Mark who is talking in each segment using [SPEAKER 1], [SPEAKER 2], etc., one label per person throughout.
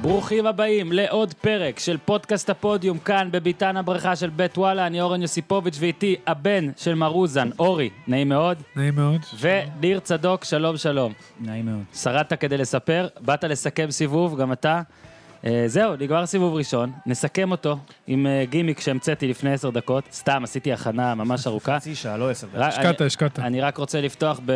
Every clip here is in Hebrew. [SPEAKER 1] ברוכים הבאים לעוד פרק של פודקאסט הפודיום כאן בביתן הברכה של בית וואלה, אני אורן יוסיפוביץ' ואיתי הבן של מר אוזן, אורי, נעים מאוד,
[SPEAKER 2] נעים מאוד.
[SPEAKER 1] וניר צדוק, שלום שלום.
[SPEAKER 3] נעים מאוד.
[SPEAKER 1] שרדת כדי לספר, באת לסכם סיבוב, גם אתה. אה, זהו, נגמר סיבוב ראשון, נסכם אותו עם אה, גימיק שהמצאתי לפני עשר דקות, סתם, עשיתי הכנה ממש ארוכה.
[SPEAKER 3] חצי שעה, לא עשר דקות.
[SPEAKER 1] רק-
[SPEAKER 2] השקעת,
[SPEAKER 1] אני-
[SPEAKER 2] השקעת.
[SPEAKER 1] אני רק רוצה לפתוח ב-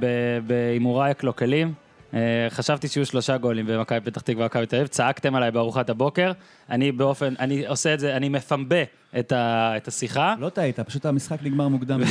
[SPEAKER 1] ב- בהימוריי הקלוקלים. אה, חשבתי שיהיו שלושה גולים במכבי פתח תקווה ומכבי תל אביב, צעקתם עליי בארוחת הבוקר, אני באופן, אני עושה את זה, אני מפמבה את, ה, את השיחה,
[SPEAKER 3] לא טעית, פשוט המשחק נגמר מוקדם. מדי.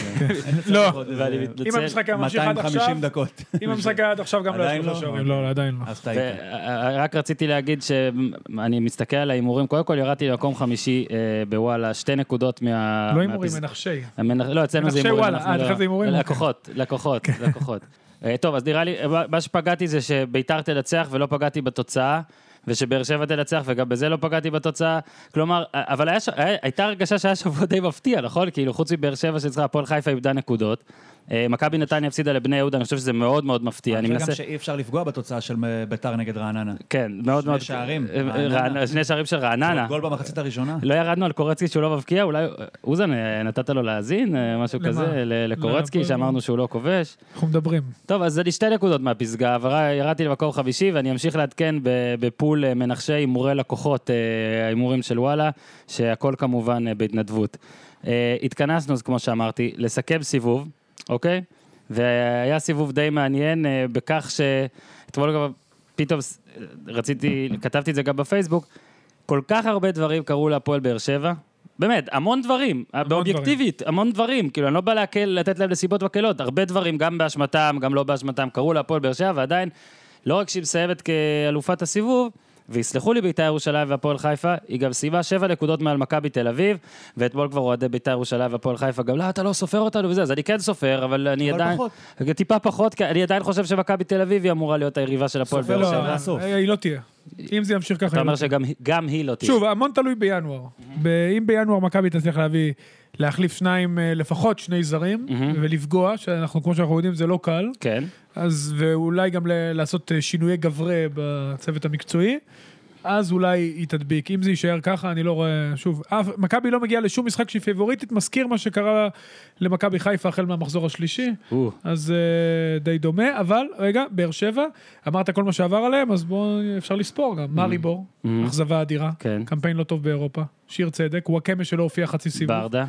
[SPEAKER 2] לא.
[SPEAKER 1] ואני
[SPEAKER 4] אם
[SPEAKER 1] מתנצל,
[SPEAKER 4] המשחק היה ממשיך עד עכשיו,
[SPEAKER 3] 250 דקות.
[SPEAKER 4] אם המשחק היה עד עכשיו גם לא היה
[SPEAKER 3] עדיין
[SPEAKER 4] שלושה
[SPEAKER 3] לא?
[SPEAKER 4] שערים.
[SPEAKER 2] לא, עדיין לא.
[SPEAKER 3] אז טעית.
[SPEAKER 1] ורק אה, רציתי להגיד שאני מסתכל על ההימורים, קודם כל ירדתי למקום חמישי אה, בוואלה, שתי נקודות מה...
[SPEAKER 2] לא הימורים,
[SPEAKER 1] מהפס-
[SPEAKER 2] מנחשי.
[SPEAKER 1] המנח... לא, אצלנו זה
[SPEAKER 2] מנחשי
[SPEAKER 1] הימורים.
[SPEAKER 2] וואלה,
[SPEAKER 1] אנחנו לא-
[SPEAKER 2] אה, אצלכם זה הימורים? כן.
[SPEAKER 1] לקוחות, לקוחות, לקוחות. אה, טוב, אז נראה לי, אה, מה- מה שפגעתי זה שביתר תנצח ולא פגעתי בתוצאה. ושבאר שבע תנצח, וגם בזה לא פגעתי בתוצאה. כלומר, אה, אבל היה ש... היה- הייתה הרגשה שהיה שבוע די מפתיע, נכון? כאילו, חוץ מבאר שבע שצריכה, הפועל חיפה איבדה נקודות. אה, מכבי נתניה הפסידה לבני יהודה, אני חושב שזה מאוד מאוד מפתיע. אני
[SPEAKER 3] אני חושב
[SPEAKER 1] מנסה...
[SPEAKER 3] אה, גם שאי אפשר לפגוע בתוצאה של ביתר נגד רעננה.
[SPEAKER 1] כן, מאוד
[SPEAKER 3] שני
[SPEAKER 1] מאוד...
[SPEAKER 3] שערים,
[SPEAKER 1] אה, אה,
[SPEAKER 3] רעננה.
[SPEAKER 1] רענ- שני שערים של רעננה.
[SPEAKER 3] גול במחצית הראשונה.
[SPEAKER 1] לא ירדנו על קורצקי שהוא לא מבקיע, אולי... אוזן, אה, נתת לו להאזין, אה, משהו
[SPEAKER 2] למה?
[SPEAKER 1] כזה, ל- לקורצקי,
[SPEAKER 2] לא,
[SPEAKER 1] שאמרנו שהוא לא כובש.
[SPEAKER 2] אנחנו מדברים.
[SPEAKER 1] טוב, אז אני שתי נקודות מהפסגה, אבל ירדתי למקום חמישי, ואני אמשיך לעדכן ב- בפול אה, מנחשי הימורי לקוחות, אה, ההימורים של וואלה, שהכל כמובן אה, בהתנדבות. אה, התכנסנו, אז כמו שאמרתי, לסכם סיבוב, אוקיי? והיה סיבוב די מעניין אה, בכך שאתמול גם פתאום ס- אה, רציתי, כתבתי את זה גם בפייסבוק, כל כך הרבה דברים קרו להפועל באר שבע. באמת, המון דברים, אה, באובייקטיבית, המון דברים. כאילו, אני לא בא להקל, לתת להם נסיבות מקלות, הרבה דברים, גם באשמתם, גם לא באשמתם, קרו להפועל באר שבע, ועדיין, לא רק שהיא מסיימת כאלופת הסיבוב, ויסלחו לי בית"ר ירושלים והפועל חיפה, היא גם סיימה שבע נקודות מעל מכבי תל אביב, ואתמול כבר אוהדי בית"ר ירושלים והפועל חיפה גם, לא, אתה לא סופר אותנו וזה, אז אני כן סופר, אבל אני
[SPEAKER 3] אבל
[SPEAKER 1] עדיין...
[SPEAKER 3] פחות.
[SPEAKER 1] טיפה פחות, כי אני עדיין חושב שמכבי תל אביב היא אמורה להיות היריבה של הפועל
[SPEAKER 3] סופר
[SPEAKER 1] באר
[SPEAKER 2] לא,
[SPEAKER 3] זה
[SPEAKER 1] שבע.
[SPEAKER 3] מהסוף.
[SPEAKER 2] אה, היא לא תהיה. אם זה ימשיך ככה...
[SPEAKER 1] אתה
[SPEAKER 2] היא
[SPEAKER 1] אומר
[SPEAKER 2] לא תהיה.
[SPEAKER 1] שגם גם היא לא תהיה.
[SPEAKER 2] שוב, המון תלוי בינואר. ב- אם בינואר מכבי תצליח להביא, להחליף שניים, אה, לפחות שני זרים, ולפגוע, שאנחנו, כמו שאנחנו יודעים, זה לא קל,
[SPEAKER 1] כן.
[SPEAKER 2] אז, ואולי גם ל- לעשות אה, שינויי גברי בצוות המקצועי. אז אולי היא תדביק. אם זה יישאר ככה, אני לא רואה... שוב, אף- מכבי לא מגיעה לשום משחק שהיא פיבוריטית, מזכיר מה שקרה למכבי חיפה החל מהמחזור השלישי.
[SPEAKER 1] או.
[SPEAKER 2] אז אה, די דומה, אבל רגע, באר שבע, אמרת כל מה שעבר עליהם, אז בואו, אפשר לספור גם. מארי בור, אכזבה אדירה,
[SPEAKER 1] Mm-hmm. כן.
[SPEAKER 2] קמפיין לא טוב באירופה, שיר צדק, וואקמה שלא הופיע חצי סיבוב,
[SPEAKER 1] ברדה.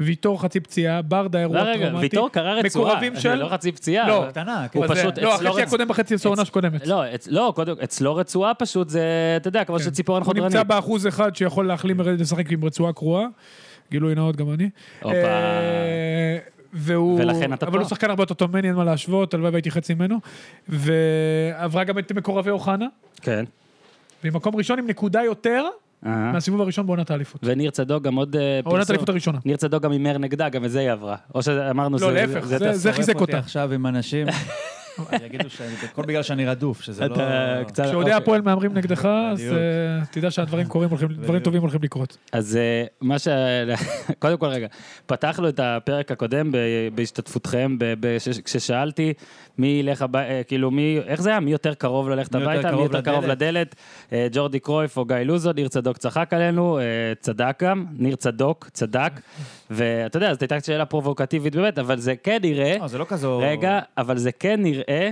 [SPEAKER 2] ויטור חצי פציעה, ברדה אירוע
[SPEAKER 1] לא, רגע,
[SPEAKER 2] טראומטי,
[SPEAKER 1] ויטור קרע רצועה.
[SPEAKER 2] מקורבים
[SPEAKER 1] זה
[SPEAKER 2] של...
[SPEAKER 1] לא חצי פציעה.
[SPEAKER 2] לא,
[SPEAKER 1] אבל-
[SPEAKER 3] קטנה, כן.
[SPEAKER 1] הוא
[SPEAKER 2] אבל זה-
[SPEAKER 1] פשוט
[SPEAKER 2] לא,
[SPEAKER 1] אצלו
[SPEAKER 2] החצי
[SPEAKER 1] רצ-
[SPEAKER 2] הקודם בחצי העונה שקודמת.
[SPEAKER 1] לא, אצ- לא, קודם, אצלו רצועה פשוט זה, אתה יודע, כמו
[SPEAKER 2] כן.
[SPEAKER 1] שציפורן
[SPEAKER 2] הוא
[SPEAKER 1] חודרנית.
[SPEAKER 2] נמצא באחוז אחד שיכול להחלים לרדת לשחק עם רצועה קרועה. גילוי נאות גם אני.
[SPEAKER 1] הופה.
[SPEAKER 2] אה, והוא...
[SPEAKER 1] ולכן אתה פה.
[SPEAKER 2] אבל הוא שחקן הרבה יותר טוב ממני, אין מה להשוות, הלוואי והייתי חצי ממנו. ועברה גם את מקורבי אוחנה,
[SPEAKER 1] כן.
[SPEAKER 2] במקום ראשון עם נקודה יותר
[SPEAKER 1] אה.
[SPEAKER 2] מהסיבוב הראשון בעונת האליפות.
[SPEAKER 1] וניר צדוק גם עוד אה, פרסום.
[SPEAKER 2] העונת האליפות הראשונה.
[SPEAKER 1] ניר צדוק גם הימר נגדה, גם את זה היא עברה. או שאמרנו,
[SPEAKER 2] לא, להפך,
[SPEAKER 1] אתה
[SPEAKER 2] זה- זה
[SPEAKER 3] שורף
[SPEAKER 2] חיזק
[SPEAKER 3] אותי
[SPEAKER 2] אותה.
[SPEAKER 3] עכשיו עם אנשים, יגידו שאני, הכל בגלל שאני רדוף, שזה לא...
[SPEAKER 1] אתה קצת...
[SPEAKER 2] כשאוהדי
[SPEAKER 1] אוקיי.
[SPEAKER 2] הפועל מהמרים נגדך, אז
[SPEAKER 3] בדיוק.
[SPEAKER 2] אה, תדע שהדברים קורים, הולכים- דברים טובים הולכים לקרות.
[SPEAKER 1] אז אה, מה ש... קודם כל, רגע, פתחנו את הפרק הקודם ב- בהשתתפותכם, ב- ב- ש- כששאלתי מי ילך הביתה, כאילו מי, איך זה היה? מי יותר קרוב ללכת
[SPEAKER 3] מי יותר
[SPEAKER 1] הביתה? מי
[SPEAKER 3] קרוב
[SPEAKER 1] יותר קרוב לדלת? אה, ג'ורדי קרויף או גיא לוזון, ניר צדוק צחק עלינו, אה, צדק גם, ניר צדוק, צדק. ואתה יודע, זאת הייתה שאלה פרובוקטיבית באמת, אבל זה כן נראה,
[SPEAKER 3] לא, זה לא כזו...
[SPEAKER 1] רגע, אבל זה כן נראה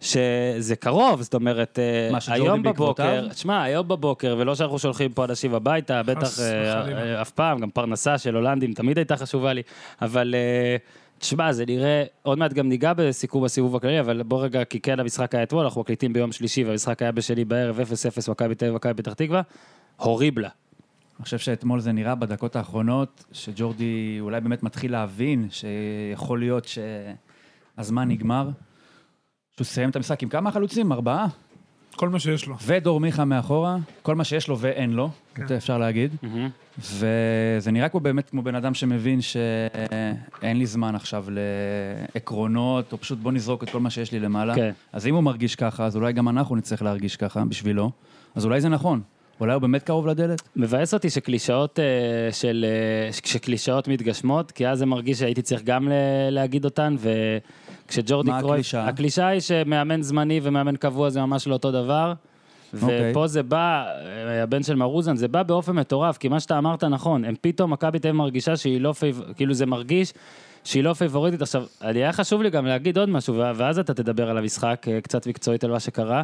[SPEAKER 1] שזה קרוב, זאת אומרת, אה,
[SPEAKER 3] מה, שג'ורדי
[SPEAKER 1] היום
[SPEAKER 3] בעקבותיו?
[SPEAKER 1] בבוקר, שמע, היום בבוקר, ולא שאנחנו שולחים פה אנשים הביתה, בטח אה,
[SPEAKER 2] וחלילה.
[SPEAKER 1] אה, אף פעם, גם פרנסה של הולנדים תמיד הייתה חשובה לי, אבל... אה, תשמע, זה נראה, עוד מעט גם ניגע בסיכום הסיבוב הכללי, אבל בוא רגע, כי כן, המשחק היה אתמול, אנחנו מקליטים ביום שלישי, והמשחק היה בשני בערב, 0-0, מכבי תל אביב, מכבי פתח תקווה, הוריבלה.
[SPEAKER 3] אני חושב שאתמול זה נראה בדקות האחרונות, שג'ורדי אולי באמת מתחיל להבין שיכול להיות שהזמן נגמר. שהוא סיים את המשחק עם כמה חלוצים? ארבעה?
[SPEAKER 2] כל מה שיש לו.
[SPEAKER 3] ודור מיכה מאחורה, כל מה שיש לו ואין לו, כן. אפשר להגיד. וזה נראה כמו באמת כמו בן אדם שמבין שאין לי זמן עכשיו לעקרונות, או פשוט בוא נזרוק את כל מה שיש לי למעלה.
[SPEAKER 1] כן.
[SPEAKER 3] אז אם הוא מרגיש ככה, אז אולי גם אנחנו נצטרך להרגיש ככה בשבילו. אז אולי זה נכון. אולי הוא באמת קרוב
[SPEAKER 1] כן.
[SPEAKER 3] לדלת?
[SPEAKER 1] מבאס אותי שקלישאות אה, של... אה, ש- כשקלישאות מתגשמות, כי אז זה מרגיש שהייתי צריך גם ל- להגיד אותן, וכשג'ורדי
[SPEAKER 3] מה
[SPEAKER 1] קרויף...
[SPEAKER 3] הקלישאה?
[SPEAKER 1] הקלישאה היא שמאמן זמני ומאמן קבוע זה ממש לא אותו דבר.
[SPEAKER 3] אוקיי.
[SPEAKER 1] ופה זה בא, אה, הבן של מרוזן, זה בא באופן מטורף, כי מה שאתה אמרת נכון, הם פתאום, מכבי תל אביב מרגישה שהיא לא פייבוריטית, כאילו זה מרגיש שהיא לא פייבוריטית. עכשיו, אני- היה חשוב לי גם להגיד עוד משהו, ו- ואז אתה תדבר על המשחק, אה, קצת מקצועית על מה שקרה.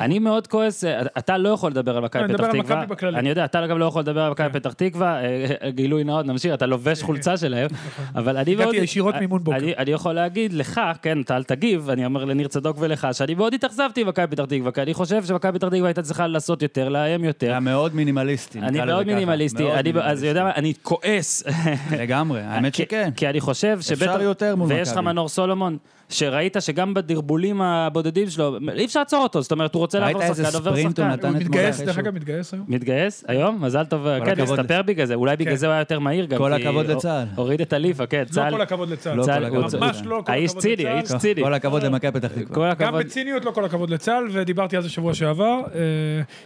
[SPEAKER 1] אני מאוד כועס, אה, אתה לא יכול לדבר על מכבי
[SPEAKER 2] אני מדבר
[SPEAKER 1] פתח
[SPEAKER 2] על
[SPEAKER 1] תקווה.
[SPEAKER 2] מכבי בכללי.
[SPEAKER 1] אני יודע, אתה גם לא יכול לדבר על
[SPEAKER 2] כן.
[SPEAKER 1] מכבי פתח תקווה, אה, גילוי נאות, נמשיך, אתה לובש חולצה שלהם, אבל אני
[SPEAKER 2] הגעתי
[SPEAKER 1] מאוד...
[SPEAKER 2] ישירות
[SPEAKER 1] אני-
[SPEAKER 2] מאימון בוקר.
[SPEAKER 1] אני- אני יכול להגיד לך, כן, אתה אל תגיב, אני אומר לניר צדוק ולך, שאני מאוד התאכזבתי עם מכבי פתח תקווה, כי אני חושב שמכבי פתח תקווה הייתה צריכה לעשות יותר, לאיים יותר.
[SPEAKER 3] היה מאוד מינימליסטי, נקרא
[SPEAKER 1] אני
[SPEAKER 3] לזה
[SPEAKER 1] מאוד
[SPEAKER 3] ככה.
[SPEAKER 1] מינימליסטי,
[SPEAKER 3] מאוד
[SPEAKER 1] אני- אז
[SPEAKER 3] מינימליסטי.
[SPEAKER 1] יודע מה, אני כועס.
[SPEAKER 3] לגמרי, האמת
[SPEAKER 1] כי-
[SPEAKER 3] שכן.
[SPEAKER 1] כי אני חושב שבטח...
[SPEAKER 3] יותר מול
[SPEAKER 1] ויש לך
[SPEAKER 3] מכבי.
[SPEAKER 1] מנור סולומון, שראית שגם בדרבולים הבודדים שלו, אי אפשר לעצור אותו, זאת אומרת, הוא רוצה
[SPEAKER 3] ראית
[SPEAKER 1] לעבור
[SPEAKER 3] איזה
[SPEAKER 1] שחקן, עובר
[SPEAKER 3] ספרינט הוא
[SPEAKER 1] שחקן.
[SPEAKER 3] נתן
[SPEAKER 2] הוא
[SPEAKER 3] אתמול
[SPEAKER 2] מתגייס,
[SPEAKER 3] אחרי
[SPEAKER 2] דרך
[SPEAKER 3] שהוא-
[SPEAKER 2] אגב, מתגייס היום.
[SPEAKER 1] מתגייס היום? מזל טוב, כן,
[SPEAKER 3] הכבוד
[SPEAKER 1] הסתפר בגלל זה, אולי בגלל
[SPEAKER 2] כן.
[SPEAKER 1] זה הוא היה יותר מהיר גם.
[SPEAKER 3] כל
[SPEAKER 1] כי
[SPEAKER 3] הכבוד
[SPEAKER 1] הוא-
[SPEAKER 3] לצה"ל.
[SPEAKER 1] הוריד את הליפה, כן,
[SPEAKER 2] לא
[SPEAKER 1] צה"ל.
[SPEAKER 2] כל הכבוד לצה"ל.
[SPEAKER 3] לא,
[SPEAKER 1] צה"ל-
[SPEAKER 3] כל הכבוד
[SPEAKER 1] הוא-
[SPEAKER 2] ממש לא, כל
[SPEAKER 1] האיש
[SPEAKER 2] הכבוד
[SPEAKER 1] ציני,
[SPEAKER 2] לצה"ל.
[SPEAKER 1] האיש
[SPEAKER 3] כל-
[SPEAKER 1] ציני.
[SPEAKER 3] כל הכבוד למכבי פתח תקווה.
[SPEAKER 1] כל
[SPEAKER 2] גם
[SPEAKER 1] הכבוד.
[SPEAKER 2] בציניות לא כל הכבוד לצה"ל, ודיברתי על זה שבוע שעבר, אה,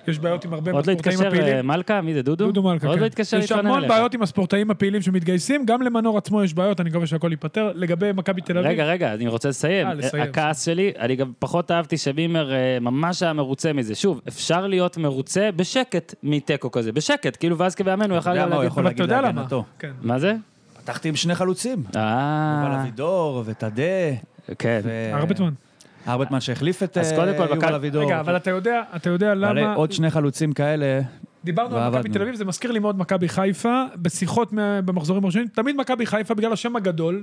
[SPEAKER 2] יש בעיות עם הרבה
[SPEAKER 1] עוד לא
[SPEAKER 2] מהספורטאים
[SPEAKER 1] התקשר אה,
[SPEAKER 2] הפעילים.
[SPEAKER 1] מלכה? מי זה, דודו?
[SPEAKER 2] דודו מלכה,
[SPEAKER 1] עוד
[SPEAKER 2] כן.
[SPEAKER 1] לא התקשר
[SPEAKER 2] יש
[SPEAKER 1] להתלונן
[SPEAKER 2] המון
[SPEAKER 1] עליך.
[SPEAKER 2] בעיות עם הספורטאים הפעילים שמתגייסים, גם למנור עצמו יש בעיות, אני מקווה שהכל ייפתר. לגבי מכבי תל אביב,
[SPEAKER 1] רגע, רגע, אני רוצה לסיים.
[SPEAKER 2] אה, לסיים.
[SPEAKER 1] הכעס שלי, אני גם פחות אהבתי שמימר אה, ממש היה מרוצה מזה. שוב, אפשר להיות מרוצה בשקט מתיקו כזה. בשקט, כאילו, ואז כבאמן הוא
[SPEAKER 3] אתה
[SPEAKER 1] יכל
[SPEAKER 3] יודע
[SPEAKER 1] גם
[SPEAKER 3] מה הוא
[SPEAKER 1] להגיד...
[SPEAKER 3] יכול
[SPEAKER 2] אבל אתה
[SPEAKER 3] להגיד
[SPEAKER 2] יודע למה.
[SPEAKER 3] להגנתו.
[SPEAKER 2] כן.
[SPEAKER 1] מה זה?
[SPEAKER 3] פתחתי עם שני חלוצים. יובל
[SPEAKER 1] אה,
[SPEAKER 3] אבידור וטדה.
[SPEAKER 1] כן.
[SPEAKER 3] ו-
[SPEAKER 2] ארבטמן.
[SPEAKER 3] ארבטמן שהחליף את
[SPEAKER 1] אז
[SPEAKER 3] אה,
[SPEAKER 1] קודם כל, מכבי-
[SPEAKER 3] יובל אבידור.
[SPEAKER 2] רגע, אבל אתה יודע, אתה יודע
[SPEAKER 3] למה...
[SPEAKER 2] למה...
[SPEAKER 3] עוד שני חלוצים כאלה.
[SPEAKER 2] דיברנו על
[SPEAKER 3] ועבדנו.
[SPEAKER 2] מכבי תל אביב, זה מזכיר לי מאוד מכבי חיפה, בשיחות מה- במחזורים הראשונים, תמיד מכבי חיפה, בגלל השם הגדול,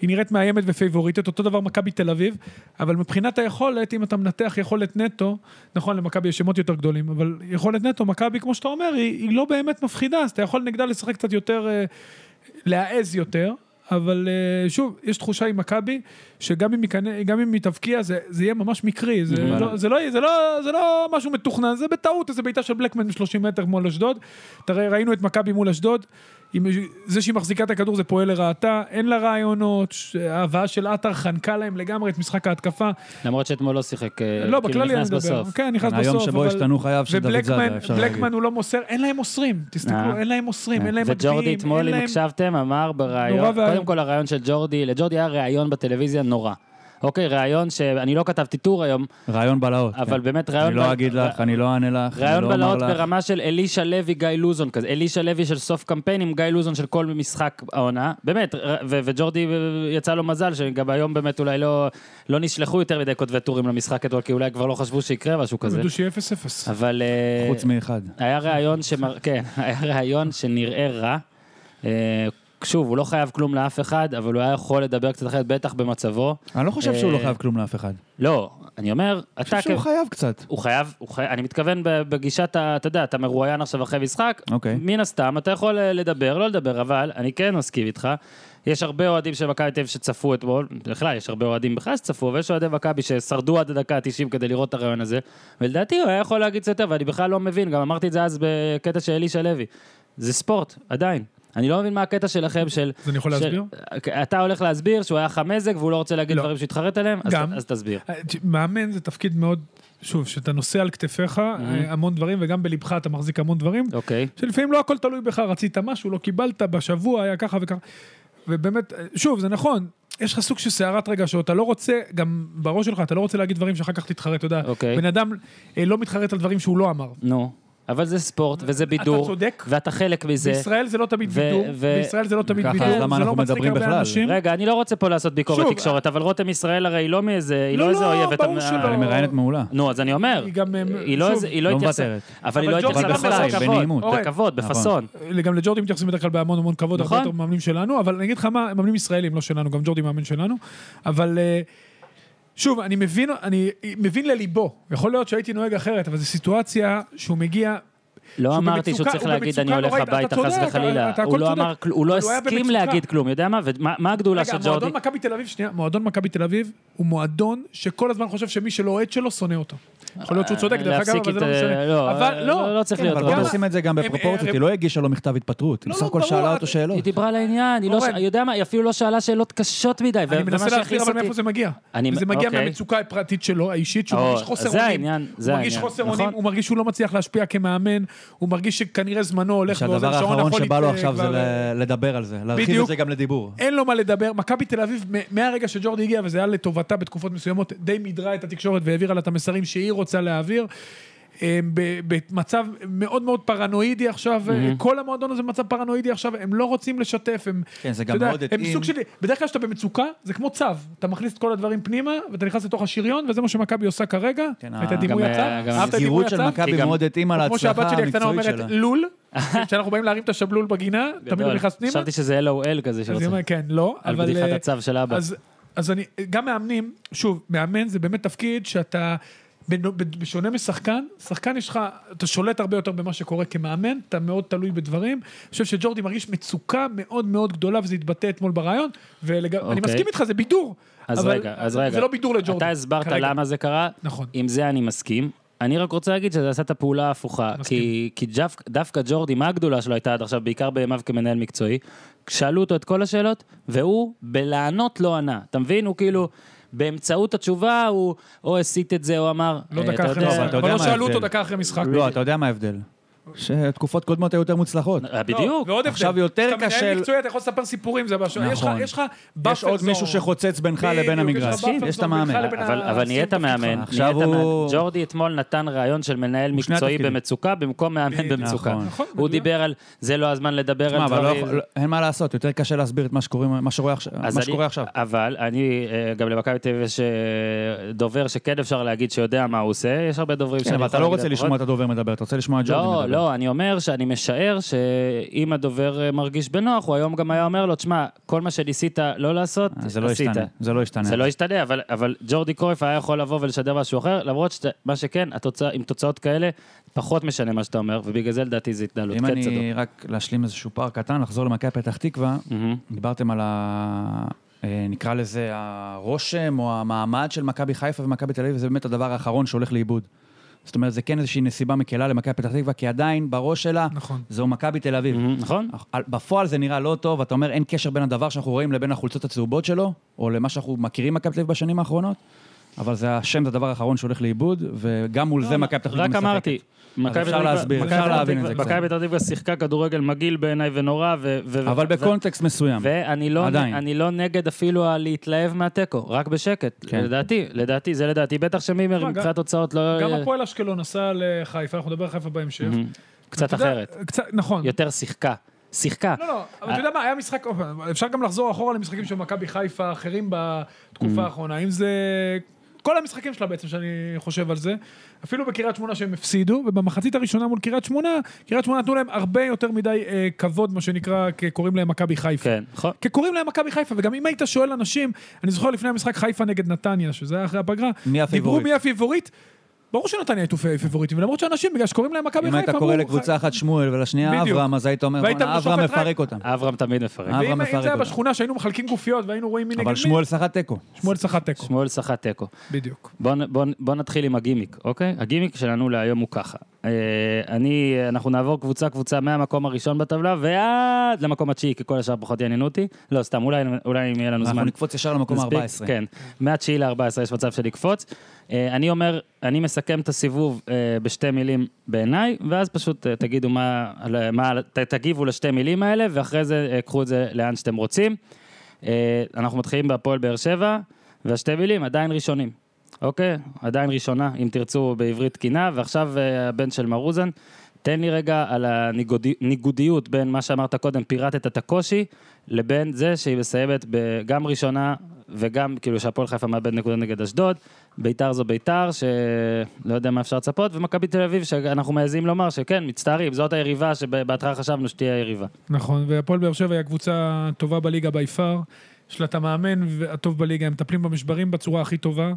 [SPEAKER 2] היא נראית מאיימת ופייבוריטית, אותו דבר מכבי תל אביב, אבל מבחינת היכולת, אם אתה מנתח יכולת נטו, נכון, למכבי יש שמות יותר גדולים, אבל יכולת נטו, מכבי, כמו שאתה אומר, היא, היא לא באמת מפחידה, אז אתה יכול נגדה לשחק קצת יותר, אה, להעז יותר. אבל אה, שוב, יש תחושה עם מכבי, שגם אם, יכנה- גם אם היא תבקיע, זה, זה יהיה ממש מקרי. זה,
[SPEAKER 3] Mhm.
[SPEAKER 2] לא, זה, לא, זה, לא, זה לא משהו מתוכנן, זה בטעות, איזה בעיטה של בלקמן מ-30 מטר מול אשדוד. תראה, ראינו את מכבי מול אשדוד, עם, זה שהיא מחזיקה את הכדור זה פועל לרעתה, אין לה רעיונות, ש- ההבאה של עטר חנקה להם לגמרי את משחק ההתקפה.
[SPEAKER 1] למרות שאתמול לא שיחק, אה,
[SPEAKER 2] לא,
[SPEAKER 1] כאילו
[SPEAKER 2] בכללי אני
[SPEAKER 1] נכנס
[SPEAKER 2] מדבר.
[SPEAKER 1] בסוף.
[SPEAKER 2] כן, נכנס בסוף,
[SPEAKER 3] היום שבו
[SPEAKER 2] אבל-
[SPEAKER 3] השתנו חייו של דוד
[SPEAKER 2] ובלקמן
[SPEAKER 3] זאדה, אפשר להגיד.
[SPEAKER 2] בלקמן הוא לא מוסר, אין להם מוסרים, תסתכלו,
[SPEAKER 1] אה.
[SPEAKER 2] אין להם מוסרים, אין להם
[SPEAKER 1] וג'ורדי
[SPEAKER 2] מצביעים, אין
[SPEAKER 1] אתמול, אם
[SPEAKER 2] להם...
[SPEAKER 1] הקשבתם, אמר
[SPEAKER 2] נורא
[SPEAKER 1] בריאיון,
[SPEAKER 2] ואיום.
[SPEAKER 1] קודם כל הריאיון של ג'ורדי, לג'ורדי היה ריאיון בטלוויזיה נורא. אוקיי, ריאיון שאני לא כתבתי טור היום,
[SPEAKER 3] רעיון בלהות.
[SPEAKER 1] אבל
[SPEAKER 3] כן.
[SPEAKER 1] באמת
[SPEAKER 3] אני
[SPEAKER 1] ריאיון... ב-
[SPEAKER 3] לא אגיד לך, אני לא אענה לך, אני
[SPEAKER 1] רעיון
[SPEAKER 3] לא אומר
[SPEAKER 1] בלהות
[SPEAKER 3] לך.
[SPEAKER 1] ברמה של אלישע לוי, גיא לוזון כזה. אלישע לוי של סוף קמפיין עם גיא לוזון של כל משחק העונה. באמת, ר- ו- וג'ורדי אה, יצא לו מזל, שגם היום באמת אולי לא, לא נשלחו יותר מדי כותבי טורים למשחק אתמול, כי אולי כבר לא חשבו שיקרה משהו כזה.
[SPEAKER 2] ידעו שיהיה 0-0.
[SPEAKER 1] אבל... אה,
[SPEAKER 3] חוץ מאחד.
[SPEAKER 1] היה ראיון שמר... כן, היה ראיון שנראה רע. אה, שוב, הוא לא חייב כלום לאף אחד, אבל הוא היה יכול לדבר קצת אחרת, בטח במצבו.
[SPEAKER 3] אני לא חושב שהוא
[SPEAKER 1] אה,
[SPEAKER 3] לא חייב כלום לאף אחד. אני
[SPEAKER 1] לא, אני אומר, אתה...
[SPEAKER 3] חושב שהוא
[SPEAKER 1] כ-
[SPEAKER 3] חייב קצת.
[SPEAKER 1] הוא חייב, הוא חייב, אני מתכוון ב- בגישת, ה- אתה יודע, אתה מרואיין עכשיו אחרי משחק,
[SPEAKER 3] אוקיי.
[SPEAKER 1] מן הסתם, אתה יכול אה, לדבר, לא לדבר, אבל אני כן מסכים איתך. יש הרבה אוהדים של מכבי תל אביב שצפו אתמול, בכלל, יש הרבה אוהדים בכלל שצפו, ויש אוהדי מכבי ששרדו עד הדקה ה-90 כדי לראות את הרעיון הזה, ולדעתי הוא היה יכול להגיד קצת יותר, ואני בכלל לא מבין, גם אמרתי את זה אז בקטע של אלישע לוי. זה ספורט, עדיין. אני לא מבין מה הקטע שלכם של...
[SPEAKER 2] אז אני יכול
[SPEAKER 1] של- אה,
[SPEAKER 2] להסביר?
[SPEAKER 1] אתה הולך להסביר שהוא היה לך מזג והוא לא רוצה להגיד
[SPEAKER 2] לא.
[SPEAKER 1] דברים שהתחרט עליהם? אז-
[SPEAKER 2] גם.
[SPEAKER 1] אז תסביר.
[SPEAKER 2] אה, ת- מאמן זה תפקיד מאוד, שוב, שאתה נושא על כתפיך אה,
[SPEAKER 1] Mm-hmm.
[SPEAKER 2] המון דברים, וגם בלבך אתה מחזיק המון דברים,
[SPEAKER 1] אוקיי.
[SPEAKER 2] שלפעמים לא הכל תלוי בך, רצית משהו, לא קיבלת, בשבוע היה ככה וככה. ובאמת, אה, שוב, זה נכון, יש לך סוג של סערת רגשות, אתה לא רוצה, גם בראש שלך, אתה לא רוצה להגיד דברים שאחר כך תתחרט, אתה יודע.
[SPEAKER 1] אוקיי.
[SPEAKER 2] בן אדם אה, לא מתחרט על דברים שהוא לא אמר.
[SPEAKER 1] נו, אבל זה ספורט, וזה בידור,
[SPEAKER 2] צודק.
[SPEAKER 1] ואתה חלק מזה.
[SPEAKER 2] בישראל זה לא תמיד
[SPEAKER 1] ו-
[SPEAKER 2] בידור,
[SPEAKER 1] ו-
[SPEAKER 2] בישראל זה לא תמיד
[SPEAKER 3] ככה,
[SPEAKER 2] בידור,
[SPEAKER 3] אז למה
[SPEAKER 2] זה לא
[SPEAKER 3] אנחנו
[SPEAKER 2] מצחיק
[SPEAKER 3] מדברים
[SPEAKER 2] הרבה
[SPEAKER 3] בכלל?
[SPEAKER 2] אנשים.
[SPEAKER 1] רגע, אני לא רוצה פה לעשות ביקורת
[SPEAKER 2] שוב,
[SPEAKER 1] תקשורת, אבל רותם ישראל הרי היא לא מאיזה, היא
[SPEAKER 2] לא,
[SPEAKER 1] לא איזה
[SPEAKER 2] לא,
[SPEAKER 1] אויבת.
[SPEAKER 2] ברור
[SPEAKER 1] המ-
[SPEAKER 2] שלא.
[SPEAKER 1] אה,
[SPEAKER 3] היא מראיינת מעולה.
[SPEAKER 1] נו, אז אני אומר,
[SPEAKER 2] היא גם, אה,
[SPEAKER 1] היא לא
[SPEAKER 2] שוב,
[SPEAKER 1] איזה- היא לא
[SPEAKER 3] לא
[SPEAKER 1] התייחסה,
[SPEAKER 3] מוותרת.
[SPEAKER 1] אבל היא
[SPEAKER 2] אבל
[SPEAKER 1] לא
[SPEAKER 2] ג'ורדי
[SPEAKER 1] התייחסה
[SPEAKER 2] גם
[SPEAKER 1] בכלל,
[SPEAKER 2] בסיים,
[SPEAKER 1] בכבוד,
[SPEAKER 3] בנעימות.
[SPEAKER 2] אורן.
[SPEAKER 1] בכבוד,
[SPEAKER 3] נכון.
[SPEAKER 1] בפאסון.
[SPEAKER 2] גם לג'ורדי מתייחסים בדרך כלל בהמון המון כבוד, הרבה
[SPEAKER 1] נכון.
[SPEAKER 2] יותר מאמנים שלנו, אבל אני אגיד לך מה, מאמנים ישראלים, לא שלנו, גם ג'ורדי מאמן שלנו, אבל אה, שוב, אני מבין, אני מבין לליבו, יכול להיות שהייתי נוהג אחרת, אבל זו סיטואציה שהוא מגיע...
[SPEAKER 1] לא
[SPEAKER 2] שהוא
[SPEAKER 1] אמרתי שהוא
[SPEAKER 2] במצוקה-
[SPEAKER 1] צריך
[SPEAKER 2] הוא
[SPEAKER 1] להגיד
[SPEAKER 2] במצוקה
[SPEAKER 1] אני הולך
[SPEAKER 2] נוראית", אתה
[SPEAKER 1] הביתה חס
[SPEAKER 2] צודק,
[SPEAKER 1] וחלילה.
[SPEAKER 2] אתה- אתה
[SPEAKER 1] הוא
[SPEAKER 2] הכל
[SPEAKER 1] לא
[SPEAKER 2] צודק.
[SPEAKER 1] אמר, כל- הוא לא
[SPEAKER 2] אבל הוא היה
[SPEAKER 1] הסכים
[SPEAKER 2] במצוקה.
[SPEAKER 1] להגיד כלום, יודע מה? ומה מה הגדולה של
[SPEAKER 2] רגע,
[SPEAKER 1] ג'ורדי?
[SPEAKER 2] מועדון מכבי תל אביב, שנייה, מועדון מכבי תל אביב הוא מועדון שכל הזמן חושב שמי שלא אוהד שלו שונא אותו. יכול להיות שהוא צודק, דרך אגב,
[SPEAKER 1] להפסיק
[SPEAKER 2] אבל זה לא
[SPEAKER 1] את,
[SPEAKER 2] משנה.
[SPEAKER 1] אה, לא,
[SPEAKER 2] אבל
[SPEAKER 1] אה, לא- לא צריך
[SPEAKER 2] כן,
[SPEAKER 1] להיות
[SPEAKER 2] אבל
[SPEAKER 3] אבל לא
[SPEAKER 2] גם-
[SPEAKER 1] רע.
[SPEAKER 3] עושים את זה גם
[SPEAKER 2] הם-
[SPEAKER 3] בפרופורציות,
[SPEAKER 2] הם-
[SPEAKER 3] היא לא הגישה לו מכתב התפטרות. היא
[SPEAKER 2] לא,
[SPEAKER 3] בסך
[SPEAKER 2] לא,
[SPEAKER 3] הכל
[SPEAKER 2] ברור,
[SPEAKER 3] שאלה אותו
[SPEAKER 2] את-
[SPEAKER 1] היא
[SPEAKER 3] שאלות.
[SPEAKER 1] דיברה לעניין, היא לא,
[SPEAKER 2] אורן.
[SPEAKER 1] ש- יודע מה, היא אפילו לא שאלה שאלות קשות מדי. ו-
[SPEAKER 2] אני
[SPEAKER 1] ומה
[SPEAKER 2] מנסה להסביר
[SPEAKER 1] שהכעיס
[SPEAKER 2] אבל
[SPEAKER 1] אותי-
[SPEAKER 2] מאיפה זה מגיע.
[SPEAKER 1] אני-
[SPEAKER 2] זה מגיע
[SPEAKER 1] אוקיי.
[SPEAKER 2] מהמצוקה הפרטית שלו, האישית, שהוא
[SPEAKER 1] או,
[SPEAKER 2] מרגיש חוסר
[SPEAKER 1] זה
[SPEAKER 2] אונים.
[SPEAKER 1] העניין, זה
[SPEAKER 2] הוא מרגיש
[SPEAKER 1] העניין,
[SPEAKER 2] חוסר
[SPEAKER 1] נכון.
[SPEAKER 2] אונים, הוא מרגיש שהוא לא מצליח להשפיע כמאמן, הוא מרגיש שכנראה זמנו הולך
[SPEAKER 3] שהדבר
[SPEAKER 2] ועוזר, שעון
[SPEAKER 3] האחרון
[SPEAKER 2] החול
[SPEAKER 3] שבא לו
[SPEAKER 2] יצא
[SPEAKER 3] עכשיו זה
[SPEAKER 2] כבר, אה,
[SPEAKER 3] ל- לדבר על זה. להרחיב
[SPEAKER 2] בדיוק.
[SPEAKER 3] את זה גם לדיבור.
[SPEAKER 1] אה,
[SPEAKER 2] אין לו מה לדבר. מכבי תל אביב, מ- מהרגע שג'ורדי הגיע, וזה היה לטובתה בתקופות מסוימות, די מידרה את התקשורת והעבירה לה את המסרים שהיא רוצה להעביר. הם ב- במצב מאוד מאוד פרנואידי עכשיו, אה,
[SPEAKER 1] מהמם.
[SPEAKER 2] כל המועדון הזה במצב פרנואידי עכשיו, הם לא רוצים לשתף, הם...
[SPEAKER 3] כן, זה
[SPEAKER 2] אתה
[SPEAKER 3] גם
[SPEAKER 2] יודע,
[SPEAKER 3] מאוד
[SPEAKER 2] הם
[SPEAKER 3] התאים.
[SPEAKER 2] סוג שלי, בדרך כלל כשאתה במצוקה, זה כמו צו, אתה מכניס את כל הדברים פנימה, ואתה נכנס לתוך השריון, וזה מה שמכבי עושה כרגע,
[SPEAKER 3] כן,
[SPEAKER 2] את
[SPEAKER 3] ה-
[SPEAKER 2] הדימוי
[SPEAKER 1] גם,
[SPEAKER 2] הצו,
[SPEAKER 1] אה, גם
[SPEAKER 2] אהבת את הדימוי
[SPEAKER 3] הסגירות של
[SPEAKER 2] הצו?
[SPEAKER 1] כי
[SPEAKER 3] מכבי
[SPEAKER 1] גם-
[SPEAKER 3] מאוד התאימה
[SPEAKER 2] או כמו שהבת
[SPEAKER 3] להצלחה
[SPEAKER 2] שלי הקטנה
[SPEAKER 3] המקצועית
[SPEAKER 2] אומרת,
[SPEAKER 3] שלה.
[SPEAKER 2] לול, כשאנחנו באים להרים את השבלול בגינה, תמיד
[SPEAKER 1] גדול.
[SPEAKER 2] הוא נכנס פנימה,
[SPEAKER 1] חשבתי שזה LOL כזה
[SPEAKER 2] אז היא
[SPEAKER 1] שרוצה.
[SPEAKER 2] אומרת, כן, לא,
[SPEAKER 1] על
[SPEAKER 2] אבל...
[SPEAKER 1] בדיחת
[SPEAKER 2] אה,
[SPEAKER 1] הצו של אבא.
[SPEAKER 2] אז, אז אני, גם מאמנים, שוב, מאמן זה באמת תפקיד שאתה, בנו- בשונה משחקן, שחקן יש לך, אתה שולט הרבה יותר במה שקורה כמאמן, אתה מאוד תלוי בדברים. אני חושב שג'ורדי מרגיש מצוקה מאוד מאוד גדולה, וזה התבטא אתמול ברעיון, ואני
[SPEAKER 1] אוקיי.
[SPEAKER 2] מסכים איתך, זה בידור.
[SPEAKER 1] אז
[SPEAKER 2] אבל
[SPEAKER 1] רגע, אז רגע.
[SPEAKER 2] זה לא בידור לג'ורדי.
[SPEAKER 1] אתה הסברת
[SPEAKER 2] כרגע.
[SPEAKER 1] למה אה, זה קרה,
[SPEAKER 2] נכון.
[SPEAKER 1] עם זה אני מסכים. אני רק רוצה להגיד שזה עשה את הפעולה ההפוכה,
[SPEAKER 2] מסכים.
[SPEAKER 1] כי, כי דווק, דווקא ג'ורדי, מה הגדולה שלו הייתה עד עכשיו, בעיקר בימיו כמנהל מקצועי, שאלו אותו את כל השאלות, והוא בלענות לא ענה. אתה מבין? הוא כאילו, באמצעות התשובה הוא או הסיט את זה, או אמר...
[SPEAKER 2] לא
[SPEAKER 1] "אה,
[SPEAKER 2] דקה
[SPEAKER 1] אתה
[SPEAKER 2] אחרי
[SPEAKER 1] יודע,
[SPEAKER 2] משחק,
[SPEAKER 3] אתה
[SPEAKER 2] אבל
[SPEAKER 3] יודע
[SPEAKER 2] לא
[SPEAKER 3] מה
[SPEAKER 2] שאלו
[SPEAKER 3] ההבדל.
[SPEAKER 2] אותו דקה אחרי משחק.
[SPEAKER 3] לא, אתה יודע מה ההבדל. שתקופות קודמות היו יותר מוצלחות.
[SPEAKER 1] אה, בדיוק.
[SPEAKER 2] ועוד הבדל.
[SPEAKER 3] עכשיו יותר
[SPEAKER 2] כשאתה
[SPEAKER 3] קשה-
[SPEAKER 2] מנהל מקצועי, אתה יכול לספר סיפורים, זה משהו. יש לך-
[SPEAKER 3] נכון.
[SPEAKER 2] יש לך
[SPEAKER 3] יש עוד
[SPEAKER 2] buffer
[SPEAKER 3] מישהו
[SPEAKER 2] zone.
[SPEAKER 3] שחוצץ בינך
[SPEAKER 2] בדיוק,
[SPEAKER 3] לבין
[SPEAKER 2] יש
[SPEAKER 3] המגרש.
[SPEAKER 2] לך buffer
[SPEAKER 3] יש את
[SPEAKER 2] zone
[SPEAKER 3] המאמן.
[SPEAKER 2] בינך לבין
[SPEAKER 1] אבל, אבל נהיית
[SPEAKER 2] הסיום
[SPEAKER 1] מאמן,
[SPEAKER 2] תפקידך.
[SPEAKER 1] נהיית
[SPEAKER 3] עכשיו הוא-
[SPEAKER 1] מאמן. ג'ורדי אתמול נתן רעיון של מנהל
[SPEAKER 3] הוא שני
[SPEAKER 1] מקצועי
[SPEAKER 3] התפקידים.
[SPEAKER 1] במצוקה במקום מאמן
[SPEAKER 2] בדיוק.
[SPEAKER 1] במצוקה.
[SPEAKER 3] נכון.
[SPEAKER 2] נכון,
[SPEAKER 1] הוא
[SPEAKER 2] מדויק.
[SPEAKER 1] דיבר על זה לא הזמן לדבר
[SPEAKER 3] תשמע,
[SPEAKER 1] על
[SPEAKER 3] אבל לא
[SPEAKER 1] דברים.
[SPEAKER 3] יכול- לא- אין מה לעשות, יותר קשה להסביר את מה שקורה- מה שקורה עכשיו-
[SPEAKER 1] אז
[SPEAKER 3] מה
[SPEAKER 1] אני- כן,
[SPEAKER 3] שקורה עכשיו.
[SPEAKER 1] אבל אני, אה, גם למכבי תל אביב יש אה, דובר שכן אפשר להגיד שיודע מה הוא עושה, יש הרבה דוברים
[SPEAKER 3] כן, אבל אתה
[SPEAKER 1] יכול
[SPEAKER 3] לא
[SPEAKER 1] להגיד
[SPEAKER 3] רוצה
[SPEAKER 1] על
[SPEAKER 3] לשמוע
[SPEAKER 1] פחות.
[SPEAKER 3] את הדובר מדבר, אתה רוצה לשמוע את ג'ורדי מדבר.
[SPEAKER 1] לא, לא, אני אומר שאני משער שאם הדובר אה, מרגיש בנוח, הוא היום גם היה אומר לו, תשמע, כל מה שניסית לא לעשות,
[SPEAKER 3] אה, זה לא
[SPEAKER 1] עשית.
[SPEAKER 3] ישתנה, זה לא ישתנה.
[SPEAKER 1] זה לא ישתנה, אבל, אבל ג'ורדי קרויף היה יכול לבוא ולשדר משהו אחר, למרות שמה שכן, התוצא, עם תוצאות כאלה, פחות משנה מה שאתה אומר, ובגלל זה לדעתי זו התנהלות.
[SPEAKER 3] אם
[SPEAKER 1] כן, צדוק. Mm.
[SPEAKER 3] אני רק להשלים איזשהו פער קטן, לחזור למכבי פתח תקווה,
[SPEAKER 1] מהמם.
[SPEAKER 3] דיברתם על ה... אה, נקרא לזה הרושם או המעמד של מכבי חיפה ומכבי תל אביב, וזה באמת הדבר האחרון שהולך לאיבוד. זאת אומרת, זה כן איזושהי נסיבה מקלה למכבי פתח תקווה, כי עדיין בראש שלה,
[SPEAKER 2] נכון.
[SPEAKER 3] זהו מכבי תל אביב.
[SPEAKER 1] מהמם, נכון?
[SPEAKER 3] על- בפועל זה נראה לא טוב, אתה אומר אין קשר בין הדבר שאנחנו רואים לבין החולצות הצהובות שלו, או למה שאנחנו מכירים מכבי תל אביב בשנים האחרונות, אבל זה השם, זה הדבר האחרון שהולך לאיבוד, וגם מול זה מכבי פתח תקווה
[SPEAKER 1] לא, רק
[SPEAKER 3] משחקת.
[SPEAKER 1] אמרתי, מכבי
[SPEAKER 3] אפשר
[SPEAKER 1] פתח תקווה-
[SPEAKER 3] להסביר,
[SPEAKER 1] מכבי
[SPEAKER 3] אפשר
[SPEAKER 1] פתח
[SPEAKER 3] להבין את
[SPEAKER 1] תקווה-
[SPEAKER 3] זה קצת.
[SPEAKER 1] מכבי פתח תקווה שיחקה כדורגל מגעיל בעיניי ונורא, ו... ו-
[SPEAKER 3] אבל
[SPEAKER 1] ו-
[SPEAKER 3] בקונטקסט מסוים.
[SPEAKER 1] ואני לא,
[SPEAKER 3] עדיין.
[SPEAKER 1] אני לא נגד אפילו הלהתלהב מהתיקו, רק בשקט.
[SPEAKER 3] כן.
[SPEAKER 1] לדעתי, לדעתי, זה לדעתי. בטח שמימר
[SPEAKER 2] מה,
[SPEAKER 1] מבחינת
[SPEAKER 2] גם-
[SPEAKER 1] תוצאות לא...
[SPEAKER 2] גם הפועל אשקלון עשה לחיפה, אנחנו נדבר על חיפה בהמשך.
[SPEAKER 1] מהמם. קצת
[SPEAKER 2] אתה יודע,
[SPEAKER 1] אחרת,
[SPEAKER 2] קצת, נכון.
[SPEAKER 1] יותר שיחקה. שיחקה.
[SPEAKER 2] לא, לא, אבל אתה יודע מה, היה משחק, אוף, אפשר גם לחזור אחורה למשחקים של מכבי חיפה אחרים בתקופה האחרונה, אם זה... כל המשחקים שלה בעצם, שאני חושב על זה, אפילו בקריית שמונה שהם הפסידו, ובמחצית הראשונה מול קריית שמונה, קריית שמונה נתנו להם הרבה יותר מדי אה, כבוד, מה שנקרא, קוראים להם מכבי חיפה.
[SPEAKER 1] כן, נכון.
[SPEAKER 2] כי קוראים להם מכבי חיפה, וגם אם היית שואל אנשים, אני זוכר לפני המשחק חיפה נגד נתניה, שזה היה אחרי הפגרה,
[SPEAKER 3] מי
[SPEAKER 2] דיברו
[SPEAKER 3] הפיבוריט?
[SPEAKER 2] מי הפיבוריט, ברור שנתניה הייתו פיבוריטים, ולמרות שאנשים, בגלל שקוראים להם מכבי
[SPEAKER 3] אם
[SPEAKER 2] חיפה,
[SPEAKER 3] היית קורא
[SPEAKER 2] אמרו,
[SPEAKER 3] לקבוצה אחת שמואל ולשנייה
[SPEAKER 2] בדיוק.
[SPEAKER 3] אברהם, אז היית אומר,
[SPEAKER 2] והיית
[SPEAKER 3] "בואנה, אברהם
[SPEAKER 2] שופט רק-
[SPEAKER 3] מפרק אותם.
[SPEAKER 1] אברהם תמיד מפרק.
[SPEAKER 3] אברהם
[SPEAKER 2] ואם אם
[SPEAKER 3] מפרק
[SPEAKER 2] זה היה
[SPEAKER 3] אותם.
[SPEAKER 2] בשכונה שהיינו מחלקים גופיות והיינו רואים מי נגד מי,
[SPEAKER 3] אבל שמואל סחט תיקו.
[SPEAKER 2] שמואל סחט תיקו,
[SPEAKER 1] שמואל סחט תיקו.
[SPEAKER 2] בדיוק.
[SPEAKER 1] בואו בוא, בוא נתחיל עם הגימיק, אוקיי? הגימיק שלנו להיום הוא ככה. אה, אני, אנחנו נעבור קבוצה-קבוצה מהמקום הראשון בטבלה ועד למקום התשיעי, כי כל השאר פחות יעניינו אותי. לא, סתם, אולי, אולי אם יהיה לנו
[SPEAKER 3] אנחנו
[SPEAKER 1] זמן.
[SPEAKER 3] נקפוץ ישר למקום
[SPEAKER 1] נספיק?
[SPEAKER 3] ה-14.
[SPEAKER 1] כן. מהתשיעי ל-14 יש מצב של לקפוץ. אה, אני אומר, אני מסכם את הסיבוב אה, בשתי מילים בעיניי, ואז פשוט אה, תגידו מה, על- מה ת, תגיבו לשתי מילים האלה, ואחרי זה אה, קחו את זה לאן שאתם רוצים. אה, אנחנו מתחילים בהפועל באר שבע, והשתי מילים עדיין ראשונים. אוקיי? עדיין ראשונה, אם תרצו, בעברית תקינה, ועכשיו אה, הבן של מרוזן. תן לי רגע על הניגודיות בין מה שאמרת קודם, פירטת את הקושי, לבין זה שהיא מסיימת ב- גם ראשונה וגם כאילו שהפועל חיפה מאבד נקודה נגד אשדוד, ביתר זו ביתר, שלא יודע מה אפשר לצפות, ומכבי תל אביב, שאנחנו מעזים לומר שכן, מצטערים, זאת היריבה שבהתחלה חשבנו שתהיה היריבה.
[SPEAKER 2] נכון, והפועל באר שבע היא הקבוצה הטובה בליגה בי פאר, יש לה את המאמן הטוב בליגה, הם מטפלים במשברים בצורה הכי טובה,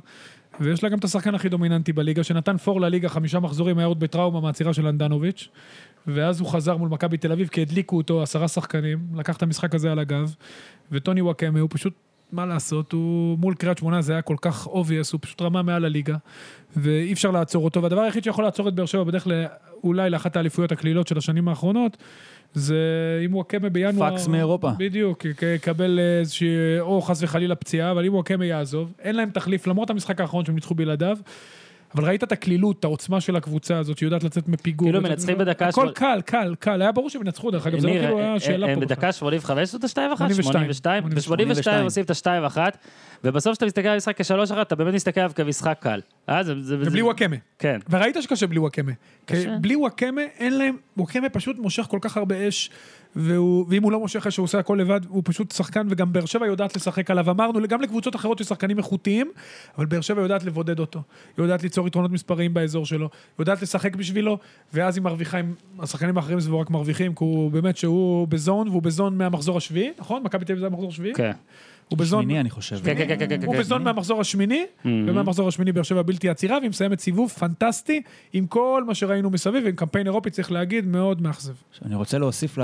[SPEAKER 2] ויש לה גם את השחקן הכי דומיננטי בליגה, שנתן פור לליגה חמישה מחזורים, היה עוד בטראומה מהעצירה של אנדנוביץ', ואז הוא חזר מול מכבי תל אביב, כי הדליקו אותו עשרה שחקנים, לקח את המשחק הזה על הגב, וטוני וואקמה הוא פשוט, מה לעשות, הוא מול קריית שמונה זה היה כל כך obvious, הוא פשוט רמה מעל הליגה, ואי אפשר לעצור אותו, והדבר היחיד שיכול לעצור את באר שבע בדרך ל... אולי לאחת האליפויות הקלילות של השנים האחרונות, זה אם וואקמה בינואר...
[SPEAKER 3] פקס מאירופה.
[SPEAKER 2] בדיוק, י- יקבל איזושהי, או חס וחלילה פציעה, אבל אם וואקמה יעזוב, אין להם תחליף, למרות המשחק האחרון שהם ניצחו בלעדיו. אבל ראית את הקלילות, את העוצמה של הקבוצה הזאת, שיודעת לצאת מפיגור.
[SPEAKER 1] כאילו מנצחים בדקה
[SPEAKER 2] הכל
[SPEAKER 1] השמונה-
[SPEAKER 2] קל, קל, קל. היה ברור שהם ינצחו, דרך אגב, זה לא
[SPEAKER 1] ניר,
[SPEAKER 2] כאילו
[SPEAKER 1] אה,
[SPEAKER 2] היה
[SPEAKER 1] אה,
[SPEAKER 2] שאלה
[SPEAKER 1] אה,
[SPEAKER 2] פה. בכלל.
[SPEAKER 1] בדקה 85 זאת ה-2-1?
[SPEAKER 2] 82.
[SPEAKER 1] 82? ב-82
[SPEAKER 3] 82.
[SPEAKER 1] עושים את ה-2-1, ובסוף כשאתה מסתכל על המשחק כ-3-1, אתה באמת מסתכל עליו כמשחק קל. אה, זה... זה-
[SPEAKER 2] ובלי
[SPEAKER 1] זה-
[SPEAKER 2] וואקמה.
[SPEAKER 1] כן.
[SPEAKER 2] וראית שקשה בלי וואקמה. כי
[SPEAKER 1] קשה.
[SPEAKER 2] בלי וואקמה אין להם, וואקמה פשוט מושך כל כך הרבה אש, והוא, ואם הוא לא מושך אש, הוא עושה הכל לבד, הוא פשוט שחקן, וגם באר שבע יודעת לשחק עליו. אמרנו, גם לקבוצות אחרות יש שחקנים איכותיים, אבל באר שבע יודעת לבודד אותו. היא יודעת ליצור יתרונות מספריים באזור שלו, היא יודעת לשחק בשבילו, ואז היא מרוויחה עם השחקנים האחרים סביבו רק מרוויחים, כי הוא באמת שהוא בזון, והוא בזון מהמחזור השביעי, נכון? מכבי תל אביב זה המחזור השביעי?
[SPEAKER 1] כן.
[SPEAKER 2] הוא בזון
[SPEAKER 3] שמיני, אני חושב.
[SPEAKER 1] כן, כן, כן, כן, כן,
[SPEAKER 2] הוא
[SPEAKER 1] כן.
[SPEAKER 2] בזון מהמחזור השמיני, ומהמחזור השמיני באר שבע בלתי עצירה, והיא מסיימת סיבוב פנטסטי עם כל מה שראינו מסביב, עם קמפיין אירופי, צריך להגיד, מאוד מאכזב.
[SPEAKER 3] עכשיו, אני רוצה להוסיף, ל...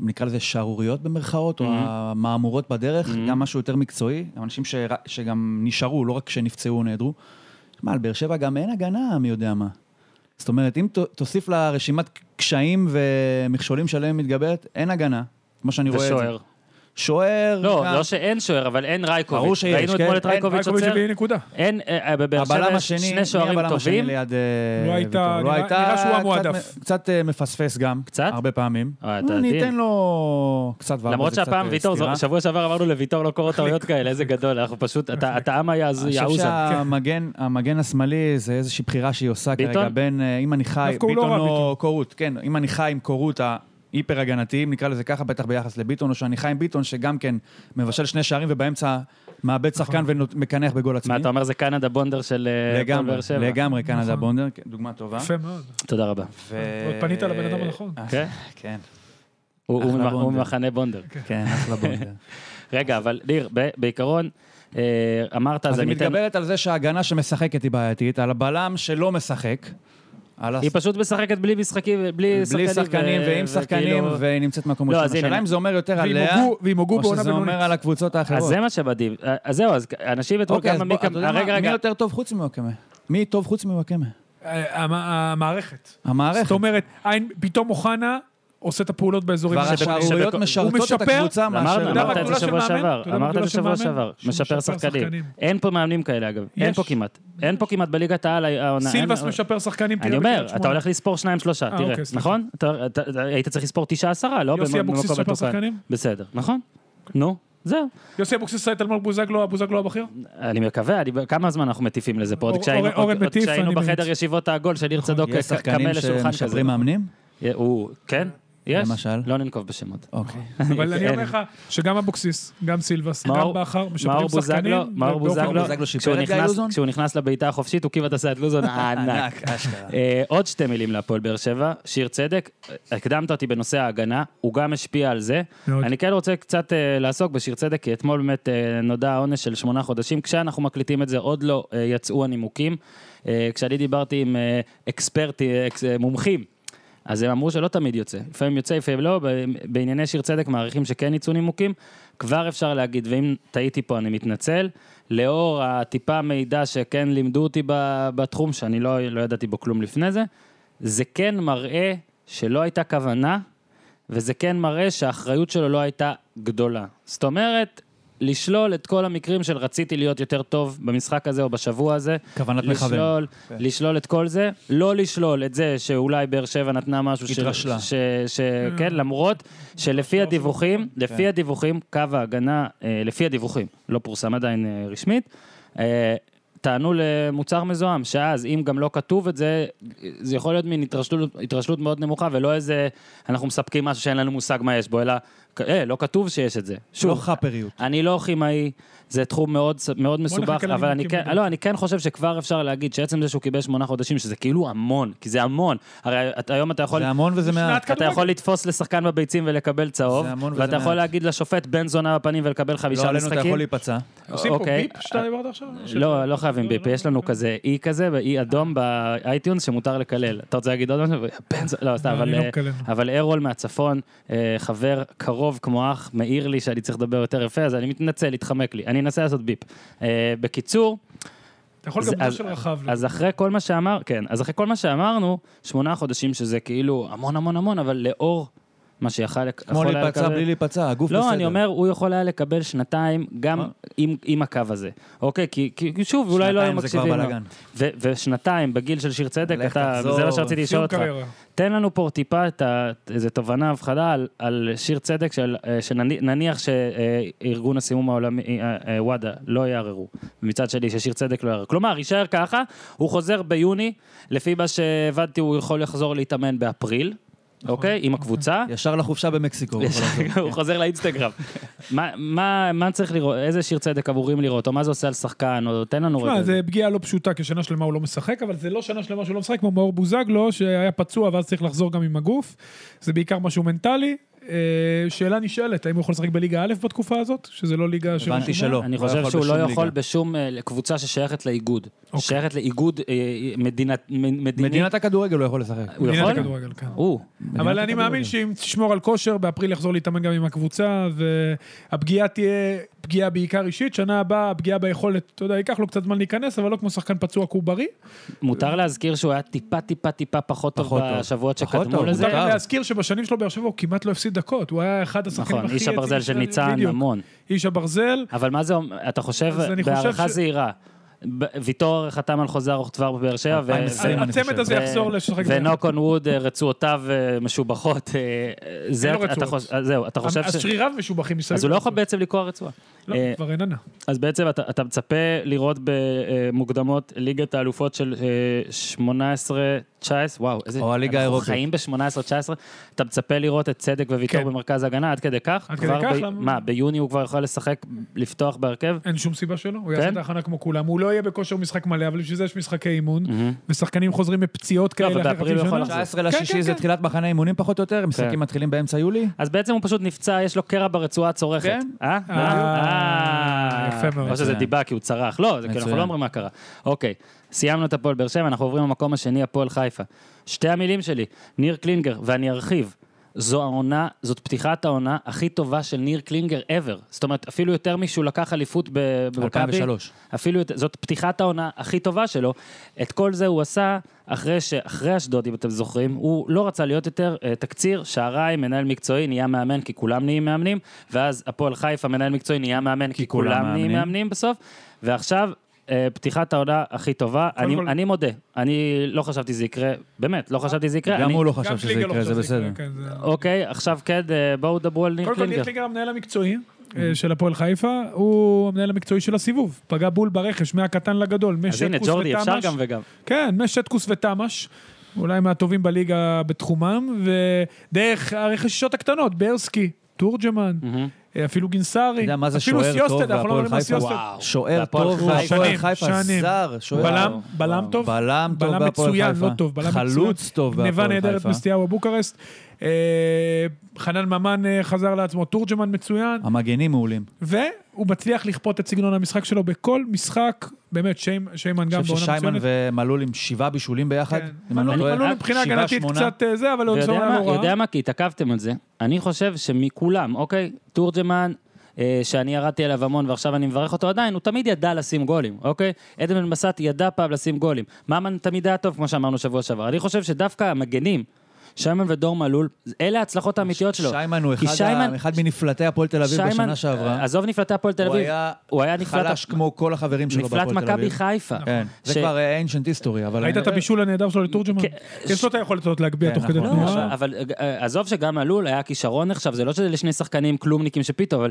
[SPEAKER 3] נקרא לזה שערוריות במרכאות, או המהמורות בדרך, גם משהו יותר מקצועי, גם אנשים ש... שגם נשארו, לא רק שנפצעו או נעדרו. מה, על באר שבע גם אין הגנה, מי יודע מה. זאת אומרת, אם ת... תוסיף לה רשימת קשיים ומכשולים שעליהם היא מתגברת, אין הגנה, כמו שאני רואה
[SPEAKER 1] ושוער.
[SPEAKER 3] את זה. שוער.
[SPEAKER 1] לא,
[SPEAKER 3] גם-
[SPEAKER 1] לא שאין שוער, אבל אין רייקוביץ'.
[SPEAKER 3] ברור שיש,
[SPEAKER 1] ראינו
[SPEAKER 3] כן.
[SPEAKER 1] אתמול את
[SPEAKER 3] אין,
[SPEAKER 1] רייקוביץ'
[SPEAKER 2] רייקוביץ'
[SPEAKER 1] עוצר.
[SPEAKER 2] הביא נקודה.
[SPEAKER 1] אין, אה, בבאר
[SPEAKER 3] הבלם
[SPEAKER 1] שבע יש
[SPEAKER 3] השני,
[SPEAKER 1] שני
[SPEAKER 3] מי
[SPEAKER 1] שוערים
[SPEAKER 3] הבלם השני
[SPEAKER 1] טובים.
[SPEAKER 3] ליד...
[SPEAKER 2] לא
[SPEAKER 3] אה,
[SPEAKER 2] הייתה-
[SPEAKER 3] ויטור?
[SPEAKER 2] נראה- נראה שהוא
[SPEAKER 3] קצת
[SPEAKER 2] המועדף.
[SPEAKER 3] מ- קצת אה, מפספס גם.
[SPEAKER 1] קצת?
[SPEAKER 3] הרבה פעמים. לא,
[SPEAKER 1] אה, אתה
[SPEAKER 3] אני
[SPEAKER 1] עדין.
[SPEAKER 3] אתן לו קצת וארבע,
[SPEAKER 1] למרות
[SPEAKER 3] זה קצת,
[SPEAKER 1] שהפעם
[SPEAKER 3] אה,
[SPEAKER 1] ויטור,
[SPEAKER 3] סתירה.
[SPEAKER 1] שבוע שעבר אמרנו לויטור לא קורות טעויות כאלה, איזה גדול, אנחנו פשוט, אתה- אתה עם היה אז
[SPEAKER 3] אני חושב
[SPEAKER 1] יעוזה.
[SPEAKER 3] שהמגן המגן השמאלי זה איזושהי בחירה שהיא עושה
[SPEAKER 1] ביטון?
[SPEAKER 3] כרגע בין אה, אם אני חי,
[SPEAKER 2] דווקא הוא לא
[SPEAKER 3] ביטון
[SPEAKER 2] רע,
[SPEAKER 3] או קורות, כן, אם אני חי עם קורות ההיפר הגנתי, אם נקרא לזה ככה, בטח ביחס לביטון, או שאני חי עם ביטון שגם כן מבשל שני שערים ובאמצע מאבד
[SPEAKER 2] נכון.
[SPEAKER 3] שחקן ומקנח בגול עצמי.
[SPEAKER 1] מה אתה אומר, זה קנדה בונדר של אה, הפועל
[SPEAKER 3] לגמרי,
[SPEAKER 1] באר שבע.
[SPEAKER 3] לגמרי, קנדה בונדר, כן, דוגמה טובה.
[SPEAKER 2] נכון. יפה מאוד.
[SPEAKER 1] תודה רבה.
[SPEAKER 3] ו-
[SPEAKER 2] עוד פנית לבן אדם הנכון.
[SPEAKER 3] אה,
[SPEAKER 1] כן?
[SPEAKER 3] כן,
[SPEAKER 1] הוא- הוא
[SPEAKER 3] אחלה
[SPEAKER 1] מ- הוא
[SPEAKER 3] בונדר.
[SPEAKER 1] ממחנה בונדר.
[SPEAKER 3] כן, אחלה בונדר.
[SPEAKER 1] רגע, אבל ניר, ב- בעיקרון, אה, אמרת,
[SPEAKER 3] אז
[SPEAKER 1] אז
[SPEAKER 3] היא
[SPEAKER 1] אני אתן...
[SPEAKER 3] מתגברת על זה שההגנה שמשחקת היא בעייתית, על הבלם שלא משחק, על הס-
[SPEAKER 1] היא פשוט משחקת בלי משחקים, בלי שחקנים.
[SPEAKER 3] בלי שחקנים
[SPEAKER 1] ו-
[SPEAKER 3] ועם שחקנים,
[SPEAKER 1] וכאילו-
[SPEAKER 3] והיא נמצאת במקום
[SPEAKER 1] לא,
[SPEAKER 3] ראשון.
[SPEAKER 1] אז הנה,
[SPEAKER 3] השאלה אם זה אומר יותר
[SPEAKER 2] ועם
[SPEAKER 3] עליה,
[SPEAKER 2] הוגו- ועם הוגו
[SPEAKER 3] או
[SPEAKER 2] בעונה
[SPEAKER 3] שזה אומר
[SPEAKER 2] בינונית.
[SPEAKER 3] על הקבוצות האחרות.
[SPEAKER 1] אז זה מה שמדהים. אז זהו, אז אנשים אתמול
[SPEAKER 3] אוקיי,
[SPEAKER 1] גם
[SPEAKER 3] אז בוא,
[SPEAKER 1] עמיקה...
[SPEAKER 3] אתה יודע
[SPEAKER 1] אה, רגע,
[SPEAKER 3] מה, מי
[SPEAKER 1] רגע.
[SPEAKER 3] יותר טוב חוץ מוואקמה? מי טוב חוץ מוואקמה?
[SPEAKER 2] אה, המ- המערכת. זאת
[SPEAKER 3] המערכת.
[SPEAKER 2] אומרת, אין- פתאום אוחנה עושה את הפעולות באזורים
[SPEAKER 3] כבר
[SPEAKER 2] הנכונים.
[SPEAKER 3] השערוריות
[SPEAKER 1] הוא
[SPEAKER 3] משרתות את
[SPEAKER 2] משפר,
[SPEAKER 3] הקבוצה מאשר...
[SPEAKER 1] אמרנו,
[SPEAKER 2] יודע מה
[SPEAKER 1] אמרת את זה
[SPEAKER 2] הגדולה של
[SPEAKER 1] שבוע
[SPEAKER 2] מאמן?
[SPEAKER 1] שעבר.
[SPEAKER 2] אתה יודע מה
[SPEAKER 1] אמרת את
[SPEAKER 2] הגדולה
[SPEAKER 1] זה
[SPEAKER 2] של
[SPEAKER 1] שבוע
[SPEAKER 2] מאמן?
[SPEAKER 1] שעבר.
[SPEAKER 2] שהוא
[SPEAKER 1] משפר
[SPEAKER 2] משפר
[SPEAKER 1] שחקנים.
[SPEAKER 2] שחקנים.
[SPEAKER 1] אין פה מאמנים כאלה, אגב. אין
[SPEAKER 2] יש.
[SPEAKER 1] פה כמעט. אין פה כמעט בליגת העל אה, העונה.
[SPEAKER 2] סילבס
[SPEAKER 1] אין-
[SPEAKER 2] משפר שחקנים, תראה
[SPEAKER 1] אה, אני אומר,
[SPEAKER 2] בקריית
[SPEAKER 1] אתה
[SPEAKER 2] שמונה.
[SPEAKER 1] הולך לספור שניים שלושה,
[SPEAKER 2] אה,
[SPEAKER 1] תראה,
[SPEAKER 2] אוקיי, סליחה.
[SPEAKER 1] נכון? אתה- אתה- אתה- היית צריך לספור תשעה עשרה, לא
[SPEAKER 2] יוסי
[SPEAKER 1] במקום
[SPEAKER 2] אבוקסיס סופר
[SPEAKER 1] מתוקן.
[SPEAKER 2] שחקנים?
[SPEAKER 1] בסדר, נכון? נו, זהו.
[SPEAKER 2] יוסי אבוקסיס עשה את אלמוג בוזגלו, הבוזגלו הבכיר?
[SPEAKER 1] אני מקווה, אני- כמה זמן אנחנו מטיפים לזה פה? עוד
[SPEAKER 2] אור-
[SPEAKER 1] כשהיינו-
[SPEAKER 2] אורן- אורן
[SPEAKER 1] עוד- עוד
[SPEAKER 2] מטיף,
[SPEAKER 1] כשהיינו
[SPEAKER 2] אני
[SPEAKER 1] בחדר
[SPEAKER 2] מבין.
[SPEAKER 1] ישיבות העגול של ניר צדוק,
[SPEAKER 3] נכון, יש
[SPEAKER 1] כ- כמה
[SPEAKER 3] שחקנים
[SPEAKER 1] לשולחן כזה.
[SPEAKER 3] שמשפרים מאמנים?
[SPEAKER 1] יה- הוא, כן? יש?
[SPEAKER 3] למשל?
[SPEAKER 1] לא ננקוב בשמות.
[SPEAKER 3] אוקיי.
[SPEAKER 2] אבל אני אומר
[SPEAKER 1] אין.
[SPEAKER 2] לך שגם אבוקסיס, גם סילבס, גם
[SPEAKER 1] מאור-
[SPEAKER 2] בכר,
[SPEAKER 1] מאור
[SPEAKER 2] משפרים שחקנים.
[SPEAKER 1] בוזגלו, מאור
[SPEAKER 2] ובאופן-
[SPEAKER 1] בוזגלו,
[SPEAKER 3] בוזגלו שיפר
[SPEAKER 1] כשהוא
[SPEAKER 3] את גיא
[SPEAKER 1] נכנס-
[SPEAKER 3] לוזון?
[SPEAKER 1] כשהוא נכנס לבעיטה החופשית, הוא כמעט עשה את לוזון הענק.
[SPEAKER 3] אשכרה.
[SPEAKER 1] אה, עוד שתי מילים להפועל באר שבע, שיר צדק, אה, הקדמת אותי בנושא ההגנה, הוא גם השפיע על זה.
[SPEAKER 2] מאוד.
[SPEAKER 1] אני כן רוצה קצת אה, לעסוק בשיר צדק, כי אתמול באמת אה, נודע העונש של שמונה חודשים, כשאנחנו מקליטים את זה עוד לא אה, יצאו הנימוקים. אה, כשאני דיברתי עם אה, אקספרטי, אה, אקס- אה, מומחים, אז הם אמרו שלא תמיד יוצא. לפעמים יוצא, לפעמים לא, ב- בענייני שיר צדק מעריכים שכן יצאו נימוקים, כבר אפשר להגיד, ואם טעיתי פה אני מתנצל. לאור הטיפה מידע שכן לימדו אותי ב- בתחום, שאני לא, לא ידעתי בו כלום לפני זה, זה כן מראה שלא הייתה כוונה, וזה כן מראה שהאחריות שלו לא הייתה גדולה. זאת אומרת, לשלול את כל המקרים של רציתי להיות יותר טוב במשחק הזה או בשבוע הזה.
[SPEAKER 3] כוונת מכוון. לא כן.
[SPEAKER 1] לשלול, לשלול את כל זה, לא לשלול את זה שאולי באר שבע נתנה משהו ש...
[SPEAKER 3] התרשלה. לא
[SPEAKER 1] ש... ש... כן, למרות שלפי הדיווחים,
[SPEAKER 3] כן.
[SPEAKER 1] לפי הדיווחים, קו ההגנה, אה, לפי הדיווחים, לא פורסם עדיין אה, רשמית, אה, טענו למוצר מזוהם, שאז אם גם לא כתוב את זה, זה יכול להיות מין התרשלות, התרשלות מאוד נמוכה ולא איזה, אנחנו מספקים משהו שאין לנו מושג מה יש בו, אלא, אה, לא כתוב שיש את זה.
[SPEAKER 3] לא
[SPEAKER 1] שוב,
[SPEAKER 3] חאפריות.
[SPEAKER 1] אני לא כימאי, זה תחום מאוד, מאוד מסובך,
[SPEAKER 2] נחכה
[SPEAKER 1] אבל אני
[SPEAKER 2] לנימוקים
[SPEAKER 1] כן,
[SPEAKER 2] בדיוק.
[SPEAKER 1] לא, אני כן חושב שכבר אפשר להגיד שעצם זה שהוא קיבל שמונה חודשים, שזה כאילו המון, כי זה המון. הרי אתה- היום אתה יכול...
[SPEAKER 3] זה המון וזה מעט.
[SPEAKER 1] אתה יכול לתפוס לשחקן בביצים ולקבל צהוב,
[SPEAKER 3] זה המון וזה
[SPEAKER 1] ואתה יכול
[SPEAKER 3] מעט.
[SPEAKER 1] להגיד לשופט בן זונה בפנים ולקבל
[SPEAKER 3] לא
[SPEAKER 1] חמישה
[SPEAKER 3] עלינו אתה יכול
[SPEAKER 1] משחקים.
[SPEAKER 3] להיפצע.
[SPEAKER 2] עושים פה
[SPEAKER 1] אוקיי.
[SPEAKER 2] ביפ שאתה דיברת עכשיו? אה,
[SPEAKER 1] לא, לא חייבים ביפ, יש לנו כזה אי כזה ואי אדום באייטיונס שמותר לקלל. אתה רוצה להגיד עוד משהו? בן זונה, לא, סתם,
[SPEAKER 2] אה. לא,
[SPEAKER 1] אבל,
[SPEAKER 2] אני לא
[SPEAKER 1] אה,
[SPEAKER 2] מקלל.
[SPEAKER 1] אבל ארול מהצפון, אה, חבר קרוב כמו אח, מעיר לי שאני צריך לדבר יותר יפה, אז אני מתנצל, התחמק לי. אני אנסה לעשות ביפ. אה, בקיצור,
[SPEAKER 2] אתה יכול
[SPEAKER 1] זה-
[SPEAKER 2] גם בגלל
[SPEAKER 1] אז-
[SPEAKER 2] של רחב.
[SPEAKER 1] אז אחרי כל מה שאמר, כן, אז אחרי כל מה שאמרנו, שמונה חודשים שזה כאילו המון המון המון, אבל לאור מה שיכל
[SPEAKER 3] כמו
[SPEAKER 1] יכול היה
[SPEAKER 3] להיפצע
[SPEAKER 1] לקבל-
[SPEAKER 3] בלי להיפצע, הגוף בסדר.
[SPEAKER 1] לא, אני אומר, הוא יכול היה לקבל שנתיים גם
[SPEAKER 3] אה.
[SPEAKER 1] עם, עם הקו הזה. אוקיי, כי, כי שוב, אולי לא היו
[SPEAKER 3] שנתיים זה כבר
[SPEAKER 1] מקשיבים לו.
[SPEAKER 3] בלאגן.
[SPEAKER 1] ו- ושנתיים, בגיל של שיר צדק,
[SPEAKER 3] לך
[SPEAKER 1] אתה,
[SPEAKER 3] תחזור.
[SPEAKER 1] זה מה שרציתי לשאול
[SPEAKER 2] סיום
[SPEAKER 1] אותך. לא
[SPEAKER 2] קריירה.
[SPEAKER 1] תן לנו פה טיפה את ה- איזה תובנה, הבחנה על, על שיר צדק, של, אה, שנניח שארגון הסימום העולמי, אה, אה, וואדה, לא יערערו. מצד שני, ששיר צדק לא יערער. כלומר, יישאר ככה, הוא חוזר ביוני, לפי מה שהבנתי, הוא יכול לחזור להתאמן באפריל,
[SPEAKER 2] נכון.
[SPEAKER 1] אוקיי? עם הקבוצה.
[SPEAKER 3] ישר לחופשה במקסיקו. הוא יכול לעשות.
[SPEAKER 1] הוא חוזר לאינסטגרם. מה- מה מה צריך לראות, איזה שיר צדק אמורים לראות, או מה זה עושה על שחקן, או תן לנו רגע.
[SPEAKER 2] תשמע, זה פגיעה לא פשוטה, כי שנה שלמה הוא לא משחק, אבל זה לא שנה שלמה שהוא לא משחק, כמו מאור בוזגלו, שהיה פצוע ואז צריך לחזור גם עם הגוף. זה בעיקר משהו מנטלי. אה, שאלה נשאלת, האם הוא יכול לשחק בליגה א' בתקופה הזאת? שזה לא ליגה של...
[SPEAKER 3] הבנתי
[SPEAKER 2] משהו?
[SPEAKER 3] שלא.
[SPEAKER 1] אני
[SPEAKER 3] לא
[SPEAKER 1] חושב
[SPEAKER 3] יכול
[SPEAKER 1] שהוא לא
[SPEAKER 3] בשום
[SPEAKER 1] יכול
[SPEAKER 3] ליגה.
[SPEAKER 1] בשום אה, קבוצה ששייכת לאיגוד.
[SPEAKER 2] אוקיי.
[SPEAKER 1] שייכת לאיגוד אה, מדינת... מ- מדיני.
[SPEAKER 3] מדינת הכדורגל הוא יכול לשחק.
[SPEAKER 1] הוא
[SPEAKER 2] מדינת
[SPEAKER 1] יכול?
[SPEAKER 2] הכדורגל, כן.
[SPEAKER 1] הוא.
[SPEAKER 2] אבל
[SPEAKER 3] מדינת
[SPEAKER 2] אני
[SPEAKER 3] הכדורגל.
[SPEAKER 2] מאמין שאם תשמור על כושר, באפריל יחזור להתאמן גם עם הקבוצה, והפגיעה תהיה פגיעה בעיקר אישית. שנה הבאה, הפגיעה ביכולת, אתה יודע, ייקח לו קצת זמן להיכנס, אבל לא כמו שחקן פצוע, כי הוא בריא.
[SPEAKER 1] מותר להזכיר שהוא היה טיפה טיפה טיפה פחות טוב
[SPEAKER 3] פחות טוב.
[SPEAKER 1] בשבועות
[SPEAKER 3] פחות
[SPEAKER 1] שקדמו
[SPEAKER 3] טוב,
[SPEAKER 1] לזה.
[SPEAKER 2] מותר
[SPEAKER 3] קר.
[SPEAKER 2] להזכיר שבשנים שלו באר שבע הוא כמעט לא הפסיד דקות, הוא היה אחד השחקנים הכי...
[SPEAKER 1] נכון, איש הברזל של
[SPEAKER 2] יציבים
[SPEAKER 1] ניצן,
[SPEAKER 2] בדיוק.
[SPEAKER 1] המון.
[SPEAKER 2] איש הברזל,
[SPEAKER 1] אבל מה זה אומר, אתה חושב,
[SPEAKER 2] אז אני חושב
[SPEAKER 1] בהערכה
[SPEAKER 2] ש-
[SPEAKER 1] זהירה, ב- ויטור חתם על חוזה ארוך טווח בבאר שבע, ו-
[SPEAKER 3] 2020. אני
[SPEAKER 2] הצמד
[SPEAKER 3] חושב.
[SPEAKER 2] הזה יחזור לשחק.
[SPEAKER 1] ונוק און ווד, אה, רצועותיו אה, משובחות. אה, זה
[SPEAKER 2] אין לו
[SPEAKER 1] אתה- אתה
[SPEAKER 2] רצועות.
[SPEAKER 1] חוש- אה, זהו, אתה חושב ש...
[SPEAKER 2] השריריו משובחים מסביב.
[SPEAKER 1] אז הוא לא יכול בעצם לקרוע רצועה.
[SPEAKER 2] לא,
[SPEAKER 1] אה,
[SPEAKER 2] כבר איננה.
[SPEAKER 1] אז בעצם אתה, אתה מצפה לראות במוקדמות ליגת האלופות של אה, 18-19, וואו, איזה...
[SPEAKER 3] או הליגה
[SPEAKER 1] אנחנו
[SPEAKER 3] האירופית.
[SPEAKER 1] חיים ב-18-19, אתה מצפה לראות את צדק וויטור
[SPEAKER 2] כן.
[SPEAKER 1] במרכז ההגנה, עד כדי כך?
[SPEAKER 2] עד כדי
[SPEAKER 1] כבר
[SPEAKER 2] כך,
[SPEAKER 1] ב...
[SPEAKER 2] למה?
[SPEAKER 1] מה, ביוני הוא כבר יכול לשחק, לפתוח בהרכב?
[SPEAKER 2] אין שום סיבה שלא, הוא יעשה
[SPEAKER 1] כן?
[SPEAKER 2] את ההכנה כמו כולם, הוא לא יהיה בכושר משחק מלא, אבל בשביל זה יש משחקי אימון, ושחקנים חוזרים מפציעות
[SPEAKER 1] לא,
[SPEAKER 2] כאלה
[SPEAKER 1] ובאפריל
[SPEAKER 2] אחרי חצי
[SPEAKER 1] הוא
[SPEAKER 2] שנה.
[SPEAKER 1] יכול לחזור.
[SPEAKER 3] 19
[SPEAKER 2] כן, כן,
[SPEAKER 3] לשישי זה
[SPEAKER 2] כן.
[SPEAKER 3] תחילת מחנה אימונים פחות או יותר,
[SPEAKER 1] כן.
[SPEAKER 3] משחקים מתחילים באמצע יולי.
[SPEAKER 1] אז בעצם הוא פשוט נפצע, יש לו קרע ברצועה הצורכת.
[SPEAKER 3] כן.
[SPEAKER 1] אה? אה.
[SPEAKER 2] יפה מאוד.
[SPEAKER 1] או שזה
[SPEAKER 3] מצוין.
[SPEAKER 1] דיבה כי הוא צרח. לא, זה כי אנחנו
[SPEAKER 3] מצוין.
[SPEAKER 1] לא אומרים מה קרה. אוקיי, סיימנו את הפועל באר שבע, אנחנו עוברים למקום השני, הפועל חיפה. שתי המילים שלי, ניר קלינגר, ואני ארחיב. זו העונה, זאת פתיחת העונה הכי טובה של ניר קלינגר ever. זאת אומרת, אפילו יותר משהוא לקח אליפות ב- במכבי.
[SPEAKER 3] 2003.
[SPEAKER 1] אפילו את, זאת פתיחת העונה הכי טובה שלו. את כל זה הוא עשה אחרי שאחרי אשדוד, אם אתם זוכרים, הוא לא רצה להיות יותר אה, תקציר, שעריים, מנהל מקצועי, נהיה מאמן כי כולם נהיים מאמנים, ואז הפועל חיפה, מנהל מקצועי, נהיה מאמן כי
[SPEAKER 3] כולם
[SPEAKER 1] כולם נהיים
[SPEAKER 3] מאמנים.
[SPEAKER 1] מאמנים בסוף, ועכשיו... אה, פתיחת העונה הכי טובה, אני,
[SPEAKER 2] כל-
[SPEAKER 1] אני מודה, אני לא חשבתי שזה יקרה, באמת, לא חשבתי שזה יקרה.
[SPEAKER 3] גם
[SPEAKER 1] אני,
[SPEAKER 3] הוא לא
[SPEAKER 2] גם
[SPEAKER 3] חשב שזה
[SPEAKER 2] קלינגר לא
[SPEAKER 3] יקרה, זה
[SPEAKER 2] חשב שזה
[SPEAKER 3] בסדר.
[SPEAKER 2] יקרה, כן, זה-
[SPEAKER 1] אוקיי, עכשיו כן, אה, בואו דברו על ניר
[SPEAKER 2] קודם כל,
[SPEAKER 1] קלינגר.
[SPEAKER 2] ניר קלינגר המנהל המקצועי אה, של הפועל חיפה, הוא המנהל המקצועי של הסיבוב. פגע בול ברכש, מהקטן לגדול,
[SPEAKER 1] אז הנה,
[SPEAKER 2] משטקוס
[SPEAKER 1] ג'ורדי, אפשר
[SPEAKER 2] ותמ"ש.
[SPEAKER 1] גם וגם.
[SPEAKER 2] כן, משטקוס ותמ"ש, אולי מהטובים בליגה בתחומם, ודרך הרכישות הקטנות, ברסקי, תורג'מן, אה, אפילו
[SPEAKER 3] Mm-hmm. אתה
[SPEAKER 2] גינסארי,
[SPEAKER 3] יודע מה זה
[SPEAKER 2] אפילו
[SPEAKER 3] שוער טוב
[SPEAKER 2] סיוסטד, אנחנו לא
[SPEAKER 3] והפועל
[SPEAKER 2] מדברים על
[SPEAKER 3] חיפה?
[SPEAKER 2] סיוסטד.
[SPEAKER 1] וואו.
[SPEAKER 3] שוער
[SPEAKER 1] והפועל
[SPEAKER 3] טוב
[SPEAKER 1] חיפה.
[SPEAKER 3] והפועל
[SPEAKER 2] שנים,
[SPEAKER 3] אה, חיפה,
[SPEAKER 2] שנים.
[SPEAKER 3] זר, שוער.
[SPEAKER 2] בלם, בלם טוב.
[SPEAKER 3] בלם טוב
[SPEAKER 2] בלם
[SPEAKER 3] בהפועל
[SPEAKER 2] מצוין,
[SPEAKER 3] חיפה.
[SPEAKER 2] לא טוב, בלם מצוין.
[SPEAKER 3] חלוץ טוב
[SPEAKER 2] גניבה
[SPEAKER 3] בהפועל
[SPEAKER 2] נהדרת
[SPEAKER 3] חיפה.
[SPEAKER 2] מסטיהו בבוקרשט. אה, חנן ממן אה, חזר לעצמו, תורג'מן מצוין,
[SPEAKER 3] המגנים מעולים.
[SPEAKER 2] והוא מצליח לכפות את סגנון המשחק שלו בכל משחק, באמת, שיימ- שיימן
[SPEAKER 3] אני
[SPEAKER 2] גם
[SPEAKER 3] חושב
[SPEAKER 2] בעונה
[SPEAKER 3] ששיימן
[SPEAKER 2] מצוינת.
[SPEAKER 3] ומלול עם שבעה בישולים ביחד,
[SPEAKER 2] כן.
[SPEAKER 3] אם אני לא
[SPEAKER 2] מלול
[SPEAKER 3] טועה.
[SPEAKER 2] מבחינה
[SPEAKER 3] שבעה,
[SPEAKER 2] הגנתית
[SPEAKER 3] שמונה.
[SPEAKER 2] קצת אה, זה, אבל הוא
[SPEAKER 1] ויודע
[SPEAKER 2] לא היה
[SPEAKER 1] מה,
[SPEAKER 2] נורא.
[SPEAKER 1] יודע מה, כי התעכבתם על זה. אני חושב שמכולם, אוקיי, תורג'מן, אה, שאני ירדתי עליו המון ועכשיו אני מברך אותו עדיין, הוא תמיד ידע לשים גולים, אוקיי? עדן בן בסט ידע פעם לשים גולים. ממן תמיד היה טוב, כמו שאמרנו שבוע שעבר. אני חושב שדווקא המגנים, שיימן ודור מלול, אלה ההצלחות האמיתיות שלו.
[SPEAKER 3] שיימן הוא
[SPEAKER 1] כי
[SPEAKER 3] אחד
[SPEAKER 1] שיימן-
[SPEAKER 3] ה- אחד מנפלטי הפועל תל אביב
[SPEAKER 1] שיימן- אה,
[SPEAKER 3] בשנה שעברה.
[SPEAKER 1] עזוב נפלטי הפועל תל
[SPEAKER 3] הוא
[SPEAKER 1] אביב.
[SPEAKER 3] היה
[SPEAKER 1] הוא היה נפלט-
[SPEAKER 3] חלש כמו כל החברים שלו
[SPEAKER 1] נפלט
[SPEAKER 3] בהפועל תל
[SPEAKER 1] מכבי
[SPEAKER 3] אביב.
[SPEAKER 1] חיפה.
[SPEAKER 3] כן, זה
[SPEAKER 1] ש-
[SPEAKER 3] כבר ancient history, אבל...
[SPEAKER 2] ראית את
[SPEAKER 3] אני-
[SPEAKER 2] הבישול הנהדר שלו לתורג'מן?
[SPEAKER 1] כן,
[SPEAKER 2] יש לו את היכולת הזאת להגביה
[SPEAKER 3] כן,
[SPEAKER 2] תוך כדי
[SPEAKER 3] נכון.
[SPEAKER 1] לא,
[SPEAKER 3] תנועה.
[SPEAKER 1] אבל- אבל אה, עזוב שגם מלול היה כישרון עכשיו, זה לא שזה לשני שחקנים כלומניקים שפתאום, אבל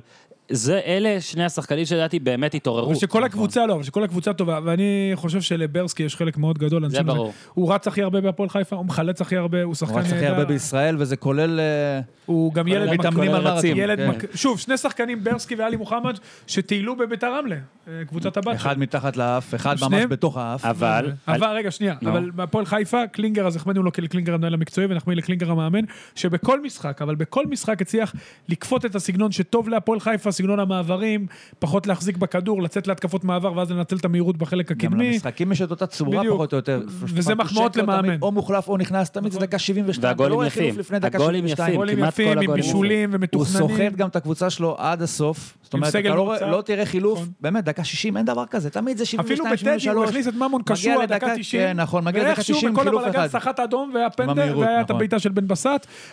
[SPEAKER 1] זה אלה שני השחקנים שלדעתי באמת התעוררו.
[SPEAKER 2] אבל שכל הקבוצה לא, אבל שכל הקבוצה טובה, ואני חושב שלברסקי יש חלק מאוד גדול. אני
[SPEAKER 1] זה
[SPEAKER 2] חושב
[SPEAKER 1] ברור.
[SPEAKER 2] הוא רץ הכי הרבה בהפועל חיפה, הוא מחלץ הכי הרבה, הוא שחקן
[SPEAKER 3] הוא רץ הכי הרבה
[SPEAKER 2] נהדר.
[SPEAKER 3] בישראל, וזה כולל... אה,
[SPEAKER 2] הוא גם ילד
[SPEAKER 3] מתאמנים
[SPEAKER 2] כולל
[SPEAKER 3] על מרתון,
[SPEAKER 2] ילד
[SPEAKER 3] כן.
[SPEAKER 2] מק- שוב, שני שחקנים, ברסקי ואלי מוחמד, שטיילו בביתר רמלה, אה, קבוצת הבת.
[SPEAKER 3] אחד מתחת לאף, אחד ממש
[SPEAKER 2] שניהם?
[SPEAKER 3] בתוך האף.
[SPEAKER 1] אבל...
[SPEAKER 2] אבל רגע, שנייה,
[SPEAKER 1] נו.
[SPEAKER 2] אבל בהפועל חיפה, קלינגר, אז החמאנו לו לקלינגר המנהל המקצועי ונחמיא לקלינגר המאמן, שבכל משחק, אבל בכל משחק הצליח לכפות את הסגנון שטוב להפועל חיפה, סגנון המעברים, פחות להחזיק בכדור, לצאת להתקפות מעבר ואז לנצל את המהירות בחלק
[SPEAKER 3] גם לא
[SPEAKER 2] הקדמי.
[SPEAKER 3] למשחקים יש את אותה צורה
[SPEAKER 2] בדיוק.
[SPEAKER 3] פחות או יותר.
[SPEAKER 2] וזה
[SPEAKER 3] פרנקו
[SPEAKER 2] מחמאות
[SPEAKER 3] שקר
[SPEAKER 2] למאמן.
[SPEAKER 3] תמיד או מוחלף או נכנס, תמיד זה
[SPEAKER 2] נכון.
[SPEAKER 3] דקה 72 22,
[SPEAKER 1] והגולים
[SPEAKER 3] לא רואה חילוף
[SPEAKER 1] יפים.
[SPEAKER 3] לפני דקה
[SPEAKER 1] הגולים
[SPEAKER 3] 72.
[SPEAKER 1] יפים.
[SPEAKER 2] גולים
[SPEAKER 1] כמעט כל
[SPEAKER 2] יפים עם
[SPEAKER 1] הגולים
[SPEAKER 2] בישולים
[SPEAKER 3] הוא
[SPEAKER 2] ומתוכננים.
[SPEAKER 3] סוחט גם את הקבוצה שלו עד הסוף. זאת
[SPEAKER 2] עם
[SPEAKER 3] אומרת,
[SPEAKER 2] סגל
[SPEAKER 3] אתה לא, רואה-
[SPEAKER 2] מוצק.
[SPEAKER 3] לא תראה חילוף,
[SPEAKER 2] נכון.
[SPEAKER 3] באמת, דקה 60, אין דבר כזה, תמיד זה 72,
[SPEAKER 2] אפילו
[SPEAKER 3] 73.
[SPEAKER 2] בטדי הוא הכניס את ממון
[SPEAKER 3] מגיע
[SPEAKER 2] קשוע
[SPEAKER 3] לדקה-
[SPEAKER 2] דקה 90.
[SPEAKER 3] כן, נכון, מגיע לדקה 90,
[SPEAKER 2] ואיכשהו
[SPEAKER 3] חילוף
[SPEAKER 2] בכל הבלגן
[SPEAKER 3] אחד.
[SPEAKER 2] סחט אדום והיה פנדל,
[SPEAKER 3] במהירות,
[SPEAKER 2] והיה את
[SPEAKER 3] נכון.
[SPEAKER 2] הבעיטה של בן בסט,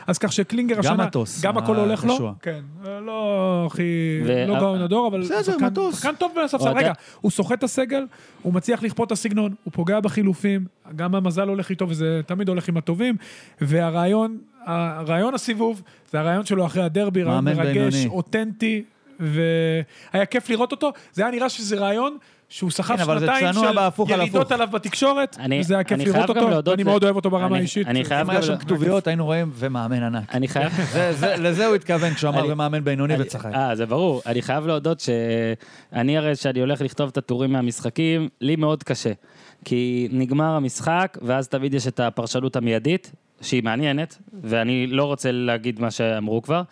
[SPEAKER 2] אז כך שקלינגר
[SPEAKER 3] גם
[SPEAKER 2] השנה,
[SPEAKER 3] מטוס,
[SPEAKER 2] גם הכל
[SPEAKER 3] אה,
[SPEAKER 2] הולך לו.
[SPEAKER 3] קשוע.
[SPEAKER 2] כן, אה, לא הכי,
[SPEAKER 1] ו-
[SPEAKER 2] לא גאון הדור, אבל
[SPEAKER 3] בסדר,
[SPEAKER 2] שחקן-
[SPEAKER 3] מטוס. אוקיי.
[SPEAKER 2] שחקן טוב מהספסל.
[SPEAKER 1] אוהדי-
[SPEAKER 2] רגע, הוא סוחט את הסגל, הוא מצליח לכפות את הסגנון, הוא פוגע בחילופים, גם המזל הולך איתו, וזה תמיד הולך עם הטובים, והרעיון, הרעיון הסיבוב, זה הרעיון שלו אחרי הדרבי, רעיון
[SPEAKER 3] מאמן
[SPEAKER 2] מרגש,
[SPEAKER 3] בינוני.
[SPEAKER 2] אותנטי, והיה כיף לראות אותו, זה היה נראה שזה רעיון שהוא סחב
[SPEAKER 3] כן, אבל זה
[SPEAKER 2] שנתיים
[SPEAKER 3] צנוע בהפוך
[SPEAKER 2] של
[SPEAKER 3] על
[SPEAKER 2] ירידות
[SPEAKER 3] הפוך.
[SPEAKER 2] עליו בתקשורת,
[SPEAKER 1] אני-
[SPEAKER 2] וזה היה כיף
[SPEAKER 1] אני חייב
[SPEAKER 2] לראות
[SPEAKER 1] גם
[SPEAKER 2] אותו,
[SPEAKER 1] להודות
[SPEAKER 2] ואני
[SPEAKER 1] ל-
[SPEAKER 2] מאוד אוהב אותו ברמה
[SPEAKER 1] אני-
[SPEAKER 2] האישית.
[SPEAKER 1] אני חייב
[SPEAKER 3] אם היה
[SPEAKER 1] גם
[SPEAKER 3] שם
[SPEAKER 1] לא-
[SPEAKER 3] כתוביות, היינו רואים, ומאמן ענק.
[SPEAKER 1] אני חייב...
[SPEAKER 3] זה- זה- לזה הוא התכוון כשהוא אמר
[SPEAKER 1] אני-
[SPEAKER 3] ומאמן בינוני וצחק.
[SPEAKER 1] אה, זה ברור. אני חייב להודות שאני הרי, כשאני הולך לכתוב את הטורים מהמשחקים, לי מאוד קשה. כי נגמר המשחק, ואז תמיד יש את הפרשנות המיידית, שהיא מעניינת, ואני לא רוצה להגיד מה שאמרו כבר,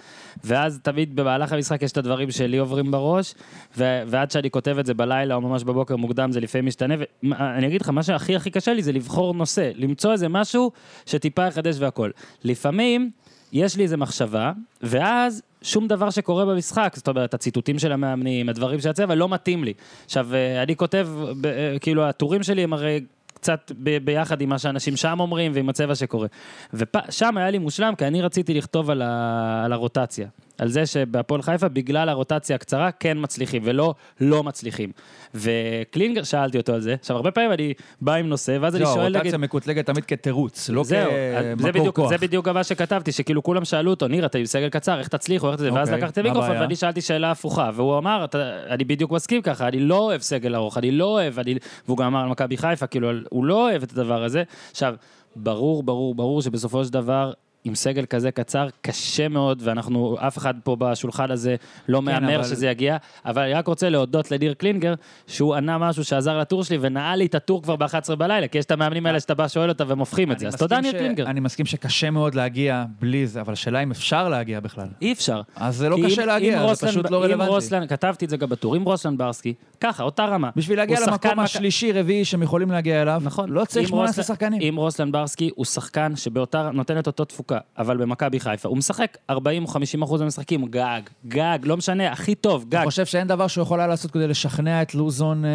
[SPEAKER 1] ואז תמיד במהלך המשחק יש את הדברים שלי עוברים בראש, ו- ועד שאני כותב את זה בלילה או ממש בבוקר מוקדם, זה לפעמים משתנה, ואני אגיד לך, מה שהכי הכי קשה לי זה לבחור נושא, למצוא איזה משהו שטיפה יחדש והכול. לפעמים... יש לי איזה מחשבה, ואז שום דבר שקורה במשחק, זאת אומרת, הציטוטים של המאמנים, הדברים של הצבע, לא מתאים לי. עכשיו, אה, אני כותב, ב- אה, כאילו, הטורים שלי הם הרי... קצת ב- ביחד עם מה שאנשים שם אומרים ועם הצבע שקורה. ושם היה לי מושלם, כי אני רציתי לכתוב על, ה... על הרוטציה. על זה שבהפועל חיפה, בגלל הרוטציה הקצרה, כן מצליחים, ולא לא מצליחים. וקלינגר, שאלתי אותו על זה. עכשיו, הרבה פעמים אני בא עם נושא, ואז אני
[SPEAKER 3] לא,
[SPEAKER 1] שואל, נגיד...
[SPEAKER 3] הרוטציה מקוטלגת תמיד כתירוץ, לא
[SPEAKER 1] זהו, אז זה
[SPEAKER 3] כמקור
[SPEAKER 1] בדיוק,
[SPEAKER 3] כוח.
[SPEAKER 1] זה בדיוק מה שכתבתי, שכאילו כולם שאלו אותו, ניר, אתה עם סגל קצר, איך תצליחו, איך זה, ואז
[SPEAKER 3] אוקיי,
[SPEAKER 1] לקחתי את
[SPEAKER 3] מה
[SPEAKER 1] המיקרופון,
[SPEAKER 3] הבעיה?
[SPEAKER 1] ואני שאלתי שאלה הפוכה, והוא אמר, "אתה- אני בדיוק מסכים ככה, אני לא אוהב סגל ארוך, אני לא אוהב, אני-" והוא גם אמר על מכבי חיפה, כאילו, על- הוא לא אוהב את הדבר הזה. עכשיו, ברור, ברור, ברור שבסופו של דבר... עם סגל כזה קצר, קשה מאוד, ואנחנו, אף אחד פה בשולחן הזה לא מהמר
[SPEAKER 3] כן, אבל-
[SPEAKER 1] שזה יגיע, אבל אני רק רוצה להודות לניר קלינגר, שהוא ענה משהו שעזר לטור שלי, ונעל לי את הטור כבר ב-11 בלילה, כי יש את המאמנים האלה שאתה בא, שואל אותם, והם הופכים את זה.
[SPEAKER 3] אני
[SPEAKER 1] אז תודה,
[SPEAKER 3] מסכים
[SPEAKER 1] ניר
[SPEAKER 3] ש-
[SPEAKER 1] קלינגר.
[SPEAKER 3] אני מסכים שקשה מאוד להגיע בלי זה, אבל השאלה אם אפשר להגיע בכלל.
[SPEAKER 1] אי אפשר.
[SPEAKER 3] אז זה לא
[SPEAKER 1] כי אם-
[SPEAKER 3] קשה
[SPEAKER 1] אם
[SPEAKER 3] להגיע, זה
[SPEAKER 1] רוסלן-
[SPEAKER 3] פשוט לא
[SPEAKER 1] אם
[SPEAKER 3] רלוונטי.
[SPEAKER 1] רוסלן, כתבתי את זה גם בטור, אם רוסלן ברסקי, ככה, אותה רמה.
[SPEAKER 3] בשביל להגיע
[SPEAKER 1] הוא שחקן
[SPEAKER 3] למקום
[SPEAKER 1] מכ-
[SPEAKER 3] השלישי-רביעי שהם יכולים להגיע אליו,
[SPEAKER 1] נכון.
[SPEAKER 3] לא צריך
[SPEAKER 1] אם
[SPEAKER 3] 18
[SPEAKER 1] רוסלן-
[SPEAKER 3] שחקנים.
[SPEAKER 1] אם רוסלן ברסקי הוא שחקן שבאותה, נותן את אותו תפוקה, אבל במכבי חיפה, הוא משחק 40 או 50 אחוז מהמשחקים, גג, גג, לא משנה, הכי טוב,
[SPEAKER 3] אני
[SPEAKER 1] גג.
[SPEAKER 3] חושב שאין דבר שהוא יכול היה לעשות כדי לשכנע את לוזון אה,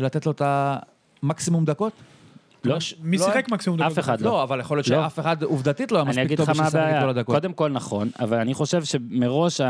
[SPEAKER 3] לתת לו את המקסימום דקות?
[SPEAKER 1] לא,
[SPEAKER 2] מי
[SPEAKER 3] לא,
[SPEAKER 2] שיחק מקסימום
[SPEAKER 1] אף אחד לא.
[SPEAKER 3] לא, אבל יכול להיות
[SPEAKER 1] לא.
[SPEAKER 3] שאף אחד עובדתית לא היה
[SPEAKER 1] אני
[SPEAKER 3] מספיק
[SPEAKER 1] אגיד
[SPEAKER 3] טוב
[SPEAKER 1] לך
[SPEAKER 3] בשביל
[SPEAKER 1] מה
[SPEAKER 3] לשחק את כל
[SPEAKER 1] הבעיה,
[SPEAKER 3] הדקות.
[SPEAKER 1] קודם כל נכון, אבל אני חושב שמראש ה-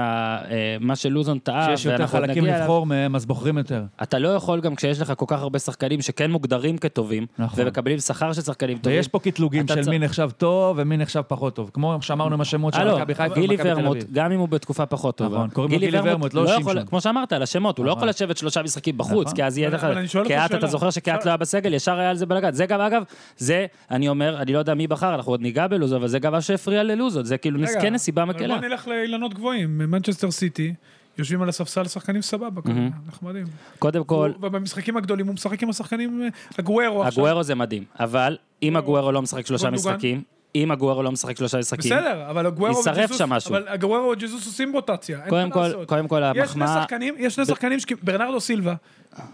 [SPEAKER 1] אה, מה שלוזון טעה,
[SPEAKER 3] שיש יותר
[SPEAKER 1] ואנחנו עוד
[SPEAKER 3] חלקים
[SPEAKER 1] נגיע אליו,
[SPEAKER 3] לבחור מהם, אז בוחרים יותר.
[SPEAKER 1] אתה לא יכול גם כשיש לך כל כך הרבה שחקנים שכן מוגדרים כטובים,
[SPEAKER 3] נכון.
[SPEAKER 1] ומקבלים שכר של שחקנים טובים.
[SPEAKER 3] ויש פה קטלוגים
[SPEAKER 1] אתה
[SPEAKER 3] של
[SPEAKER 1] צ-
[SPEAKER 3] מי נחשב טוב ומי נחשב פחות טוב. כמו שאמרנו עם השמות של
[SPEAKER 1] הלו,
[SPEAKER 3] מכבי חיפה
[SPEAKER 1] אה, גילי
[SPEAKER 3] ומכבי תל
[SPEAKER 1] לא, ורמוט,
[SPEAKER 3] אביב.
[SPEAKER 1] גם אם הוא בתקופה פחות טובה.
[SPEAKER 3] נכון, קוראים לו גילי ורמוט, לא
[SPEAKER 1] יכול-
[SPEAKER 3] שמשון.
[SPEAKER 1] כמו שאמרת, על השמות, הוא לא
[SPEAKER 3] נכון.
[SPEAKER 1] יכול לשבת שלושה משחקים בחוץ,
[SPEAKER 3] נכון.
[SPEAKER 1] כי אז יהיה
[SPEAKER 2] אבל-
[SPEAKER 1] לך...
[SPEAKER 2] אבל אני שואל אותך
[SPEAKER 1] קהת,
[SPEAKER 2] שאלה.
[SPEAKER 1] אתה זוכר שקהת
[SPEAKER 2] אפשר-
[SPEAKER 1] לא היה בסגל, ישר היה על זה בלאגן. זה גם, אגב, זה, אני אומר, אני לא יודע מי בחר, אנחנו עוד ניגע בלוזון, אבל זה גם מה שהפריע ללוזון, זה כאילו
[SPEAKER 2] רגע,
[SPEAKER 1] כן נסיבה
[SPEAKER 2] אבל
[SPEAKER 1] מקלה.
[SPEAKER 2] בוא נלך לאילנות גבוהים, מנצ'סטר סיטי, יושבים על הספסל שחקנים סבבה, ככה, נחמדים.
[SPEAKER 1] קודם כל,
[SPEAKER 2] הוא- ובמשחקים הגדולים הוא משחק עם השחקנים, אה, הגוארו עכשיו.
[SPEAKER 1] הגוארו זה מדהים, אבל אם הגוארו לא משחק שלושה
[SPEAKER 2] גונדוגן.
[SPEAKER 1] משחקים, אם הגוארו לא משחק שלושה משחקים,
[SPEAKER 2] בסדר, אבל הגוארו
[SPEAKER 1] יישרף שם משהו.
[SPEAKER 2] אבל הגוארו וג'זוס עושים רוטציה, אין
[SPEAKER 1] קודם
[SPEAKER 2] מה
[SPEAKER 1] כל-
[SPEAKER 2] לעשות.
[SPEAKER 1] קודם כל
[SPEAKER 2] יש שני
[SPEAKER 1] המחמאה-
[SPEAKER 2] שחקנים, יש שני שחקנים, שכי- ברנרדו סילבה,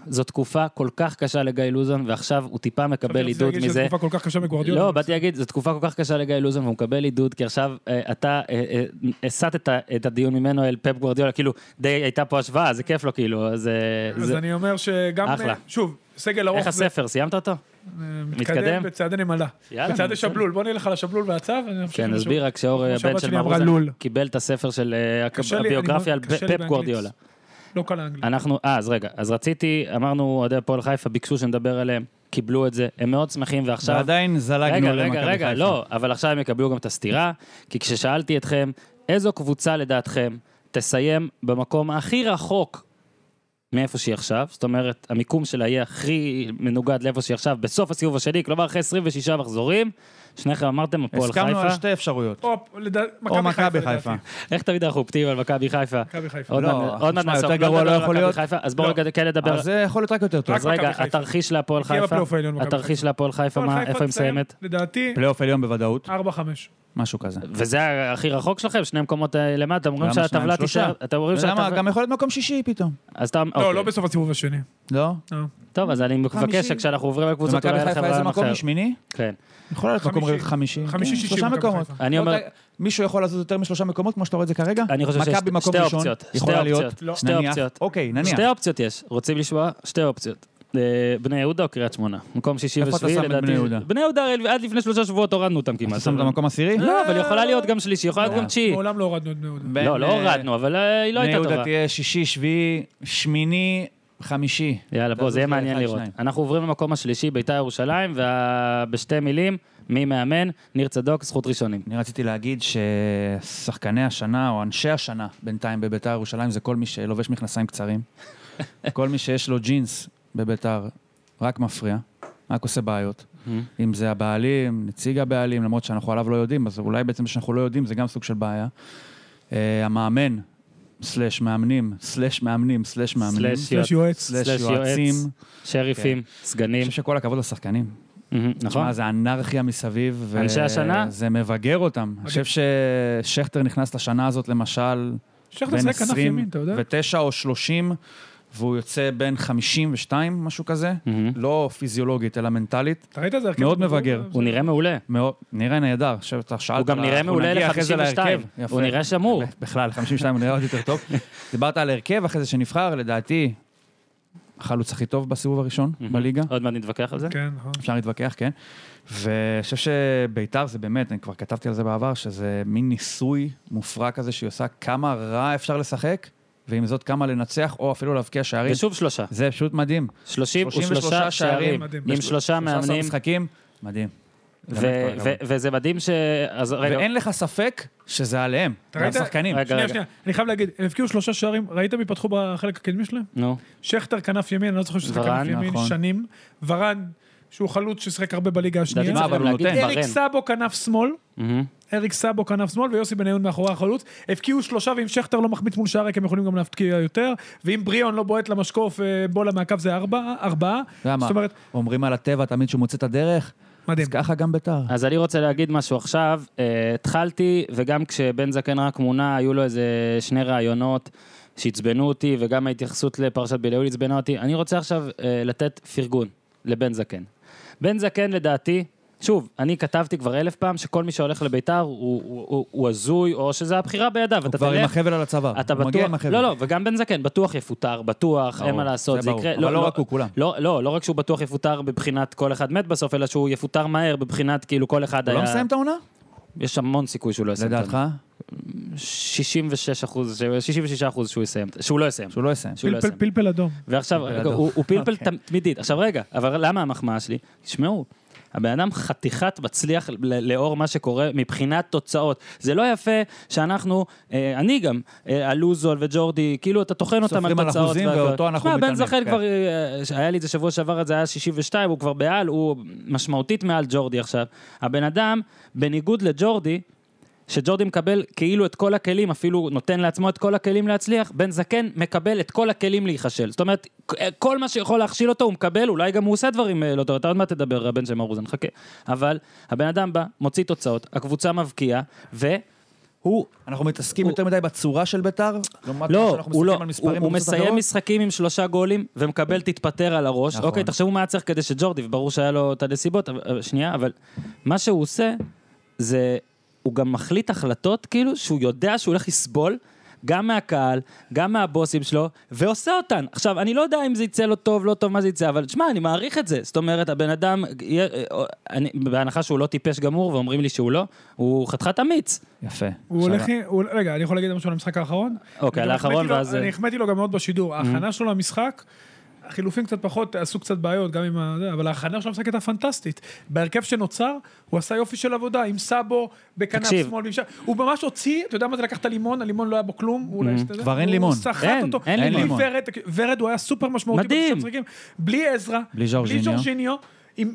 [SPEAKER 1] זו תקופה כל כך קשה לגיא לוזון, ועכשיו הוא טיפה
[SPEAKER 2] חשבתי
[SPEAKER 1] מקבל
[SPEAKER 2] שזה
[SPEAKER 1] עידוד
[SPEAKER 2] יגיד שזו
[SPEAKER 1] מזה.
[SPEAKER 2] תקופה כל כך קשה מגוורדיולה.
[SPEAKER 1] לא, באתי להגיד, זו תקופה כל כך קשה לגיא לוזון, והוא מקבל עידוד, כי עכשיו אה, אתה אה, אה, הסטת את ה- את הדיון ממנו אל פפ גוורדיולה, כאילו, די הייתה פה השוואה, זה כיף לו, כאילו, אז... אה,
[SPEAKER 2] אז
[SPEAKER 1] זה-
[SPEAKER 2] אני אומר שגם,
[SPEAKER 1] אחלה.
[SPEAKER 2] אה, שוב, סגל ארוך
[SPEAKER 1] איך הספר, סיימת אותו?
[SPEAKER 2] אה,
[SPEAKER 1] מתקדם?
[SPEAKER 2] מתקדם בצעדי נמלה.
[SPEAKER 1] יאללה,
[SPEAKER 2] בצעדי
[SPEAKER 1] בסדר.
[SPEAKER 2] שבלול, בוא נלך על השבלול והצו. אני אמשיך עם
[SPEAKER 1] כן,
[SPEAKER 2] השבלול.
[SPEAKER 1] נסביר רק שאור,
[SPEAKER 2] כמו
[SPEAKER 1] הבן
[SPEAKER 2] שהבת
[SPEAKER 1] של
[SPEAKER 2] שלי אמרה,
[SPEAKER 1] מרוזן,
[SPEAKER 2] לול.
[SPEAKER 1] קיבל את הספר של אה, הק-
[SPEAKER 2] קשה לי, אני
[SPEAKER 1] הביוגרפיה על
[SPEAKER 2] מאוד- קשה לי
[SPEAKER 1] פפ
[SPEAKER 2] באנגלית.
[SPEAKER 1] גוורדיולה.
[SPEAKER 2] לא קל האנגלית.
[SPEAKER 1] אנחנו, אה, אז רגע, אז רציתי, אמרנו, אוהדי הפועל חיפה ביקשו שנדבר עליהם, קיבלו את זה, הם מאוד שמחים, ועכשיו...
[SPEAKER 3] ועדיין זלגנו
[SPEAKER 1] רגע,
[SPEAKER 3] למכבי
[SPEAKER 1] רגע,
[SPEAKER 3] חיפה.
[SPEAKER 1] רגע, לא, אבל עכשיו הם יקבלו גם את הסתירה, כי כששאלתי אתכם, איזו קבוצה לדעתכם תסיים במקום הכי רחוק מאיפה שהיא עכשיו, זאת אומרת, המיקום שלה יהיה הכי מנוגד לאיפה שהיא עכשיו, בסוף הסיבוב השני, כלומר אחרי 26 מחזורים, שניכם אמרתם הפועל
[SPEAKER 3] הסכמנו על
[SPEAKER 1] חיפה,
[SPEAKER 3] שתי אפשרויות.
[SPEAKER 2] או לדע-
[SPEAKER 3] או מכבי חיפה.
[SPEAKER 2] לדעתי.
[SPEAKER 1] איך תמיד אנחנו אופטימיים על מכבי חיפה?
[SPEAKER 2] מכבי חיפה.
[SPEAKER 1] עוד
[SPEAKER 3] לא,
[SPEAKER 1] מעט- עוד מעט
[SPEAKER 3] תשמע,
[SPEAKER 1] נעסוק,
[SPEAKER 3] יותר גרוע
[SPEAKER 1] נדבר
[SPEAKER 3] לא
[SPEAKER 1] על
[SPEAKER 3] יכול
[SPEAKER 1] מכבי
[SPEAKER 3] להיות.
[SPEAKER 1] חיפה, אז בואו
[SPEAKER 2] לא.
[SPEAKER 1] רגע כן נדבר,
[SPEAKER 3] אז זה יכול להיות רק יותר טוב.
[SPEAKER 1] אז
[SPEAKER 2] רק
[SPEAKER 1] רגע,
[SPEAKER 2] מכבי חיפה.
[SPEAKER 1] התרחיש להפועל
[SPEAKER 2] תהיה
[SPEAKER 1] חיפה,
[SPEAKER 2] בפלייאוף העליון מכבי
[SPEAKER 1] התרחיש להפועל חיפה,
[SPEAKER 2] הפועל
[SPEAKER 1] מה-
[SPEAKER 2] חיפה
[SPEAKER 1] איפה היא
[SPEAKER 2] תסיים,
[SPEAKER 1] מסיימת?
[SPEAKER 2] לדעתי, לא,
[SPEAKER 3] פלייאוף עליון בוודאות.
[SPEAKER 2] 4-5.
[SPEAKER 3] משהו כזה.
[SPEAKER 1] וזה הכי רחוק שלכם, שני מקומות אה, למטה, אתם אומרים
[SPEAKER 3] למה
[SPEAKER 1] שהטבלה
[SPEAKER 3] שניים?
[SPEAKER 1] תישאר,
[SPEAKER 3] שלושה.
[SPEAKER 1] אתם אומרים
[SPEAKER 3] למה?
[SPEAKER 1] שהטבלה...
[SPEAKER 3] גם יכול להיות מקום שישי פתאום.
[SPEAKER 1] אז אתה...
[SPEAKER 2] לא,
[SPEAKER 1] אוקיי.
[SPEAKER 2] לא בסוף הסיבוב השני.
[SPEAKER 3] לא?
[SPEAKER 1] טוב, אז אני מבקש
[SPEAKER 3] חמישי.
[SPEAKER 1] שכשאנחנו עוברים לקבוצות,
[SPEAKER 3] ומכבי
[SPEAKER 1] אולי
[SPEAKER 3] חיפה
[SPEAKER 1] לחברה
[SPEAKER 3] איזה
[SPEAKER 1] אחר.
[SPEAKER 3] מקום? שמיני?
[SPEAKER 1] כן.
[SPEAKER 3] יכול להיות מקום
[SPEAKER 2] חמישי.
[SPEAKER 3] חמישי.
[SPEAKER 2] חמישי,
[SPEAKER 3] כן,
[SPEAKER 2] שישי
[SPEAKER 3] שלושה
[SPEAKER 2] מכבי
[SPEAKER 3] מקומות.
[SPEAKER 2] חיפה.
[SPEAKER 1] אני
[SPEAKER 3] לא
[SPEAKER 1] אומר-
[SPEAKER 3] יודע, מישהו יכול לזוז יותר משלושה מקומות, כמו שאתה רואה את זה כרגע?
[SPEAKER 1] אני חושב שיש
[SPEAKER 3] מכבי מקום
[SPEAKER 1] שתי
[SPEAKER 3] ראשון,
[SPEAKER 1] אופציות. שתי
[SPEAKER 3] יכולה להיות-
[SPEAKER 1] אופציות.
[SPEAKER 2] לא.
[SPEAKER 1] שתי
[SPEAKER 3] נניח-
[SPEAKER 1] אופציות.
[SPEAKER 3] אוקיי, נניח.
[SPEAKER 1] שתי אופציות יש. רוצים לשמוע? שתי אופציות. אה, בני יהודה או קריית שמונה? מקום שישי
[SPEAKER 3] איפה אתה
[SPEAKER 1] ושביעי,
[SPEAKER 3] שם
[SPEAKER 1] לדעתי.
[SPEAKER 3] את בני יהודה?
[SPEAKER 1] בני יהודה, הרי עד לפני שלושה שבועות הורדנו אותם כמעט.
[SPEAKER 3] אתה שם את המקום עשירי?
[SPEAKER 1] לא, אבל יכולה להיות גם שלישי, יכולה להיות גם תשיעי.
[SPEAKER 2] מעולם לא הורדנו את בני יהודה.
[SPEAKER 3] בין,
[SPEAKER 1] לא, לא
[SPEAKER 3] אה,
[SPEAKER 1] הורדנו, אבל אה, היא לא
[SPEAKER 3] בני
[SPEAKER 1] הייתה
[SPEAKER 3] יהודה
[SPEAKER 1] טובה.
[SPEAKER 3] תהיה שישי, שביעי, שמיני, חמישי.
[SPEAKER 1] יאללה, בוא,
[SPEAKER 3] תזוז
[SPEAKER 1] זה יהיה מעניין
[SPEAKER 3] לאחד,
[SPEAKER 1] לראות.
[SPEAKER 3] שניים.
[SPEAKER 1] אנחנו עוברים למקום השלישי, ביתר ירושלים, ובשתי מילים, מי מאמן? ניר צדוק, זכות ראשונים.
[SPEAKER 3] אני רציתי להגיד ששחקני השנה, או אנשי השנה בינתיים בביתר ירושלים, זה כל מי שלובש מכנסיים קצרים. כל מי שיש לו ג'ינס בביתר, רק מפריע, רק עושה בעיות. אם זה הבעלים, נציג הבעלים, למרות שאנחנו עליו לא יודעים, אז אולי בעצם שאנחנו לא יודעים זה גם סוג של בעיה. אה, המאמן, סלאש מאמנים, סלאש מאמנים, סלאש מאמנים,
[SPEAKER 1] סלאש
[SPEAKER 2] יש יועץ.
[SPEAKER 3] סלאש
[SPEAKER 1] סלאש יועץ.
[SPEAKER 3] יועצים.
[SPEAKER 1] שריפים,
[SPEAKER 3] אני
[SPEAKER 1] סגנים,
[SPEAKER 3] חושב שכל הכבוד לשחקנים.
[SPEAKER 1] מהמם, נכון?
[SPEAKER 3] תשמע, זה אנרכיה מסביב. ו-
[SPEAKER 1] אנשי השנה?
[SPEAKER 3] זה מבגר אותם.
[SPEAKER 2] אוקיי.
[SPEAKER 3] אני חושב ששכטר נכנס לשנה הזאת, למשל,
[SPEAKER 2] שכטר
[SPEAKER 3] בין
[SPEAKER 2] שיחק כנף ימין,
[SPEAKER 3] 20
[SPEAKER 2] אתה יודע?
[SPEAKER 3] ו-9 או 30, והוא יוצא בין 52, משהו כזה.
[SPEAKER 1] מהמם.
[SPEAKER 3] לא פיזיולוגית, אלא מנטלית.
[SPEAKER 2] אתה ראית את זה? כן, נכון. הרכב
[SPEAKER 3] מאוד
[SPEAKER 2] הבוגר?
[SPEAKER 3] מבגר.
[SPEAKER 1] הוא נראה מעולה.
[SPEAKER 3] מאוד, נראה נהדר, עכשיו אתה שאלת,
[SPEAKER 1] הוא גם
[SPEAKER 3] על ה-
[SPEAKER 1] נראה
[SPEAKER 3] אנחנו
[SPEAKER 1] מעולה
[SPEAKER 3] נגיע אחרי זה
[SPEAKER 1] ל-52.
[SPEAKER 3] להרכב.
[SPEAKER 1] הוא
[SPEAKER 3] יפה.
[SPEAKER 1] נראה שמור.
[SPEAKER 3] בכלל, 52 הוא נראה עוד יותר טוב. דיברת על ההרכב, אחרי זה שנבחר, לדעתי, החלוץ הכי טוב בסיבוב הראשון בליגה.
[SPEAKER 1] עוד מעט נתווכח על זה.
[SPEAKER 2] כן, נכון.
[SPEAKER 3] אפשר להתווכח, כן. ואני חושב שביתר זה באמת, אני כבר כתבתי על זה בעבר, שזה מין ניסוי מופרע כזה שהיא עושה כמה רע אפשר לשחק, ועם זאת כמה לנצח, או אפילו להבקיע שערים.
[SPEAKER 1] כן. ושוב שלושה.
[SPEAKER 3] זה פשוט מדהים. 33
[SPEAKER 1] 33
[SPEAKER 3] שערים,
[SPEAKER 1] שערים,
[SPEAKER 2] מדהים.
[SPEAKER 1] עם
[SPEAKER 2] בשלוש-
[SPEAKER 1] שלושה
[SPEAKER 3] 13
[SPEAKER 1] מאמנים,
[SPEAKER 3] משחקים, מדהים.
[SPEAKER 1] ו-
[SPEAKER 3] באמת כל הכבוד.
[SPEAKER 1] ו- וזה מדהים ש... אז רגע,
[SPEAKER 3] ואין לך ספק שזה עליהם,
[SPEAKER 2] אתה ראית?
[SPEAKER 3] השחקנים.
[SPEAKER 1] רגע,
[SPEAKER 2] שנייה,
[SPEAKER 1] רגע.
[SPEAKER 2] שנייה. אני חייב להגיד, הם הבקיעו שלושה שערים, ראית מי פתחו בחלק הקדמי שלהם?
[SPEAKER 1] נו,
[SPEAKER 2] שכטר כנף ימין, אני לא זוכר שזה
[SPEAKER 1] ורן,
[SPEAKER 2] כנף ימין,
[SPEAKER 3] נכון.
[SPEAKER 2] שנים. ורן, שהוא חלוץ ששיחק הרבה בליגה
[SPEAKER 1] לדעתי
[SPEAKER 2] השנייה.
[SPEAKER 3] מה,
[SPEAKER 1] צריך
[SPEAKER 3] אבל
[SPEAKER 1] גם
[SPEAKER 3] הוא
[SPEAKER 1] להגיד
[SPEAKER 3] נותן.
[SPEAKER 2] אריק
[SPEAKER 1] ברן.
[SPEAKER 2] סאבו כנף שמאל,
[SPEAKER 1] מהמם.
[SPEAKER 2] אריק סאבו כנף שמאל ויוסי בניון מאחורי החלוץ. הבקיעו שלושה, ואם שכטר לא מחמיץ מול שער ריק הם יכולים גם להבקיע יותר. ואם בריאון לא בועט למשקוף אה, בולה מהקו זה ארבע, ארבעה.
[SPEAKER 3] למה?
[SPEAKER 2] זאת אומרת,
[SPEAKER 3] אומרים על הטבע תמיד שהוא מוצא את הדרך,
[SPEAKER 2] מדהים.
[SPEAKER 3] אז ככה גם ביתר.
[SPEAKER 1] אז אני רוצה להגיד משהו עכשיו. אה, התחלתי, וגם כשבן זקן רק מונה, היו לו איזה שני ראיונות שעצבנו אותי, וגם ההתייחסות לפרשת בליעול עצבנה אותי. אני רוצה עכשיו אה, לתת פרגון לבן זקן. בן זקן לדעתי, שוב, אני כתבתי כבר אלף פעם שכל מי שהולך לביתר הוא- הוא הוא- הוא הזוי, או שזה הבחירה בידיו.
[SPEAKER 3] הוא
[SPEAKER 1] אתה
[SPEAKER 3] כבר עם
[SPEAKER 1] תלך-
[SPEAKER 3] החבל על הצוואר.
[SPEAKER 1] אתה
[SPEAKER 3] הוא
[SPEAKER 1] בטוח,
[SPEAKER 3] מגיע עם החבל.
[SPEAKER 1] לא, לא, וגם בן זקן, בטוח יפוטר, בטוח, אין
[SPEAKER 3] ברור,
[SPEAKER 1] מה לעשות,
[SPEAKER 3] זה
[SPEAKER 1] זה
[SPEAKER 3] ברור.
[SPEAKER 1] יקרה.
[SPEAKER 3] אבל לא רק הוא, כולם.
[SPEAKER 1] לא, לא, לא רק שהוא בטוח יפוטר בבחינת כל אחד מת בסוף, אלא שהוא יפוטר מהר בבחינת כאילו כל אחד
[SPEAKER 3] הוא
[SPEAKER 1] היה...
[SPEAKER 3] לא מסיים את העונה?
[SPEAKER 1] יש המון סיכוי שהוא לא יסיים. את
[SPEAKER 3] לדעתך?
[SPEAKER 1] העונה. 66 אחוז, 66 אחוז שהוא יסיים, שהוא לא יסיים.
[SPEAKER 3] שהוא לא יסיים.
[SPEAKER 1] שהוא לא
[SPEAKER 2] פלפל-
[SPEAKER 1] יסיים.
[SPEAKER 2] פלפל אדום.
[SPEAKER 1] ועכשיו,
[SPEAKER 3] פלפל
[SPEAKER 1] רגע,
[SPEAKER 3] אדום.
[SPEAKER 1] הוא הוא פלפל
[SPEAKER 3] אוקיי.
[SPEAKER 1] תמ- תמידית. עכשיו רגע, אבל למה המחמאה שלי? תשמעו, הבן אדם חתיכת מצליח ל- לאור מה שקורה מבחינת תוצאות. זה לא יפה שאנחנו, אה, אני גם, אה, אלוזון וג'ורדי, כאילו אתה טוחן אותם על
[SPEAKER 3] סופרים על
[SPEAKER 1] תוצאות.
[SPEAKER 3] אחוזים
[SPEAKER 1] והכל.
[SPEAKER 3] ואותו אנחנו
[SPEAKER 1] תשמע, בן
[SPEAKER 3] מתעלמים,
[SPEAKER 1] זכן
[SPEAKER 3] כן.
[SPEAKER 1] כבר, אה, היה לי את זה שבוע שעבר, זה היה 62, הוא כבר בעל, הוא משמעותית מעל ג'ורדי עכשיו. הבן אדם, בניגוד לג'ורדי, שג'ורדי מקבל כאילו את כל הכלים, אפילו נותן לעצמו את כל הכלים להצליח, בן זקן מקבל את כל הכלים להיכשל. זאת אומרת, כל מה שיכול להכשיל אותו הוא מקבל, אולי גם הוא עושה דברים אה, לא טוב, אתה עוד מעט תדבר, הבן של מאורוזן, חכה. אבל הבן אדם בא, מוציא תוצאות, הקבוצה מבקיעה, והוא...
[SPEAKER 3] אנחנו מתעסקים
[SPEAKER 1] הוא-
[SPEAKER 3] יותר מדי בצורה של ביתר? לעומת מה
[SPEAKER 1] לא,
[SPEAKER 3] שאנחנו
[SPEAKER 1] הוא
[SPEAKER 3] מסתכלים
[SPEAKER 1] לא,
[SPEAKER 3] על
[SPEAKER 1] הוא,
[SPEAKER 3] מספרים
[SPEAKER 1] הוא
[SPEAKER 3] בקבוצות
[SPEAKER 1] מסיים
[SPEAKER 3] אחרות? כן.
[SPEAKER 1] משחקים עם שלושה גולים ומקבל תתפטר על הראש.
[SPEAKER 3] נכון.
[SPEAKER 1] אוקיי, תחשבו מה היה צריך כדי שג'ורדי, וברור שהיה לו את הנסיבות, אבל- אבל- שנייה, אבל מה שהוא עושה, זה, הוא גם מחליט החלטות, כאילו, שהוא יודע שהוא הולך לסבול. גם מהקהל, גם מהבוסים שלו, ועושה אותן. עכשיו, אני לא יודע אם זה יצא לו טוב, לא טוב, מה זה יצא, אבל תשמע, אני מעריך את זה. זאת אומרת, הבן אדם, אה, אה, אני, בהנחה שהוא לא טיפש גמור, ואומרים לי שהוא לא, הוא חתיכת אמיץ.
[SPEAKER 3] יפה.
[SPEAKER 2] הוא
[SPEAKER 3] עכשיו,
[SPEAKER 2] הולך... הוא- רגע, אני יכול להגיד משהו על המשחק האחרון?
[SPEAKER 1] אוקיי,
[SPEAKER 2] אני
[SPEAKER 1] על
[SPEAKER 2] גם
[SPEAKER 1] האחרון
[SPEAKER 3] לא-
[SPEAKER 2] החמאתי לו-
[SPEAKER 1] ואז-
[SPEAKER 2] אני החמאתי לו גם מאוד בשידור. ההכנה שלו למשחק, החילופים קצת פחות, עשו קצת בעיות, גם עם ה... זה, אבל ההכנה שלו למשחק הייתה פנטסטית. בהרכב שנוצר, הוא עשה יופי של עבודה, עם סאבו, בכנף
[SPEAKER 1] תקשיב.
[SPEAKER 2] שמאל, ועם שם- הוא ממש הוציא, אתה יודע מה זה לקח את הלימון, הלימון לא היה בו כלום, הוא אולי השתדל.
[SPEAKER 3] כבר אין לימון.
[SPEAKER 2] הוא סחט
[SPEAKER 1] אין,
[SPEAKER 2] אותו.
[SPEAKER 1] אין
[SPEAKER 2] בלי
[SPEAKER 3] לימון.
[SPEAKER 2] ורד, ורד הוא היה סופר משמעותי.
[SPEAKER 1] מדהים.
[SPEAKER 2] במשחקים. בלי עזרא,
[SPEAKER 3] בלי ז'ורג'יניו.
[SPEAKER 2] ז'ורג'יניו. עם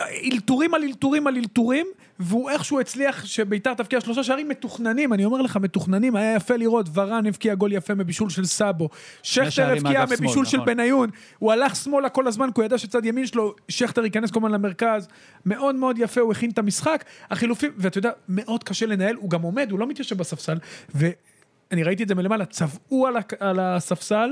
[SPEAKER 2] אלתורים על אלתורים על אלתורים, והוא איכשהו הצליח שביתר תבקיע שלושה שערים מתוכננים, אני אומר לך, מתוכננים, היה יפה לראות, ורן הבקיע גול יפה מבישול של סאבו, שכטר
[SPEAKER 3] שערים
[SPEAKER 2] הבקיע
[SPEAKER 3] מאגף שמאל,
[SPEAKER 2] מבישול של
[SPEAKER 3] נכון.
[SPEAKER 2] בניון, הוא הלך שמאלה כל הזמן, כי הוא ידע שצד ימין שלו, שכטר ייכנס כל הזמן למרכז, מאוד מאוד יפה, הוא הכין את המשחק, החילופים, ואתה יודע, מאוד קשה לנהל, הוא גם עומד, הוא לא מתיישב בספסל, ואני ראיתי את זה מלמעלה, צבעו על, הק- על הספסל.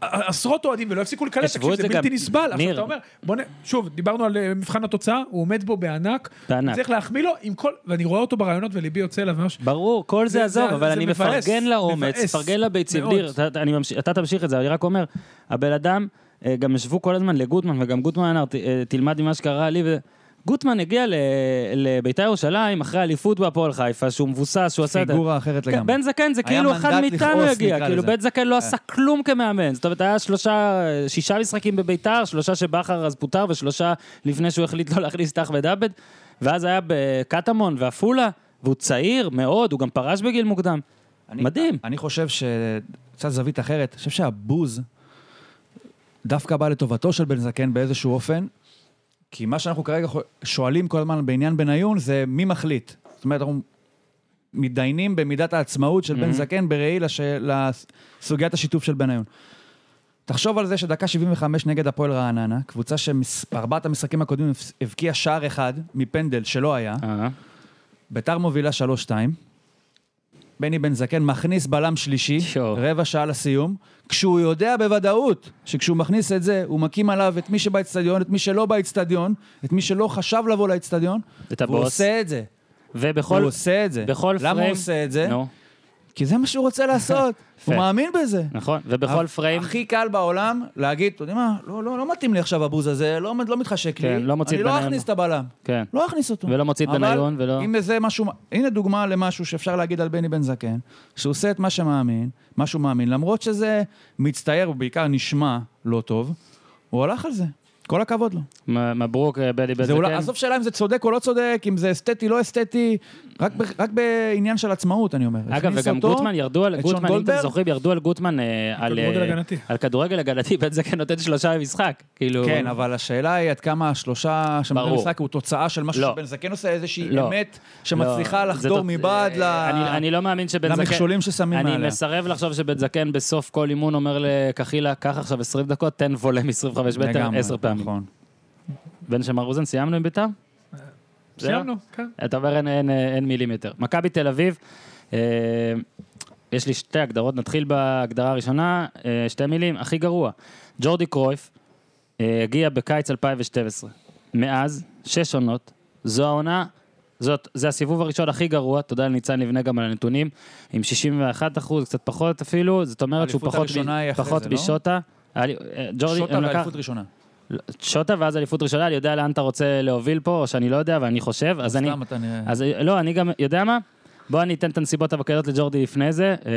[SPEAKER 2] עשרות אוהדים ולא הפסיקו לקלל,
[SPEAKER 1] השוו
[SPEAKER 2] תקשיב,
[SPEAKER 1] את
[SPEAKER 2] זה
[SPEAKER 1] זה
[SPEAKER 2] בלתי
[SPEAKER 1] גם-
[SPEAKER 2] נסבל. עכשיו
[SPEAKER 1] ניר.
[SPEAKER 2] אתה אומר, בוא נ... שוב, דיברנו על אה, מבחן התוצאה, הוא עומד בו בענק.
[SPEAKER 1] בענק.
[SPEAKER 2] צריך להחמיא לו עם כל... ואני רואה אותו ברעיונות וליבי יוצא אליו ממש.
[SPEAKER 1] ברור, כל זה
[SPEAKER 2] זה-
[SPEAKER 1] עזוב,
[SPEAKER 2] זה-
[SPEAKER 1] אבל
[SPEAKER 2] זה
[SPEAKER 1] אני
[SPEAKER 2] מבאס,
[SPEAKER 1] מפרגן לאומץ,
[SPEAKER 2] מבאס,
[SPEAKER 1] מפרגן לביצים.
[SPEAKER 2] מאוד.
[SPEAKER 1] דיר, אתה- אתה- אני ממשיך- אתה תמשיך את זה, אני רק אומר, הבן אדם, אה, גם ישבו כל הזמן לגוטמן, וגם גוטמן אמר, "ת- אה, תלמד ממה שקרה לי, ו... גוטמן הגיע ל- לביתר ירושלים אחרי אליפות בהפועל חיפה, שהוא מבוסס, שהוא עשה את זה.
[SPEAKER 3] פיגורה אחרת
[SPEAKER 1] כן,
[SPEAKER 3] לגמרי.
[SPEAKER 1] בן זקן זה
[SPEAKER 3] היה
[SPEAKER 1] כאילו אחד
[SPEAKER 3] מנדט
[SPEAKER 1] מאיתנו
[SPEAKER 3] לכעוס,
[SPEAKER 1] הגיע,
[SPEAKER 3] נקרא
[SPEAKER 1] כאילו
[SPEAKER 3] לזה. אה.
[SPEAKER 1] בן זקן לא עשה כלום כמאמן, זאת אומרת היה שלושה, שישה משחקים בביתר, שלושה שבכר אז פוטר ושלושה לפני שהוא החליט לא להכניס את אחמד עבד, ואז היה בקטמון ועפולה, והוא צעיר מאוד, הוא גם פרש בגיל מוקדם.
[SPEAKER 3] אני-
[SPEAKER 1] מדהים.
[SPEAKER 3] אני חושב ש... קצת זווית אחרת, אני חושב שהבוז דווקא בא לטובתו של בן זקן באיזשהו אופן, כי מה שאנחנו כרגע חו- שואלים כל הזמן בעניין בניון זה מי מחליט. זאת אומרת, אנחנו מתדיינים במידת העצמאות של בן זקן בראי לש... לסוגיית השיתוף של בניון. תחשוב על זה שדקה 75 נגד הפועל רעננה, קבוצה שבארבעת המשחקים הקודמים הבס- הבקיעה שער אחד מפנדל שלא היה. ביתר מובילה 3-2. בני בן זקן מכניס בלם שלישי,
[SPEAKER 1] שו.
[SPEAKER 3] רבע שעה לסיום, כשהוא יודע בוודאות שכשהוא מכניס את זה, הוא מקים עליו את מי שבאצטדיון, את מי שלא באצטדיון, את מי שלא חשב לבוא לאצטדיון,
[SPEAKER 1] את
[SPEAKER 3] והוא
[SPEAKER 1] הבוס.
[SPEAKER 3] עושה את זה. הוא
[SPEAKER 1] ובכל
[SPEAKER 3] עושה את זה.
[SPEAKER 1] בכל
[SPEAKER 3] למה
[SPEAKER 1] פריים...
[SPEAKER 3] הוא עושה את זה?
[SPEAKER 1] נו,
[SPEAKER 3] כי זה מה שהוא רוצה לעשות. הוא
[SPEAKER 1] יפה.
[SPEAKER 3] מאמין בזה.
[SPEAKER 1] נכון, ובכל
[SPEAKER 3] הכ-
[SPEAKER 1] פריים...
[SPEAKER 3] הכי קל בעולם להגיד, אתה יודע מה, לא, לא, לא מתאים לי עכשיו הבוז הזה, לא, לא מתחשק לי.
[SPEAKER 1] כן, לא מוציא את
[SPEAKER 3] אני לא
[SPEAKER 1] בניון.
[SPEAKER 3] אכניס את הבלם.
[SPEAKER 1] כן.
[SPEAKER 3] לא אכניס אותו.
[SPEAKER 1] ולא מוציא את
[SPEAKER 3] אבל
[SPEAKER 1] בניון, ולא-
[SPEAKER 3] אם זה משהו, הנה דוגמה למשהו שאפשר להגיד על בני בן זקן, שהוא עושה את מה שמאמין, מה שהוא מאמין, למרות שזה מצטייר, ובעיקר נשמע לא טוב, הוא הלך על זה. כל הכבוד לו.
[SPEAKER 1] מ- מברוק, אה, בני בן
[SPEAKER 3] זה אולי,
[SPEAKER 1] זקן.
[SPEAKER 3] עזוב שאלה אם זה צודק או לא צודק, אם זה אסתטי, לא אסתטי, רק, ב, רק בעניין של עצמאות, אני אומר.
[SPEAKER 1] אגב,
[SPEAKER 3] הכניס
[SPEAKER 1] וגם
[SPEAKER 3] אותו,
[SPEAKER 1] גוטמן ירדו על
[SPEAKER 3] את
[SPEAKER 1] גוטמן, אם
[SPEAKER 3] שון
[SPEAKER 1] אתם
[SPEAKER 3] גולדברג?
[SPEAKER 1] זוכרים, ירדו על גוטמן אה, על, אה,
[SPEAKER 2] כדורגל הגנתי.
[SPEAKER 1] על כדורגל הגנתי, בן זקן נותן שלושה במשחק. כאילו...
[SPEAKER 3] כן, אבל השאלה היא עד כמה השלושה שמדברים
[SPEAKER 1] ברור.
[SPEAKER 3] במשחק הוא תוצאה של משהו
[SPEAKER 1] לא.
[SPEAKER 3] שבן זקן עושה, איזושהי
[SPEAKER 1] לא.
[SPEAKER 3] אמת שמצליחה
[SPEAKER 1] לא,
[SPEAKER 3] לחדור
[SPEAKER 1] זאת-
[SPEAKER 3] מבעד ל...
[SPEAKER 1] אה, אני, אני לא מאמין שבן זקן...
[SPEAKER 3] למכשולים ששמים
[SPEAKER 1] אני
[SPEAKER 3] מעליה.
[SPEAKER 1] מסרב לחשוב שבן זקן בסוף כל אימון אומר לקחילה, קח עכשיו 20 דקות, תן וולה מ-25 מטר
[SPEAKER 3] לגמרי,
[SPEAKER 1] 10 פעמים.
[SPEAKER 3] נכון.
[SPEAKER 1] בן שמר רוזן, סיימנו עם בית"ר? זהו?
[SPEAKER 2] סיימנו, כן.
[SPEAKER 1] אתה אומר אין, אין, אין מילים יותר. מכבי תל אביב, אה, יש לי שתי הגדרות, נתחיל בהגדרה הראשונה, אה, שתי מילים, הכי גרוע. ג'ורדי קרויף אה, הגיע בקיץ 2012. מאז, שש עונות, זו העונה, זאת, זה הסיבוב הראשון הכי גרוע, תודה לניצן לבנה גם על הנתונים, עם 61 אחוז, קצת פחות אפילו, זאת אומרת שהוא
[SPEAKER 3] האליפות
[SPEAKER 1] פחות, מ-
[SPEAKER 3] הראשונה היא אחרי
[SPEAKER 1] פחות
[SPEAKER 3] זה, לא?
[SPEAKER 1] משוטה. היה לי- אה, ג'ורדי,
[SPEAKER 3] שוטה
[SPEAKER 1] הם לקח-
[SPEAKER 3] באליפות ראשונה.
[SPEAKER 1] שוטה ואז אליפות ראשונה, אני יודע לאן אתה רוצה להוביל פה, או שאני לא יודע, ואני חושב, אז אני...
[SPEAKER 3] סתם אתה נראה.
[SPEAKER 1] אז לא, אני גם, יודע מה? בוא אני אתן את הנסיבות הבקריות לג'ורדי לפני זה. אה,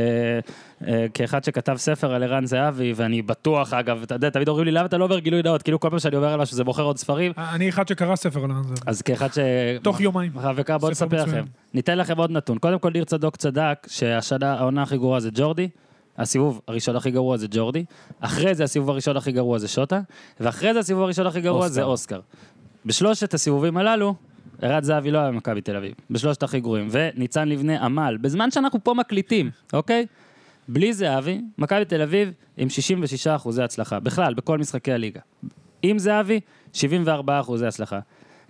[SPEAKER 1] אה, כאחד שכתב ספר על ערן זהבי, ואני בטוח, אגב, אתה יודע, תמיד אומרים לי, למה אתה לא אומר גילוי נאות? כאילו כל פעם שאני אומר עליו שזה מוכר עוד ספרים,
[SPEAKER 2] אה, אני אחד שקרא ספר על זה.
[SPEAKER 1] אז כאחד ש...
[SPEAKER 2] תוך יומיים.
[SPEAKER 1] חבקה, בואו
[SPEAKER 2] ספר
[SPEAKER 1] נספר
[SPEAKER 2] מצוין.
[SPEAKER 1] לכם. ניתן לכם עוד נתון. קודם כל, ניר צדוק צדק שהשנה, העונה הכי גרועה זה ג'ורדי. הסיבוב הראשון הכי גרוע זה ג'ורדי, אחרי זה הסיבוב הראשון הכי גרוע זה שוטה, ואחרי זה הסיבוב הראשון הכי גרוע
[SPEAKER 3] אוסקר.
[SPEAKER 1] זה אוסקר. בשלושת הסיבובים הללו, ערד זהבי לא היה במכבי תל אביב, בשלושת הכי גרועים, וניצן לבנה עמל, בזמן שאנחנו פה מקליטים, אוקיי? בלי זהבי, מכבי תל אביב עם 66 אחוזי הצלחה, בכלל, בכל משחקי הליגה. עם זהבי, 74 אחוזי הצלחה.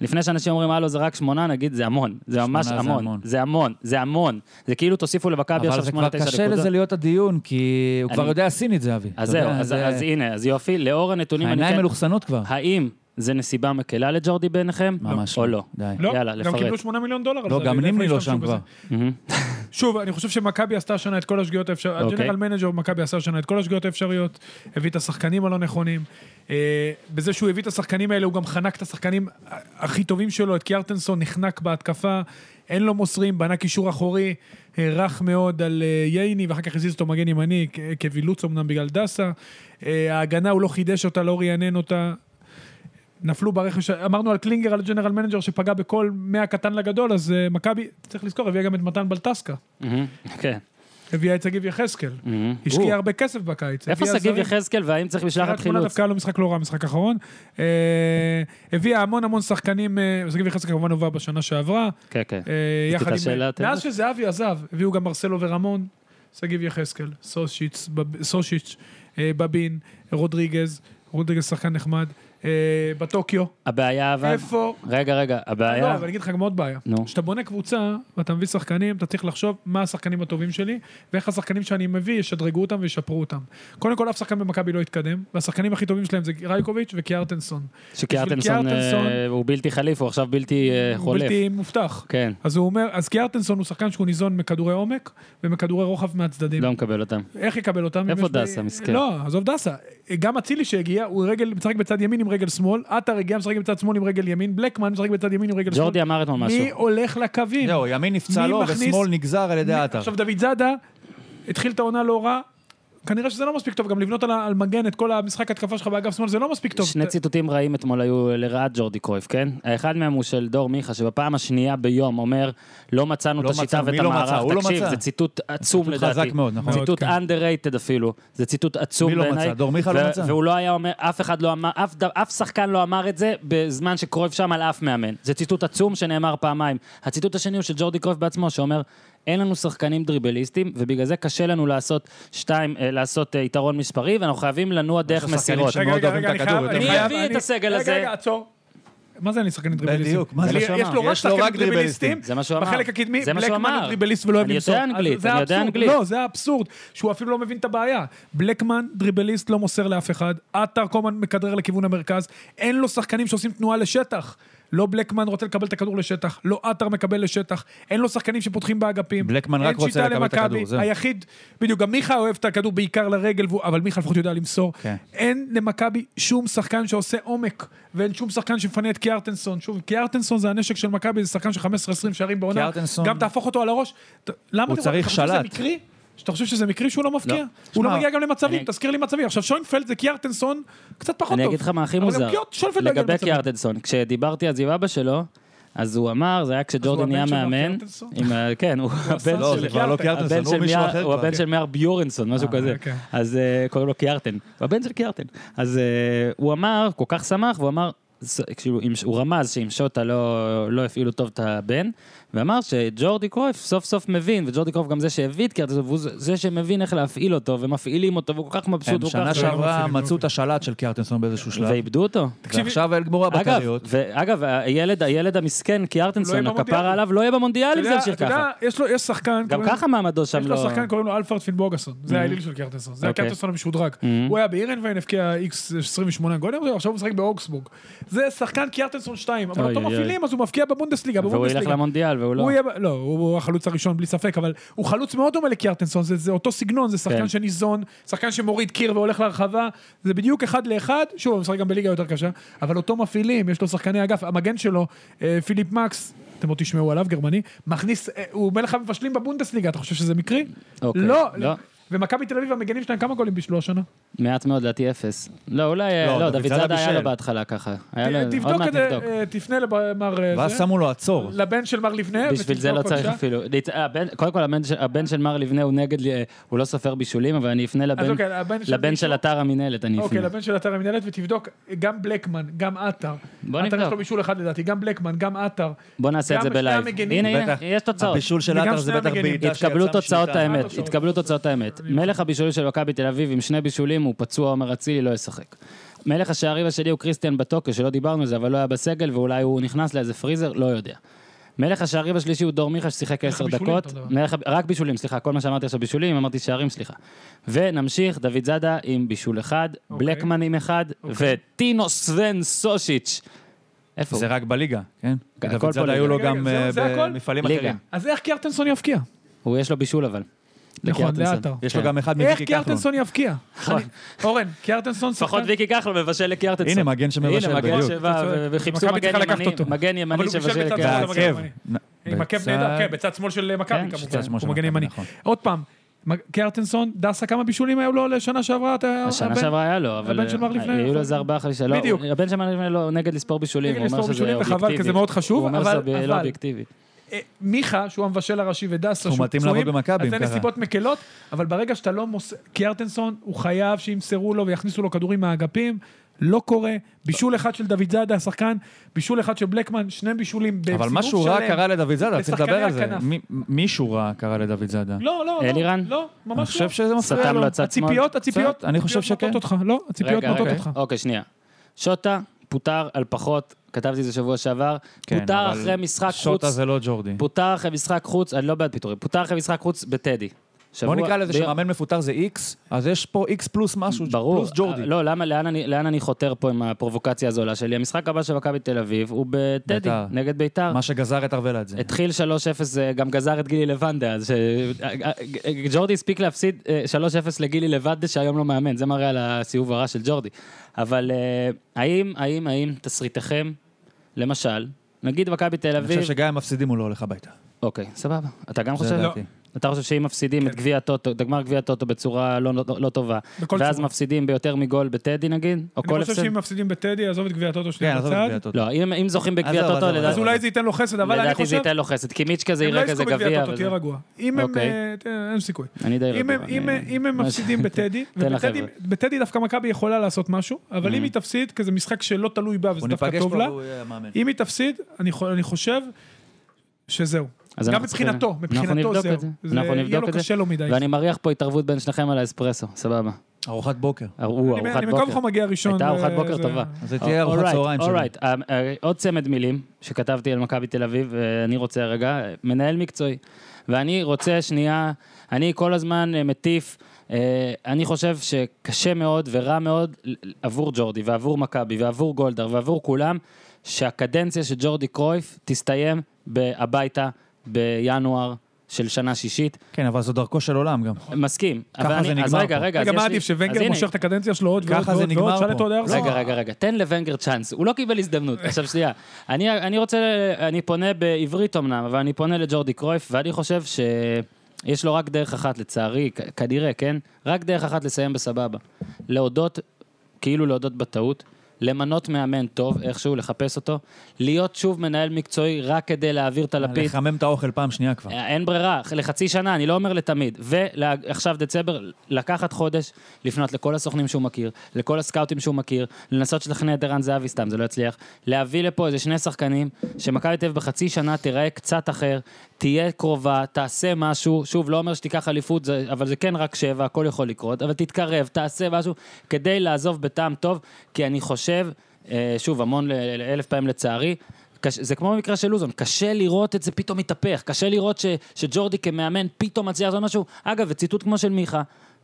[SPEAKER 1] לפני שאנשים אומרים, הלו, זה רק שמונה, נגיד, זה המון. זה ממש
[SPEAKER 3] זה
[SPEAKER 1] המון.
[SPEAKER 3] המון.
[SPEAKER 1] זה המון, זה המון. זה כאילו תוסיפו למכבי
[SPEAKER 3] אבל
[SPEAKER 1] עכשיו
[SPEAKER 3] זה כבר
[SPEAKER 1] שמונה, תשע
[SPEAKER 3] קשה
[SPEAKER 1] נקודות.
[SPEAKER 3] לזה להיות הדיון, כי הוא
[SPEAKER 1] אני-
[SPEAKER 3] כבר יודע סינית, זהבי.
[SPEAKER 1] אז
[SPEAKER 3] אתה
[SPEAKER 1] זהו,
[SPEAKER 3] יודע,
[SPEAKER 1] אז
[SPEAKER 3] זה-
[SPEAKER 1] אז הנה, אז יופי, לאור הנתונים, אני
[SPEAKER 3] העיניים
[SPEAKER 1] כן...
[SPEAKER 3] מלוכסנות כבר.
[SPEAKER 1] האם זה נסיבה מקלה לג'ורדי בעיניכם?
[SPEAKER 3] ממש
[SPEAKER 1] או
[SPEAKER 3] לא.
[SPEAKER 1] לא?
[SPEAKER 3] די.
[SPEAKER 2] לא,
[SPEAKER 1] יאללה,
[SPEAKER 2] גם
[SPEAKER 1] לפרט.
[SPEAKER 2] קיבלו 8 מיליון דולר. על
[SPEAKER 3] לא,
[SPEAKER 2] זה,
[SPEAKER 3] גם
[SPEAKER 2] אני יודע
[SPEAKER 3] נימני
[SPEAKER 2] איפה
[SPEAKER 3] לא
[SPEAKER 2] השתמשו
[SPEAKER 3] שם
[SPEAKER 2] בזה.
[SPEAKER 3] כבר.
[SPEAKER 1] מהמם.
[SPEAKER 2] שוב, אני חושב שמכבי עשתה השנה את כל השגיאות האפשריות,
[SPEAKER 1] אוקיי.
[SPEAKER 2] הג'נרל מנג'ר במכבי עשה השנה את כל השגיאות האפשריות, הביא את השחקנים הלא נכונים. אה, בזה שהוא הביא את השחקנים האלה, הוא גם חנק את השחקנים ה- הכי טובים שלו, את קיארטנסון נחנק בהתקפה, אין לו מוסרים, בנה קישור אחורי, אה, רך מאוד על אה, ייני, ואחר כך הזיז אותו מגן ימני, כ- כבילוץ אמנם בגלל דסה. אה, ההגנה, הוא לא חידש אותה, לא רענן אותה. נפלו ברכש, אמרנו על קלינגר, על ג'נרל מנג'ר שפגע בכל מהקטן לגדול, אז אה, מכבי, צריך לזכור, הביאה גם את מתן בלטסקה.
[SPEAKER 1] מהמם. כן.
[SPEAKER 2] הביאה את שגיב יחזקאל.
[SPEAKER 1] מהמם.
[SPEAKER 2] השקיע הרבה כסף בקיץ.
[SPEAKER 1] איפה
[SPEAKER 2] הביאה
[SPEAKER 1] שגיב
[SPEAKER 2] זרים.
[SPEAKER 1] יחזקאל והאם צריך משלחת
[SPEAKER 2] קריית שמונה
[SPEAKER 1] חילוץ?
[SPEAKER 2] דווקא היה לו משחק לא רע, משחק אחרון. אה, הביאה המון המון שחקנים, אה, שגיב יחזקאל כמובן הובא בשנה שעברה,
[SPEAKER 1] כן, כן.
[SPEAKER 2] אה,
[SPEAKER 1] את
[SPEAKER 2] יחד עם...
[SPEAKER 1] השאלה, אתה יודע?
[SPEAKER 2] מאז שזהבי עזב, הביאו גם מרסלו ורמון, שגיב יחזקאל, סושיץ', בב- סושיץ', אה, בבין, רודריגז, רודריגז שחקן נחמד, אה, בטוקיו,
[SPEAKER 1] הבעיה אבל...
[SPEAKER 2] איפה...
[SPEAKER 1] רגע, רגע,
[SPEAKER 2] לא,
[SPEAKER 1] הבעיה...
[SPEAKER 2] אבל אני אגיד לך גם עוד בעיה.
[SPEAKER 1] נו.
[SPEAKER 2] כשאתה בונה קבוצה ואתה מביא שחקנים, אתה צריך לחשוב מה השחקנים הטובים שלי, ואיך השחקנים שאני מביא ישדרגו אותם וישפרו אותם. קודם כל, אף שחקן במכבי לא התקדם, והשחקנים הכי טובים שלהם זה רייקוביץ' וקיארטנסון.
[SPEAKER 1] שקיארטנסון אה,
[SPEAKER 2] קיארטנסון-
[SPEAKER 1] הוא בלתי חליף, הוא עכשיו בלתי אה,
[SPEAKER 2] הוא
[SPEAKER 1] חולף.
[SPEAKER 2] בלתי מובטח.
[SPEAKER 1] כן,
[SPEAKER 2] אז הוא אומר, אז קיארטנסון הוא שחקן שהוא ניזון מכדורי עומק ומכדורי רוחב מהצדדים.
[SPEAKER 1] לא מקבל אותם.
[SPEAKER 2] איך יקבל אותם?
[SPEAKER 1] איפה
[SPEAKER 2] אם יש ב-
[SPEAKER 1] דסה, מסכן?
[SPEAKER 2] לא, עזוב דסה. גם אצילי שהגיע, הוא רגל, משחק בצד ימין עם רגל שמאל, עטר הגיע, משחק בצד שמאל עם רגל ימין, בלקמן משחק בצד ימין עם רגל שמאל.
[SPEAKER 1] ג'ורדי אמר אתמול משהו.
[SPEAKER 2] מי הולך לקווים?
[SPEAKER 3] לא,
[SPEAKER 5] זהו, ימין נפצע
[SPEAKER 2] מי
[SPEAKER 5] לו
[SPEAKER 2] מכניס-
[SPEAKER 5] ושמאל נגזר על ידי עטר.
[SPEAKER 2] עכשיו, דוד זאדה התחיל את העונה לא רע. כנראה שזה לא מספיק טוב, גם לבנות על, ה- על מגן את כל המשחק התקפה שלך באגף שמאל, זה לא מספיק טוב.
[SPEAKER 1] שני
[SPEAKER 2] אתה-
[SPEAKER 1] ציטוטים רעים אתמול היו לרעת ג'ורדי קרויף, כן? האחד מהם הוא של דור מיכה, שבפעם השנייה ביום אומר, לא מצאנו
[SPEAKER 5] לא
[SPEAKER 1] את השיטה
[SPEAKER 5] מצא,
[SPEAKER 1] ואת
[SPEAKER 5] מי לא מצא?
[SPEAKER 1] המערך.
[SPEAKER 5] הוא לא
[SPEAKER 1] תקשיב,
[SPEAKER 5] מצא.
[SPEAKER 1] זה ציטוט עצום
[SPEAKER 5] ציטוט
[SPEAKER 1] לדעתי.
[SPEAKER 5] חזק מאוד, נכון.
[SPEAKER 1] ציטוט
[SPEAKER 2] מאוד,
[SPEAKER 1] underrated אפילו. זה ציטוט עצום
[SPEAKER 5] מי לא
[SPEAKER 1] בעיניי.
[SPEAKER 5] מצא? דור מיכה לא
[SPEAKER 1] ו-
[SPEAKER 5] מצא.
[SPEAKER 1] והוא לא היה אומר, אף אחד לא אמר, אף ד- אף שחקן לא אמר את זה בזמן שקרויף שם על אף מאמן. זה ציטוט עצום שנאמר פעמיים. הציטוט השני הוא של ג'ורדי קרויף בעצמו, שאומר... אין לנו שחקנים דריבליסטים, ובגלל זה קשה לנו לעשות שתיים, אה, לעשות אה, יתרון מספרי, ואנחנו חייבים לנוע דרך
[SPEAKER 5] שחקנים
[SPEAKER 1] מסירות.
[SPEAKER 5] שמאוד אוהבים את
[SPEAKER 2] אני
[SPEAKER 5] הכדור,
[SPEAKER 2] חייב-
[SPEAKER 5] יותר
[SPEAKER 2] אני
[SPEAKER 1] מי
[SPEAKER 2] חייב-
[SPEAKER 1] הביא את
[SPEAKER 2] אני-
[SPEAKER 1] הסגל הזה?
[SPEAKER 2] רגע, רגע, עצור. מה זה אני שחקן דריבליסטים?
[SPEAKER 5] בדיוק, מה
[SPEAKER 1] זה
[SPEAKER 2] אני-
[SPEAKER 1] מה שהוא
[SPEAKER 2] יש לו
[SPEAKER 1] אמר.
[SPEAKER 2] רק
[SPEAKER 5] יש לו רק
[SPEAKER 2] שחקנים
[SPEAKER 5] דריבליסטים.
[SPEAKER 2] דריבליסטים,
[SPEAKER 1] זה מה שהוא אמר.
[SPEAKER 2] בחלק הקדמי,
[SPEAKER 1] זה מה שהוא
[SPEAKER 2] בלקמן
[SPEAKER 1] אמר.
[SPEAKER 2] הוא דריבליסט ולא אוהב
[SPEAKER 1] אני
[SPEAKER 2] למסור.
[SPEAKER 1] יודע אנגלית,
[SPEAKER 2] אז זה
[SPEAKER 1] אני יודע
[SPEAKER 2] האבסורד.
[SPEAKER 1] אנגלית.
[SPEAKER 2] לא, זה האבסורד, שהוא אפילו לא מבין את הבעיה. בלקמן, דריבליסט, לא מוסר לאף אחד, עטר כל הזמן מכדרר לכיוון המרכז, אין לו שחקנים שעושים תנועה לשטח. לא בלקמן רוצה לקבל את הכדור לשטח, לא עטר מקבל לשטח, אין לו שחקנים שפותחים באגפים.
[SPEAKER 5] בלקמן רק
[SPEAKER 2] אין
[SPEAKER 5] רוצה
[SPEAKER 2] שיטה
[SPEAKER 5] לקבל את הכדור,
[SPEAKER 2] למכבי.
[SPEAKER 5] זהו.
[SPEAKER 2] היחיד, בדיוק, גם מיכה אוהב את הכדור בעיקר לרגל, והוא- אבל מיכה לפחות יודע למסור.
[SPEAKER 5] כן.
[SPEAKER 2] אין למכבי שום שחקן שעושה עומק, ואין שום שחקן שמפנה את קיארטנסון. שוב, קיארטנסון זה הנשק של מכבי, זה שחקן של 15-20 שערים בעונה.
[SPEAKER 5] קיארטנסון-
[SPEAKER 2] גם תהפוך אותו על הראש. ת- למה
[SPEAKER 5] הוא
[SPEAKER 2] אתם-
[SPEAKER 5] צריך
[SPEAKER 2] אתה חושב שזה
[SPEAKER 5] שלט.
[SPEAKER 2] מקרי? שאתה חושב שזה מקרי שהוא לא מבקיע?
[SPEAKER 1] לא.
[SPEAKER 2] הוא לא
[SPEAKER 5] שמע,
[SPEAKER 2] מגיע גם למצבים,
[SPEAKER 1] אני-
[SPEAKER 2] תזכיר לי מצבים. עכשיו שוינפלד זה קיארטנסון קצת פחות טוב.
[SPEAKER 1] אני אגיד לך מה הכי
[SPEAKER 2] אבל גם
[SPEAKER 1] מוזר.
[SPEAKER 2] קיארט- שוינפלד לא הגיע
[SPEAKER 1] לגבי
[SPEAKER 2] למצבים.
[SPEAKER 1] קיארטנסון, כשדיברתי אז עם אבא שלו, אז הוא אמר, זה היה
[SPEAKER 2] הוא
[SPEAKER 1] כשג'ורדן
[SPEAKER 2] הבן
[SPEAKER 1] נהיה
[SPEAKER 2] של מר
[SPEAKER 1] מאמן.
[SPEAKER 2] קיארטנסון?
[SPEAKER 1] עם ה- כן, הוא הבן
[SPEAKER 5] לא,
[SPEAKER 1] של...
[SPEAKER 5] זה כבר לא קיארטנסון,
[SPEAKER 1] הבן
[SPEAKER 5] הוא
[SPEAKER 1] של
[SPEAKER 5] מישהו
[SPEAKER 1] מיאר-
[SPEAKER 5] אחר
[SPEAKER 1] הוא
[SPEAKER 5] כבר.
[SPEAKER 1] הבן של מאיר ביורנסון, משהו כזה.
[SPEAKER 2] אוקיי.
[SPEAKER 1] אז אה, קוראים לו קיארטן. הוא הבן של קיארטן. אז אה, הוא אמר, כל כך שמח, והוא אמר, ס- כשהוא- אם- הוא רמז שאם שוטה לא לא הפעילו טוב את הבן, ואמר שג'ורדי קרויף סוף סוף מבין, וג'ורדי קרויף גם זה שהביא את קיארטנסון, והוא זה- זה שמבין איך להפעיל אותו, ומפעילים אותו, והוא כל כך מבסוט,
[SPEAKER 5] הם
[SPEAKER 1] והוא כל
[SPEAKER 5] שנה
[SPEAKER 1] כך...
[SPEAKER 5] שעברה
[SPEAKER 2] מפעילים, לא
[SPEAKER 5] מצאו את השלט של קיארטנסון באיזשהו שלב.
[SPEAKER 1] ואיבדו אותו.
[SPEAKER 5] ועכשיו אל גמור
[SPEAKER 1] אגב,
[SPEAKER 5] הבטריות.
[SPEAKER 1] ו- אגב, הילד, הילד המסכן, קיארטנסון,
[SPEAKER 2] לא יהיה במונדיאל.
[SPEAKER 1] הכפרה עליו, לא יהיה במונדיאל אם
[SPEAKER 2] אתה
[SPEAKER 1] זה
[SPEAKER 2] יודע-
[SPEAKER 1] ימשיך
[SPEAKER 2] אתה יודע,
[SPEAKER 1] ככה.
[SPEAKER 2] יש לו, יש שחקן...
[SPEAKER 1] גם
[SPEAKER 2] קוראים-
[SPEAKER 1] ככה מעמדו שם
[SPEAKER 2] יש
[SPEAKER 1] לא...
[SPEAKER 2] לו שחקן, קוראים לו אלפרד פין בוגסון. זה
[SPEAKER 1] Mhm.
[SPEAKER 2] האליל של קיארטנסון. זה
[SPEAKER 1] אוקיי.
[SPEAKER 2] הקיארטנסון המשודרג.
[SPEAKER 1] Mhm.
[SPEAKER 2] הוא היה באירנביין, הבקיע איקס 28 גולים, עכשיו הוא משחק באוגסבורג. זה שחקן קיארטנסון 2, אבל
[SPEAKER 1] אוי,
[SPEAKER 2] אותו
[SPEAKER 1] אוי,
[SPEAKER 2] מפעילים, אז הוא מבקיע בבונדסליגה.
[SPEAKER 1] והוא
[SPEAKER 2] בבונדסליגה.
[SPEAKER 1] ילך למונדיאל, והוא לא...
[SPEAKER 2] הוא יהיה, ב- לא, הוא החלוץ הראשון בלי ספק, אבל הוא חלוץ מאוד דומה לקיארטנסון, זה, זה אותו סגנון, זה שחקן
[SPEAKER 1] כן.
[SPEAKER 2] שניזון, שחקן שמוריד קיר והולך לרחבה, זה בדיוק אחד לאחד, שוב, הוא משחק גם בליגה יותר קשה, אבל אותו מפעילים, יש לו שחקני אגף, המגן שלו, אה, פיליפ מקס, אתם עוד תשמעו עליו, גרמני, מכניס, אה, הוא מלך המבשלים בבונדסליגה, אתה חושב שזה מקרי?
[SPEAKER 1] אוקיי.
[SPEAKER 2] לא,
[SPEAKER 1] לא.
[SPEAKER 2] ומכבי תל אביב, המגנים שלהם כמה גולים בישלו השנה?
[SPEAKER 1] מעט מאוד, לדעתי אפס. לא, אולי...
[SPEAKER 5] לא,
[SPEAKER 1] לא,
[SPEAKER 5] דוד
[SPEAKER 1] דוד
[SPEAKER 5] זאדה
[SPEAKER 1] זאדה היה
[SPEAKER 5] בישל.
[SPEAKER 1] לו בהתחלה ככה. היה לו- עוד
[SPEAKER 2] תבדוק
[SPEAKER 1] מעט
[SPEAKER 2] את זה,
[SPEAKER 1] נבדוק.
[SPEAKER 2] אה, תפנה למר, אה,
[SPEAKER 5] ואז
[SPEAKER 2] זה,
[SPEAKER 5] שמו לו עצור.
[SPEAKER 2] לבן של מר לבנה,
[SPEAKER 1] בשביל זה
[SPEAKER 2] ותבדוק
[SPEAKER 1] לא צריך
[SPEAKER 2] בבקשה.
[SPEAKER 1] אפילו. להת- אה, הבן- קודם כל, הבן של- הבן של מר לבנה הוא נגד... לי- אה, הוא לא סופר בישולים, אבל אני אפנה
[SPEAKER 2] אז
[SPEAKER 1] לבן-
[SPEAKER 2] אוקיי, הבן של
[SPEAKER 1] לבן
[SPEAKER 2] מישהו-
[SPEAKER 1] של אתר המינהלת, אני
[SPEAKER 2] אוקיי,
[SPEAKER 1] אפנה.
[SPEAKER 2] לבן של אתר המנהלת, ותבדוק גם בלקמן, גם עטר.
[SPEAKER 1] בוא
[SPEAKER 2] עטר יש
[SPEAKER 1] נבדוק.
[SPEAKER 2] לו בישול אחד לדעתי, גם בלקמן, גם עטר.
[SPEAKER 1] בוא נעשה את
[SPEAKER 2] גם
[SPEAKER 1] זה
[SPEAKER 2] שני
[SPEAKER 1] בלייב.
[SPEAKER 2] המגנים.
[SPEAKER 1] הנה, הנה,
[SPEAKER 5] בטח.
[SPEAKER 1] יש תוצאות.
[SPEAKER 5] הבישול של
[SPEAKER 2] וגם
[SPEAKER 5] עטר זה
[SPEAKER 2] שני
[SPEAKER 5] בטח
[SPEAKER 2] המגנים.
[SPEAKER 5] בעיטה שיצאה
[SPEAKER 1] התקבלו תוצאות
[SPEAKER 5] משליטה.
[SPEAKER 1] האמת,
[SPEAKER 2] התוצאות?
[SPEAKER 1] התקבלו תוצאות האמת. מלך הבישולים של מכבי תל אביב עם שני בישולים, הוא פצוע, עומר אצילי לא ישחק. מלך השערים השני הוא קריסטיאן בטוקיו, שלא דיברנו על זה, אבל לא היה בסגל, ואולי הוא נכנס לאיזה פריזר, לא יודע. מלך השערים השלישי הוא דור מיכה ששיחק עשר
[SPEAKER 2] הבישולים,
[SPEAKER 1] דקות.
[SPEAKER 2] אתה מדבר.
[SPEAKER 1] מלך, הב- רק בישולים, סליחה, כל מה שאמרתי עכשיו בישולים, אמרתי שערים, סליחה. ונמשיך, דוד זאדה עם בישול אחד,
[SPEAKER 2] אוקיי.
[SPEAKER 1] בלקמן עם אחד, וטינו סוון סושיץ'. איפה הוא?
[SPEAKER 5] זה רק בליגה, כן?
[SPEAKER 1] הכל
[SPEAKER 5] דוד
[SPEAKER 1] פה
[SPEAKER 5] זאדה היו לו
[SPEAKER 2] ליגה.
[SPEAKER 5] גם
[SPEAKER 2] רגע, רגע,
[SPEAKER 5] אה,
[SPEAKER 2] זה- זה הכל?
[SPEAKER 5] במפעלים
[SPEAKER 1] ליגה.
[SPEAKER 5] אחרים.
[SPEAKER 2] אז איך קיארטנסון יבקיע?
[SPEAKER 1] הוא יש לו בישול אבל.
[SPEAKER 2] נכון,
[SPEAKER 1] לקיארטנסון.
[SPEAKER 2] לעטר.
[SPEAKER 5] יש לו
[SPEAKER 1] כן.
[SPEAKER 5] גם אחד
[SPEAKER 2] איך
[SPEAKER 5] מוויקי כחלון.
[SPEAKER 2] קיארטנסון יבקיע?
[SPEAKER 1] נכון.
[SPEAKER 2] אני- אורן, קיארטנסון
[SPEAKER 1] לפחות ויקי כחלון מבשל לקיארטנסון.
[SPEAKER 5] הנה, מגן שמבשל,
[SPEAKER 1] הנה, מגן
[SPEAKER 5] בדיוק.
[SPEAKER 1] שבא,
[SPEAKER 2] אתה צודק.
[SPEAKER 1] וחיפשו
[SPEAKER 2] מכבי
[SPEAKER 1] מגן
[SPEAKER 2] צריכה לקחת
[SPEAKER 1] ימני,
[SPEAKER 2] אותו.
[SPEAKER 1] מגן ימני
[SPEAKER 2] אבל הוא בישל
[SPEAKER 1] שבשל
[SPEAKER 2] בצד
[SPEAKER 1] לקיארטנסון.
[SPEAKER 2] שמאל
[SPEAKER 5] והעקב.
[SPEAKER 2] ימני.
[SPEAKER 5] נ-
[SPEAKER 2] לא עם עקב
[SPEAKER 5] בצד-
[SPEAKER 2] נהדר, כן, בצד שמאל של מכבי
[SPEAKER 1] כן,
[SPEAKER 2] כמובן,
[SPEAKER 1] בצד
[SPEAKER 5] שמאל של
[SPEAKER 2] הוא מגן
[SPEAKER 5] מכבי,
[SPEAKER 2] ימני.
[SPEAKER 5] נכון.
[SPEAKER 2] עוד פעם, מג- קיארטנסון, דסה כמה בישולים היו לו לשנה שעברה? אתה-
[SPEAKER 1] השנה
[SPEAKER 2] הבן-
[SPEAKER 1] שעברה היה לו, אבל אה,
[SPEAKER 2] הבן של מר לבנה,
[SPEAKER 1] היו
[SPEAKER 2] נכון.
[SPEAKER 1] לו איזה ארבעה חמישה, לא,
[SPEAKER 2] בדיוק.
[SPEAKER 1] הוא- הבן של מר לבנה לא, הוא נגד לספור בישולים,
[SPEAKER 2] נגד
[SPEAKER 1] הוא אומר
[SPEAKER 2] לספור
[SPEAKER 1] שזה
[SPEAKER 2] בישולים, וחבל,
[SPEAKER 1] אובייקטיבי.
[SPEAKER 2] כי זה מאוד חשוב,
[SPEAKER 1] הוא אומר
[SPEAKER 2] אבל-
[SPEAKER 1] שזה לא
[SPEAKER 2] אבל-
[SPEAKER 1] אובייקטיבי.
[SPEAKER 2] אה, מיכה, שהוא המבשל הראשי, ודסה,
[SPEAKER 5] הוא
[SPEAKER 2] שהוא
[SPEAKER 5] מתאים לעבוד
[SPEAKER 2] פצועים,
[SPEAKER 5] במכבי,
[SPEAKER 2] אז
[SPEAKER 5] אם
[SPEAKER 2] זה
[SPEAKER 5] ככה.
[SPEAKER 2] נסיבות מקלות, אבל ברגע שאתה לא מוס... קיארטנסון, הוא חייב שימסרו לו ויכניסו לו כדורים מהאגפים. לא קורה, בישול אחד של דוד זאדה, השחקן, בישול אחד של בלקמן, שני בישולים בסיבוב
[SPEAKER 5] אבל
[SPEAKER 2] שלם.
[SPEAKER 5] משהו רע קרה לדוד זאדה, צריך
[SPEAKER 2] לשחקני
[SPEAKER 5] לדבר על זה.
[SPEAKER 2] הכנף.
[SPEAKER 5] מי- מישהו רע קרה לדוד זאדה.
[SPEAKER 2] לא, לא, לא.
[SPEAKER 1] אלירן?
[SPEAKER 2] לא, ממש לא.
[SPEAKER 5] אני חושב שזה מפריע
[SPEAKER 1] סתם
[SPEAKER 5] לו.
[SPEAKER 1] לא יצא עצמו.
[SPEAKER 2] הציפיות, הציפיות,
[SPEAKER 5] קצת, אני חושב
[SPEAKER 2] הציפיות
[SPEAKER 5] שכן.
[SPEAKER 2] נוטות אותך, לא, הציפיות
[SPEAKER 1] רגע,
[SPEAKER 2] נוטות
[SPEAKER 1] רגע.
[SPEAKER 2] אותך.
[SPEAKER 1] אוקיי, שנייה. שוטה פוטר על פחות, כתבתי את זה שבוע שעבר,
[SPEAKER 5] כן,
[SPEAKER 1] פוטר
[SPEAKER 5] אבל
[SPEAKER 1] אחרי משחק חוץ,
[SPEAKER 5] שוטה זה לא ג'ורדי.
[SPEAKER 1] פוטר אחרי משחק חוץ, אני לא בעד פיטורים, פוטר אחרי משחק חוץ בטדי.
[SPEAKER 5] בוא
[SPEAKER 1] שבוע-
[SPEAKER 5] נקרא לזה
[SPEAKER 1] ב-
[SPEAKER 5] שמאמן מפוטר זה איקס, אז יש פה איקס פלוס משהו,
[SPEAKER 1] ברור.
[SPEAKER 5] פלוס ג'ורדי.
[SPEAKER 1] אה, לא, למה, לאן, אני, לאן אני חותר פה עם הפרובוקציה הזולה שלי? המשחק הבא של מכבי תל אביב הוא בטדי,
[SPEAKER 5] בית"ר.
[SPEAKER 1] נגד ביתר.
[SPEAKER 5] מה שגזר את ארוולה את זה.
[SPEAKER 1] התחיל 3-0, אה, גם גזר את גילי לבנדה, אז ש... אה, אה, אה, ג'ורדי הספיק להפסיד אה, 3-0 לגילי לבנדה, שהיום לא מאמן, זה מראה על הסיבוב הרע של ג'ורדי. אבל אה, האם, האם, האם תסריטכם, למשל, נגיד מכבי תל
[SPEAKER 5] אני
[SPEAKER 1] אביב...
[SPEAKER 5] חושב שגם אם מפסידים הוא לא הולך הביתה.
[SPEAKER 2] כן,
[SPEAKER 1] אוקיי, סבבה. אתה גם
[SPEAKER 5] זה
[SPEAKER 1] חושב? לא.
[SPEAKER 5] דעתי.
[SPEAKER 1] אתה חושב שאם מפסידים את גביע הטוטו, את גמר גביע הטוטו בצורה לא, לא, לא טובה,
[SPEAKER 2] כן. בכל
[SPEAKER 1] ואז
[SPEAKER 2] צורה.
[SPEAKER 1] מפסידים ביותר מגול בטדי נגיד, או כל
[SPEAKER 2] אני חושב
[SPEAKER 1] הפסד...
[SPEAKER 2] שאם מפסידים בטדי, עזוב את גביע הטוטו
[SPEAKER 5] כן,
[SPEAKER 2] שנייה
[SPEAKER 5] עזוב את
[SPEAKER 2] בצד,
[SPEAKER 5] גביע הטוטו.
[SPEAKER 1] לא, אם, אם זוכים בגביע
[SPEAKER 5] עזוב,
[SPEAKER 1] הטוטו,
[SPEAKER 5] עזוב,
[SPEAKER 1] לדעתי,
[SPEAKER 2] אז אולי זה ייתן לו חסד, אבל אני
[SPEAKER 1] לדעתי זה
[SPEAKER 2] חושב...
[SPEAKER 1] ייתן לו חסד, כי מיץ' כזה
[SPEAKER 2] הם לא
[SPEAKER 1] יראה כזה
[SPEAKER 2] יזכו בגביע
[SPEAKER 1] גביע,
[SPEAKER 2] הטוטו,
[SPEAKER 1] וזה-
[SPEAKER 2] תהיה רגוע. אם הם...
[SPEAKER 1] אוקיי.
[SPEAKER 2] אה, ת- אין סיכוי.
[SPEAKER 1] אני די לא
[SPEAKER 2] אם
[SPEAKER 1] רגוע.
[SPEAKER 2] הם- אם הם- אם הם
[SPEAKER 1] מה-
[SPEAKER 2] מפסידים בטדי,
[SPEAKER 1] תן
[SPEAKER 2] ובטדי
[SPEAKER 1] לחבר'ה. Mm.
[SPEAKER 2] בטדי דווקא מכבי יכולה לעשות משהו, אבל אם היא תפסיד, כי זה משחק שלא תלוי בה וזה
[SPEAKER 5] הוא
[SPEAKER 2] דווקא
[SPEAKER 5] ניפגש
[SPEAKER 2] טוב
[SPEAKER 5] פה
[SPEAKER 2] לה, אה,
[SPEAKER 5] והוא יהיה המאמן.
[SPEAKER 2] אם היא תפסיד, אני חו- אני חושב שזהו.
[SPEAKER 1] אז
[SPEAKER 2] גם
[SPEAKER 1] אנחנו צריכים-
[SPEAKER 2] מבחינתו,
[SPEAKER 1] אנחנו
[SPEAKER 2] מבחינתו
[SPEAKER 1] נבדוק
[SPEAKER 2] זהו.
[SPEAKER 1] את זה.
[SPEAKER 2] זה
[SPEAKER 1] אנחנו
[SPEAKER 2] יהיה
[SPEAKER 1] נבדוק
[SPEAKER 2] לו
[SPEAKER 1] את זה.
[SPEAKER 2] קשה לו מדי.
[SPEAKER 1] ואני מריח פה התערבות בין שניכם על האספרסו, סבבה.
[SPEAKER 5] ארוחת בוקר.
[SPEAKER 1] הוא,
[SPEAKER 2] אני-
[SPEAKER 1] ארוחת
[SPEAKER 2] אני מקווה
[SPEAKER 1] בוקר.
[SPEAKER 2] לך מגיע ראשון.
[SPEAKER 1] הייתה ארוחת
[SPEAKER 2] אה,
[SPEAKER 1] בוקר
[SPEAKER 2] זה-
[SPEAKER 1] טובה.
[SPEAKER 5] אז זה תהיה ארוחת
[SPEAKER 1] Alright,
[SPEAKER 5] צהריים שלי.
[SPEAKER 1] alright. אה, אה, עוד צמד מילים שכתבתי על מכבי תל אביב, אה, אני רוצה רגע, אה, מנהל מקצועי. ואני רוצה שנייה, אני כל הזמן אה, מטיף, אה, אני חושב שקשה מאוד ורע מאוד ל- עבור ג'ורדי ועבור מכבי ועבור גולדהר ועבור כולם, שהקדנציה של ג'ורדי קרויף תסתיים ב- הביתה בינואר של שנה שישית.
[SPEAKER 5] כן, אבל זו דרכו של עולם גם.
[SPEAKER 1] מסכים.
[SPEAKER 5] ככה
[SPEAKER 1] אבל
[SPEAKER 5] זה
[SPEAKER 1] אני- אז
[SPEAKER 5] נגמר
[SPEAKER 1] רגע,
[SPEAKER 5] פה.
[SPEAKER 1] רגע, אז
[SPEAKER 2] רגע,
[SPEAKER 1] יש
[SPEAKER 2] מה
[SPEAKER 1] לי-
[SPEAKER 2] עדיף,
[SPEAKER 1] אז
[SPEAKER 2] שוונגר
[SPEAKER 1] הנה,
[SPEAKER 2] מושך את הקדנציה שלו עוד ועוד
[SPEAKER 5] ככה זה
[SPEAKER 2] ועוד
[SPEAKER 5] נגמר
[SPEAKER 2] ועוד? שאל
[SPEAKER 5] פה.
[SPEAKER 2] את אוהדי ארסנל.
[SPEAKER 1] רגע, רגע, רגע, תן לוונגר צ'אנס, הוא לא קיבל הזדמנות. עכשיו שנייה, אני, אני רוצה, אני פונה בעברית אמנם, אבל אני פונה לג'ורדי קרויף, ואני חושב שיש לו רק דרך אחת, לצערי, כ- כנראה, כן? רק דרך אחת לסיים בסבבה. להודות, כאילו להודות בטעות, למנות מאמן טוב, איכשהו, לחפש אותו, להיות שוב מנהל מקצועי רק כדי להעביר את הלפיד.
[SPEAKER 5] לחמם את האוכל פעם שנייה כבר.
[SPEAKER 1] אה, אין ברירה, לחצי שנה, אני לא אומר לתמיד. ועכשיו דצמבר, לקחת חודש, לפנות לכל הסוכנים שהוא מכיר, לכל הסקאוטים שהוא מכיר, לנסות לשכנע את ערן זהבי, סתם, זה לא יצליח. להביא לפה איזה שני שחקנים, שמכבי תל אביב בחצי שנה תיראה קצת אחר, תהיה קרובה, תעשה משהו, שוב, לא אומר שתיקח אליפות, זה- אבל זה כן רק שבע, הכל יכול לקרות, אבל תתקרב, תעשה משהו, כדי לעזוב בטעם טוב, כי אני חושב, אה, שוב, המון, ל- ל- אלף פעמים לצערי, קש... זה כמו במקרה של לוזון, קשה לראות את זה פתאום מתהפך, קשה לראות ש... שג'ורדי כמאמן פתאום מצליח לעשות משהו. אגב, וציטוט כמו של מיכה,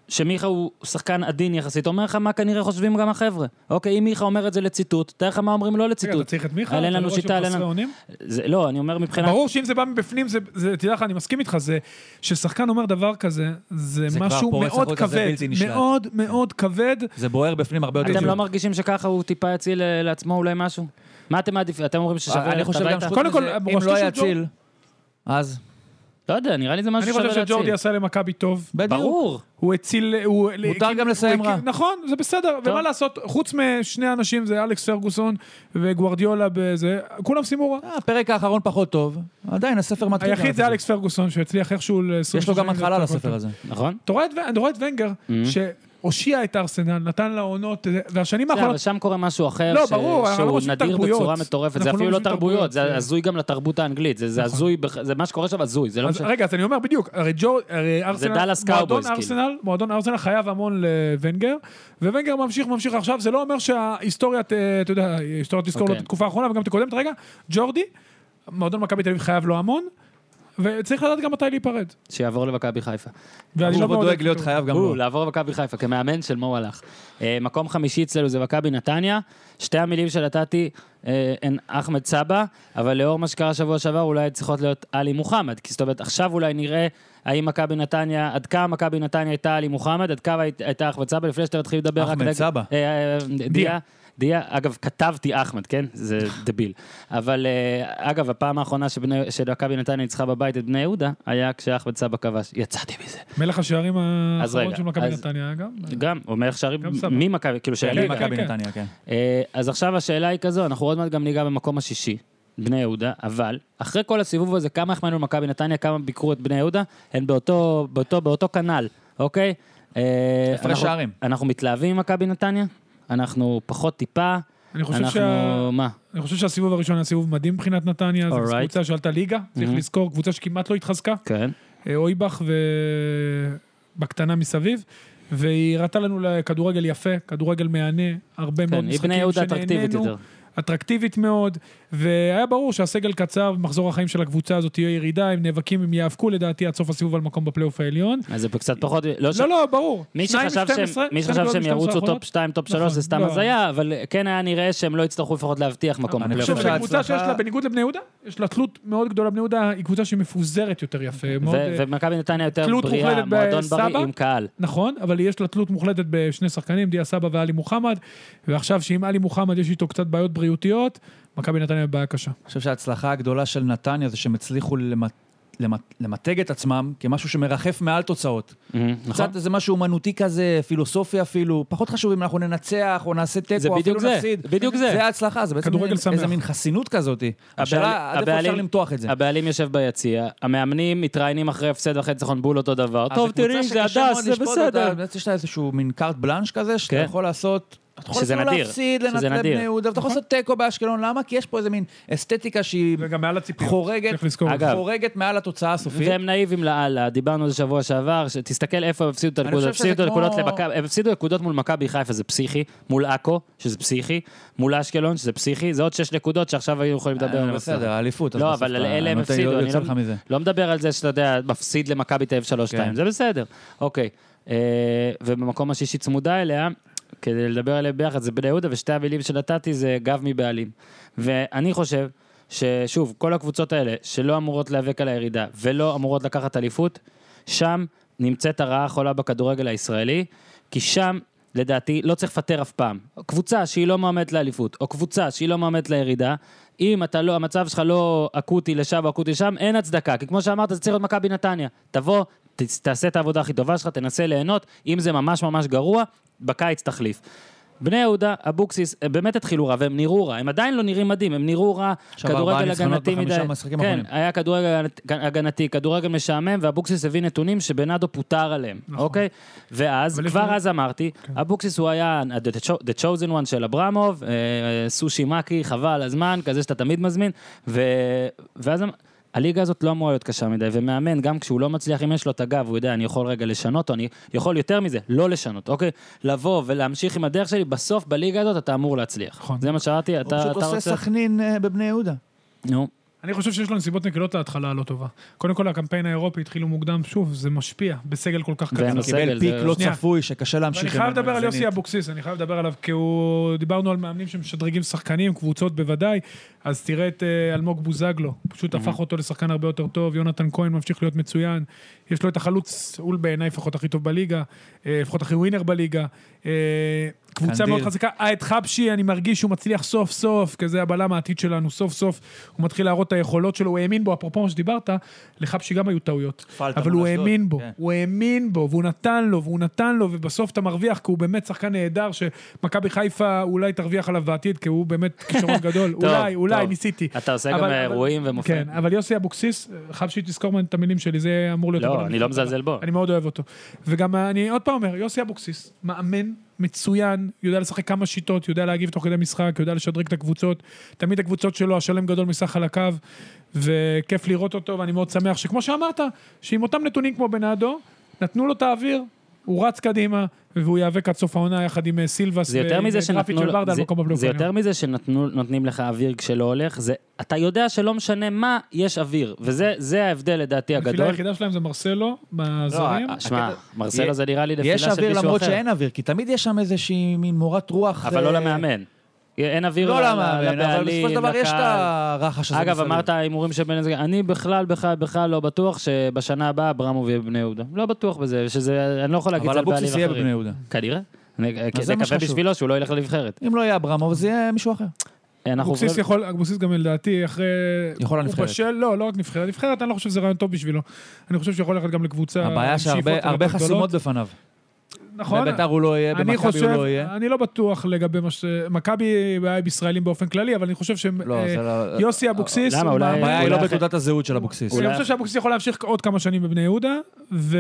[SPEAKER 1] שמיכה הוא שחקן עדין יחסית, אומר לך מה כנראה חושבים גם החבר'ה. אוקיי, אם מיכה אומר את זה לציטוט, תאר לך מה אומרים לא
[SPEAKER 2] רגע,
[SPEAKER 1] לציטוט.
[SPEAKER 2] אתה צריך את מיכה?
[SPEAKER 1] אבל אין
[SPEAKER 2] אתה
[SPEAKER 1] לנו
[SPEAKER 2] לא רואה
[SPEAKER 1] שיטה,
[SPEAKER 2] שהוא
[SPEAKER 1] אין
[SPEAKER 2] חסרי
[SPEAKER 1] לנו...
[SPEAKER 2] אונים?
[SPEAKER 1] זה, לא, אני אומר מבחינת...
[SPEAKER 2] ברור שאם זה בא מבפנים, זה, זה- תדע לך, אני מסכים איתך, זה, ששחקן אומר דבר כזה, זה,
[SPEAKER 5] זה כבר
[SPEAKER 2] משהו
[SPEAKER 5] פורץ
[SPEAKER 2] מאוד
[SPEAKER 5] החוצה, זה
[SPEAKER 2] כבד,
[SPEAKER 5] בלתי נשלט. כן.
[SPEAKER 2] מאוד מאוד כבד.
[SPEAKER 5] זה בוער בפנים הרבה יותר.
[SPEAKER 1] אתם לא
[SPEAKER 5] טוב.
[SPEAKER 1] מרגישים שככה הוא טיפה יציל אה, לעצמו אולי משהו? מה אתם מעדיפים? אתם אומרים ששווה
[SPEAKER 5] אני
[SPEAKER 1] ללכת
[SPEAKER 5] חושב גם
[SPEAKER 1] הביתה?
[SPEAKER 5] שחוץ
[SPEAKER 2] קודם כל,
[SPEAKER 5] מזה, אם
[SPEAKER 2] מורשתו
[SPEAKER 5] לא
[SPEAKER 2] של
[SPEAKER 5] היה אציל, אז...
[SPEAKER 1] לא יודע, נראה לי זה משהו
[SPEAKER 2] אני
[SPEAKER 1] שווה
[SPEAKER 2] חושב
[SPEAKER 1] להציל.
[SPEAKER 2] שג'ורדי עשה למכבי טוב.
[SPEAKER 5] בדיוק.
[SPEAKER 1] ברור.
[SPEAKER 2] הוא הציל... הוא,
[SPEAKER 5] מותר
[SPEAKER 2] הקים-
[SPEAKER 5] גם לסיים
[SPEAKER 2] הוא הקים-
[SPEAKER 5] רע.
[SPEAKER 2] נכון, זה בסדר.
[SPEAKER 1] טוב.
[SPEAKER 2] ומה לעשות, חוץ משני אנשים, זה אלכס פרגוסון וגוארדיולה בזה, כולם סיימו רע.
[SPEAKER 5] אה, הפרק האחרון פחות טוב, עדיין הספר מתחיל.
[SPEAKER 2] היחיד זה אלכס פרגוסון, שהצליח איכשהו ל...
[SPEAKER 5] כן, יש לו גם התחלה לספר הזה. Mm-hmm.
[SPEAKER 1] נכון?
[SPEAKER 2] אתה רואה את, ו- אתה רואה את ונגר, שהושיע את ארסנל, נתן לה עונות, והשנים
[SPEAKER 1] בסדר,
[SPEAKER 2] האחרונות...
[SPEAKER 1] אבל שם קורה משהו אחר,
[SPEAKER 2] נכון. לא,
[SPEAKER 1] ש-
[SPEAKER 2] ברור, אנחנו לא
[SPEAKER 1] שהוא
[SPEAKER 2] רושמים
[SPEAKER 1] נדיר
[SPEAKER 2] תרבויות.
[SPEAKER 1] בצורה מטורפת, זה
[SPEAKER 2] אנחנו לא
[SPEAKER 1] אפילו לא
[SPEAKER 2] רושמים
[SPEAKER 1] תרבויות,
[SPEAKER 2] תרבויות,
[SPEAKER 1] זה
[SPEAKER 2] זה-
[SPEAKER 1] הזוי גם לתרבות האנגלית, זה זה הזוי, בח- זה מה שקורה שם הזוי, זה לא
[SPEAKER 2] אז
[SPEAKER 1] משנה.
[SPEAKER 2] רגע, אז אני אומר בדיוק, הרי ג'ורד, הרי ארסנל,
[SPEAKER 1] דאלאס
[SPEAKER 2] מועדון
[SPEAKER 1] קאובויז, כאילו.
[SPEAKER 2] ארסנל, מועדון ארסנל חייב המון לוונגר, וונגר ממשיך, ממשיך עכשיו, זה לא אומר שההיסטוריה, ת- אתה יודע, ההיסטוריה תזכור לו את
[SPEAKER 1] אוקיי.
[SPEAKER 2] התקופה האחרונה וגם את הקודמת, רגע, ג'ורדי, מועדון מכבי תל אביב חייב לו המון, וצריך לדעת גם מתי להיפרד.
[SPEAKER 1] שיעבור למכבי חיפה.
[SPEAKER 2] ואני לא
[SPEAKER 5] הוא לא,
[SPEAKER 2] מאוד
[SPEAKER 5] דואג להיות
[SPEAKER 2] אותו.
[SPEAKER 5] חייב גם לו.
[SPEAKER 1] הוא, לא לעבור למכבי חיפה, כמאמן של מו הלך. אה, מקום חמישי אצלנו זה מכבי נתניה, שתי המילים שנתתי אה, הן אחמד סבא, אבל לאור מה שקרה שבוע שעבר אולי צריכות להיות עלי מוחמד, כי זאת אומרת עכשיו אולי נראה האם מכבי נתניה, עד כמה מכבי נתניה הייתה עלי מוחמד, עד כמה היית- הייתה אחמד סבא, לפני שאתה מתחיל לדבר רק...
[SPEAKER 5] אחמד
[SPEAKER 1] דג-
[SPEAKER 5] סבא.
[SPEAKER 1] אה, אה, דיה. דיה, אגב, כתבתי אחמד, כן? זה דביל. אבל אה, אגב, הפעם האחרונה שבני- שמכבי נתניה ניצחה בבית את בני יהודה, היה כשאחמד סבא כבש. יצאתי מזה.
[SPEAKER 2] מלך השערים האחרון
[SPEAKER 1] רגע,
[SPEAKER 2] של מכבי
[SPEAKER 1] אז-
[SPEAKER 2] נתניה גם.
[SPEAKER 1] גם, הוא מלך שערים
[SPEAKER 2] אה. גם סבא.
[SPEAKER 1] ממכבי, כאילו
[SPEAKER 5] אני
[SPEAKER 1] שהליגה.
[SPEAKER 5] מכבי
[SPEAKER 2] כן.
[SPEAKER 5] נתניה, כן.
[SPEAKER 1] אה, אז עכשיו השאלה היא כזו, אנחנו עוד מעט גם ניגע במקום השישי. בני יהודה, אבל אחרי כל הסיבוב הזה, כמה החמאנו למכבי נתניה, כמה ביקרו את בני יהודה, הן באותו, באותו, באותו כנ"ל, אוקיי? אה,
[SPEAKER 5] הפרש
[SPEAKER 1] אנחנו-
[SPEAKER 5] שערים.
[SPEAKER 1] אנחנו מתלהבים עם מכבי נתניה, אנחנו פחות טיפה,
[SPEAKER 2] אני חושב
[SPEAKER 1] אנחנו...
[SPEAKER 2] שה-
[SPEAKER 1] מה?
[SPEAKER 2] אני חושב שהסיבוב הראשון היה סיבוב מדהים מבחינת נתניה, זו
[SPEAKER 1] Alright.
[SPEAKER 2] קבוצה שעלתה ליגה, צריך
[SPEAKER 1] Mhm.
[SPEAKER 2] לזכור, קבוצה שכמעט לא התחזקה,
[SPEAKER 1] כן.
[SPEAKER 2] אה, אויבך ובקטנה מסביב, והיא הראתה לנו לכדורגל יפה, כדורגל מהנה, הרבה מאוד
[SPEAKER 1] כן, היא
[SPEAKER 2] משחקים
[SPEAKER 1] בני יהודה אטרקטיבית
[SPEAKER 2] שנהנינו,
[SPEAKER 1] יותר.
[SPEAKER 2] אטרקטיבית מאוד, והיה ברור שהסגל קצר, ומחזור החיים של הקבוצה הזאת תהיה ירידה, הם נאבקים, הם ייאבקו לדעתי עד סוף הסיבוב על מקום בפלייאוף העליון.
[SPEAKER 1] אז זה קצת פחות... לא, ש...
[SPEAKER 2] לא, לא, ברור.
[SPEAKER 1] מי
[SPEAKER 2] שניים לא,
[SPEAKER 1] שחשב
[SPEAKER 2] מ- 12,
[SPEAKER 1] שהם, מי
[SPEAKER 2] שתי
[SPEAKER 1] שחשב
[SPEAKER 2] נקודות
[SPEAKER 1] שהם
[SPEAKER 2] מ- 12
[SPEAKER 1] ירוצו
[SPEAKER 2] האחרונות.
[SPEAKER 1] טופ 2, טופ 3, זה
[SPEAKER 2] נכון,
[SPEAKER 1] סתם
[SPEAKER 2] לא.
[SPEAKER 1] הזיה, אבל כן היה נראה שהם לא יצטרכו לפחות להבטיח מקום
[SPEAKER 5] אני
[SPEAKER 1] בפלייאוף.
[SPEAKER 2] אני חושב
[SPEAKER 5] שההצלחה-
[SPEAKER 2] שקבוצה שיש לה, בניגוד לבני יהודה, יש לה תלות מאוד גדולה בבני יהודה, היא קבוצה שמפוזרת יותר יפה. מאוד,
[SPEAKER 1] ו-
[SPEAKER 2] אה,
[SPEAKER 1] ומכבי נתניה יותר
[SPEAKER 2] תלות
[SPEAKER 1] בריאה,
[SPEAKER 2] מוחלטת
[SPEAKER 1] מועדון
[SPEAKER 2] בסבא?
[SPEAKER 1] בריא עם קהל.
[SPEAKER 2] נכון, אבל יש לה תלות מוחלטת בשני שחקנים, דיה סבא ואלי מוחמד, ועכשיו שעם אלי מוחמד יש איתו קצת בעיות בריאותיות, מכבי נתניה בבעיה קשה.
[SPEAKER 5] אני חושב שההצלחה הגדולה של נתניה זה שהם הצליחו למט- למט- למתג את עצמם כמשהו שמרחף מעל תוצאות.
[SPEAKER 1] מהם, נכון?
[SPEAKER 5] קצת איזה משהו אומנותי כזה, פילוסופי אפילו, פחות חשוב אם אנחנו ננצח או נעשה
[SPEAKER 1] זה
[SPEAKER 5] תיקו,
[SPEAKER 1] בדיוק
[SPEAKER 5] אפילו
[SPEAKER 1] זה,
[SPEAKER 5] נפסיד.
[SPEAKER 1] בדיוק זה.
[SPEAKER 5] זה ההצלחה, זה בעצם
[SPEAKER 2] כדורגל
[SPEAKER 5] מין-
[SPEAKER 2] שמח.
[SPEAKER 5] איזה מין חסינות כזאת. השאלה, עד איפה אפשר
[SPEAKER 1] הבעלים-
[SPEAKER 5] למתוח את זה?
[SPEAKER 1] הבעלים יושב ביציע, המאמנים מתראיינים אחרי הפסד ואחרי ניצחון בול אותו דבר. טוב, תראי, זה הדס, זה בסדר.
[SPEAKER 5] באמת יש לה איזשהו מין קארט בלאנש כזה, שאתה
[SPEAKER 1] כן.
[SPEAKER 5] יכול לעשות... אתה יכול
[SPEAKER 1] שזה
[SPEAKER 5] אפילו
[SPEAKER 1] נדיר,
[SPEAKER 5] להפסיד
[SPEAKER 1] שזה
[SPEAKER 5] לנת- לבני
[SPEAKER 1] נדיר. נכון.
[SPEAKER 5] יהודה, ואתה יכול לעשות תיקו באשקלון, למה? כי יש פה איזה מין אסתטיקה שהיא
[SPEAKER 2] וגם מעל הציפיות.
[SPEAKER 5] חורגת,
[SPEAKER 2] צריך לזכור.
[SPEAKER 1] אגב,
[SPEAKER 5] חורגת מעל התוצאה הסופית.
[SPEAKER 1] והם נאיבים לאללה, דיברנו על זה שבוע שעבר, ש- תסתכל איפה הם הפסידו את הנקודות,
[SPEAKER 5] חושב שזה
[SPEAKER 1] הפסידו נקודות
[SPEAKER 5] כמו-
[SPEAKER 1] למכבי, הם הפסידו נקודות מול מכבי חיפה, זה פסיכי, מול עכו, שזה פסיכי, מול אשקלון, שזה פסיכי, זה עוד שש נקודות שעכשיו היינו יכולים לדבר
[SPEAKER 5] אה,
[SPEAKER 1] על זה.
[SPEAKER 5] בסדר, האליפות. אז
[SPEAKER 1] לא,
[SPEAKER 5] בסוף
[SPEAKER 1] אבל
[SPEAKER 5] אתה-
[SPEAKER 1] אלה הם
[SPEAKER 5] נותן-
[SPEAKER 1] הפסידו, אני
[SPEAKER 5] יוצא
[SPEAKER 1] לא-
[SPEAKER 5] לך מזה.
[SPEAKER 1] לא מדבר על זה שאתה יודע, מפסיד למכבי תל אביב 3-2,
[SPEAKER 5] כן.
[SPEAKER 1] זה בסדר. אוקיי, אה, ובמקום השישי צמודה אליה, כדי לדבר עליהם ביחד, זה בני יהודה, ושתי המילים שנתתי זה גב מבעלים. ואני חושב ששוב, כל הקבוצות האלה שלא אמורות להיאבק על הירידה ולא אמורות לקחת אליפות, שם נמצאת הרעה החולה בכדורגל הישראלי, כי שם... לדעתי, לא צריך לפטר אף פעם. קבוצה שהיא לא מועמדת לאליפות, או קבוצה שהיא לא מועמדת לירידה, אם אתה לא, המצב שלך לא אקוטי לשם או אקוטי שם, אין הצדקה. כי כמו שאמרת, זה צריך להיות מכבי נתניה. תבוא, ת, תעשה את העבודה הכי טובה שלך, תנסה ליהנות. אם זה ממש ממש גרוע, בקיץ תחליף. בני יהודה, אבוקסיס, הם באמת התחילו רע, והם נראו רע. הם עדיין לא נראים מדהים, הם נראו רע,
[SPEAKER 5] עכשיו ארבעה
[SPEAKER 1] כדורגל
[SPEAKER 5] ניצחונות
[SPEAKER 1] הגנתי מדי.
[SPEAKER 5] בחמישה משחקים
[SPEAKER 1] כן,
[SPEAKER 5] אחרונים.
[SPEAKER 1] היה כדורגל הגנת- הגנתי, כדורגל משעמם, ואבוקסיס הביא נתונים שבנאדו פוטר עליהם, אוקיי? ואז,
[SPEAKER 2] נכון. אבל כן. יש
[SPEAKER 1] כבר
[SPEAKER 2] לנו-
[SPEAKER 1] אז אמרתי, אבוקסיס הוא היה the cho- the chosen one של אברמוב, אה, אה, סושי מקי, חבל הזמן, כזה שאתה תמיד מזמין, ו... ואז אמ- הליגה הזאת לא אמורה להיות קשה מדי, ומאמן, גם כשהוא לא מצליח, אם יש לו את הגב, הוא יודע, אני יכול רגע לשנות, או אני יכול יותר מזה, לא לשנות, אוקיי? לבוא ולהמשיך עם הדרך שלי, בסוף בליגה הזאת אתה אמור להצליח.
[SPEAKER 2] נכון.
[SPEAKER 1] זה מה שאמרתי,
[SPEAKER 5] הוא
[SPEAKER 1] אתה
[SPEAKER 5] פשוט
[SPEAKER 1] אתה
[SPEAKER 5] עושה
[SPEAKER 1] רוצה...
[SPEAKER 5] סכנין אה, בבני יהודה.
[SPEAKER 1] נו,
[SPEAKER 2] אני חושב שיש לו נסיבות נקלות להתחלה הלא טובה. קודם כל, הקמפיין האירופי התחילו מוקדם, שוב, זה משפיע בסגל כל כך קטן.
[SPEAKER 1] והם
[SPEAKER 2] ואני
[SPEAKER 1] הסגל,
[SPEAKER 5] קיבל
[SPEAKER 1] זה-
[SPEAKER 5] פיק לא
[SPEAKER 2] שנייה.
[SPEAKER 5] צפוי, שקשה להמשיך.
[SPEAKER 2] חייב
[SPEAKER 5] ממנו,
[SPEAKER 2] לדבר על יוסי
[SPEAKER 5] זנית.
[SPEAKER 2] אבוקסיס, אני חייב לדבר עליו, כי הוא... דיברנו על מאמנים שמשדרגים שחקנים, קבוצות בוודאי, אז תראה את אה, אלמוג בוזגלו, פשוט הפך אותו לשחקן הרבה יותר טוב, יונתן כהן ממשיך להיות מצוין, יש לו את החלוץ, הוא בעיניי לפחות הכי טוב בליגה, אה, לפחות הכי ווינר בליגה, אה, קבוצה
[SPEAKER 5] קנדיל.
[SPEAKER 2] מאוד חזקה, אה, את חבשי, אני מרגיש שהוא מצליח סוף סוף, כי זה הבלם העתיד שלנו, סוף סוף הוא מתחיל להראות את היכולות שלו, הוא האמין בו, אפרופו מה שדיברת, לחבשי גם היו טעויות,
[SPEAKER 5] פלטה
[SPEAKER 2] אבל
[SPEAKER 5] מול
[SPEAKER 2] הוא
[SPEAKER 5] אשדוד,
[SPEAKER 2] האמין בו,
[SPEAKER 5] כן.
[SPEAKER 2] הוא האמין בו, והוא נתן לו, והוא נתן לו, ובסוף אתה מרוויח, כי הוא באמת שחקן נהדר, שמכבי חיפה אולי תרוויח עליו בעתיד, כי הוא באמת כישרון גדול.
[SPEAKER 1] טוב,
[SPEAKER 2] אולי, אולי,
[SPEAKER 1] טוב.
[SPEAKER 2] ניסיתי.
[SPEAKER 1] אתה עושה גם אה,
[SPEAKER 2] אבל-
[SPEAKER 1] אירועים ומופעים.
[SPEAKER 2] כן, אבל יוסי אבוקסיס, חייב שתזכור את המילים שלי, זה אמור להיות...
[SPEAKER 1] לא,
[SPEAKER 2] הבן אדם
[SPEAKER 1] אני לא
[SPEAKER 2] שלך.
[SPEAKER 1] מזלזל בו.
[SPEAKER 2] אני מאוד אוהב אותו. וגם אני עוד פעם אומר, יוסי אבוקסיס, מאמן מצוין, יודע לשחק כמה שיטות, יודע להגיב תוך כדי משחק, יודע לשדרג את הקבוצות, תמיד הקבוצות שלו, השלם גדול מסך על הקו, וכיף לראות אותו, ואני מאוד שמח שכמו שאמרת, שעם אותם נתונים כמו בנאדו, נתנו לו את האוויר. הוא רץ קדימה, והוא ייאבק עד סוף העונה יחד עם אה, סילבס
[SPEAKER 1] זה יותר
[SPEAKER 2] ועם
[SPEAKER 1] מזה
[SPEAKER 2] אה, גרפיץ'
[SPEAKER 1] שנתנו לו-
[SPEAKER 2] וברדה על
[SPEAKER 5] לא
[SPEAKER 1] זה-
[SPEAKER 2] מקום בפלייאוף
[SPEAKER 1] זה יותר
[SPEAKER 2] העליון.
[SPEAKER 1] מזה שנותנים לך אוויר כשלא הולך, זה- אתה יודע שלא משנה מה, יש אוויר, וזה זה ההבדל לדעתי
[SPEAKER 2] הנפילה
[SPEAKER 1] הגדול.
[SPEAKER 2] היחידה שלהם זה מרסלו, בזרים.
[SPEAKER 1] לא, אה, שמע,
[SPEAKER 5] הקטע-
[SPEAKER 1] מרסלו
[SPEAKER 5] יה-
[SPEAKER 1] זה נראה לי נפילה
[SPEAKER 5] יש
[SPEAKER 1] של
[SPEAKER 5] אוויר
[SPEAKER 1] מישהו
[SPEAKER 5] למרות
[SPEAKER 1] אחר,
[SPEAKER 5] שאין אוויר, כי תמיד יש שם איזושהי מין מורת רוח.
[SPEAKER 1] אבל לא
[SPEAKER 5] אה,
[SPEAKER 1] למאמן. אין אוויר
[SPEAKER 5] לא
[SPEAKER 1] ל-
[SPEAKER 5] למאמן, אבל בסופו
[SPEAKER 1] לבעלים,
[SPEAKER 5] של דבר יש את
[SPEAKER 1] לקהל.
[SPEAKER 5] הרחש הזה.
[SPEAKER 1] אגב,
[SPEAKER 5] מסביב.
[SPEAKER 1] אמרת ההימורים של בן זגן, אני בכלל, בכלל, בכלל לא בטוח שבשנה הבאה אברמוב יהיה בבני יהודה. לא בטוח בזה, שזה, אני לא יכול להגיד את
[SPEAKER 5] אבל
[SPEAKER 1] זה על בעלים
[SPEAKER 5] אבוקסיס יהיה בבני
[SPEAKER 1] אחרים.
[SPEAKER 5] יהודה.
[SPEAKER 1] כנראה. אני-
[SPEAKER 5] אז
[SPEAKER 1] זה
[SPEAKER 5] זה מה
[SPEAKER 1] מקווה
[SPEAKER 5] שחשוב.
[SPEAKER 1] בשבילו שהוא לא ילך לנבחרת.
[SPEAKER 5] אם לא יהיה אברמוב, זה יהיה מישהו אחר.
[SPEAKER 2] אה,
[SPEAKER 1] אנחנו
[SPEAKER 2] אבוקסיס
[SPEAKER 1] עוברים-
[SPEAKER 2] יכול, אבוקסיס גם לדעתי אחרי...
[SPEAKER 5] יכול
[SPEAKER 2] הוא
[SPEAKER 5] לנבחרת.
[SPEAKER 2] בשל, לא, לא רק נבחרת. נבחרת, אני לא חושב שזה רעיון טוב בשבילו. אני חושב שיכול ללכת גם לקבוצה... עם
[SPEAKER 5] הבעיה
[SPEAKER 2] שאיפות
[SPEAKER 5] שהרבה
[SPEAKER 2] יותר
[SPEAKER 5] הרבה
[SPEAKER 2] גדולות.
[SPEAKER 5] חסימות בפניו.
[SPEAKER 2] נכון.
[SPEAKER 3] בביתר הוא לא יהיה,
[SPEAKER 2] אני
[SPEAKER 3] במכבי הוא
[SPEAKER 2] חושב,
[SPEAKER 3] לא יהיה.
[SPEAKER 2] אני לא בטוח לגבי מה ש... מכבי בעיה בישראלים באופן כללי, אבל אני חושב שהם...
[SPEAKER 3] לא,
[SPEAKER 2] אה,
[SPEAKER 3] זה לא-
[SPEAKER 2] יוסי אבוקסיס...
[SPEAKER 1] למה?
[SPEAKER 2] הוא
[SPEAKER 1] אולי-
[SPEAKER 2] מאמן-
[SPEAKER 3] הבעיה היא לא
[SPEAKER 1] אולי-
[SPEAKER 3] בתעודת הזהות של אבוקסיס.
[SPEAKER 1] אולי-
[SPEAKER 2] אני חושב שאבוקסיס יכול להמשיך עוד כמה שנים בבני יהודה, ו...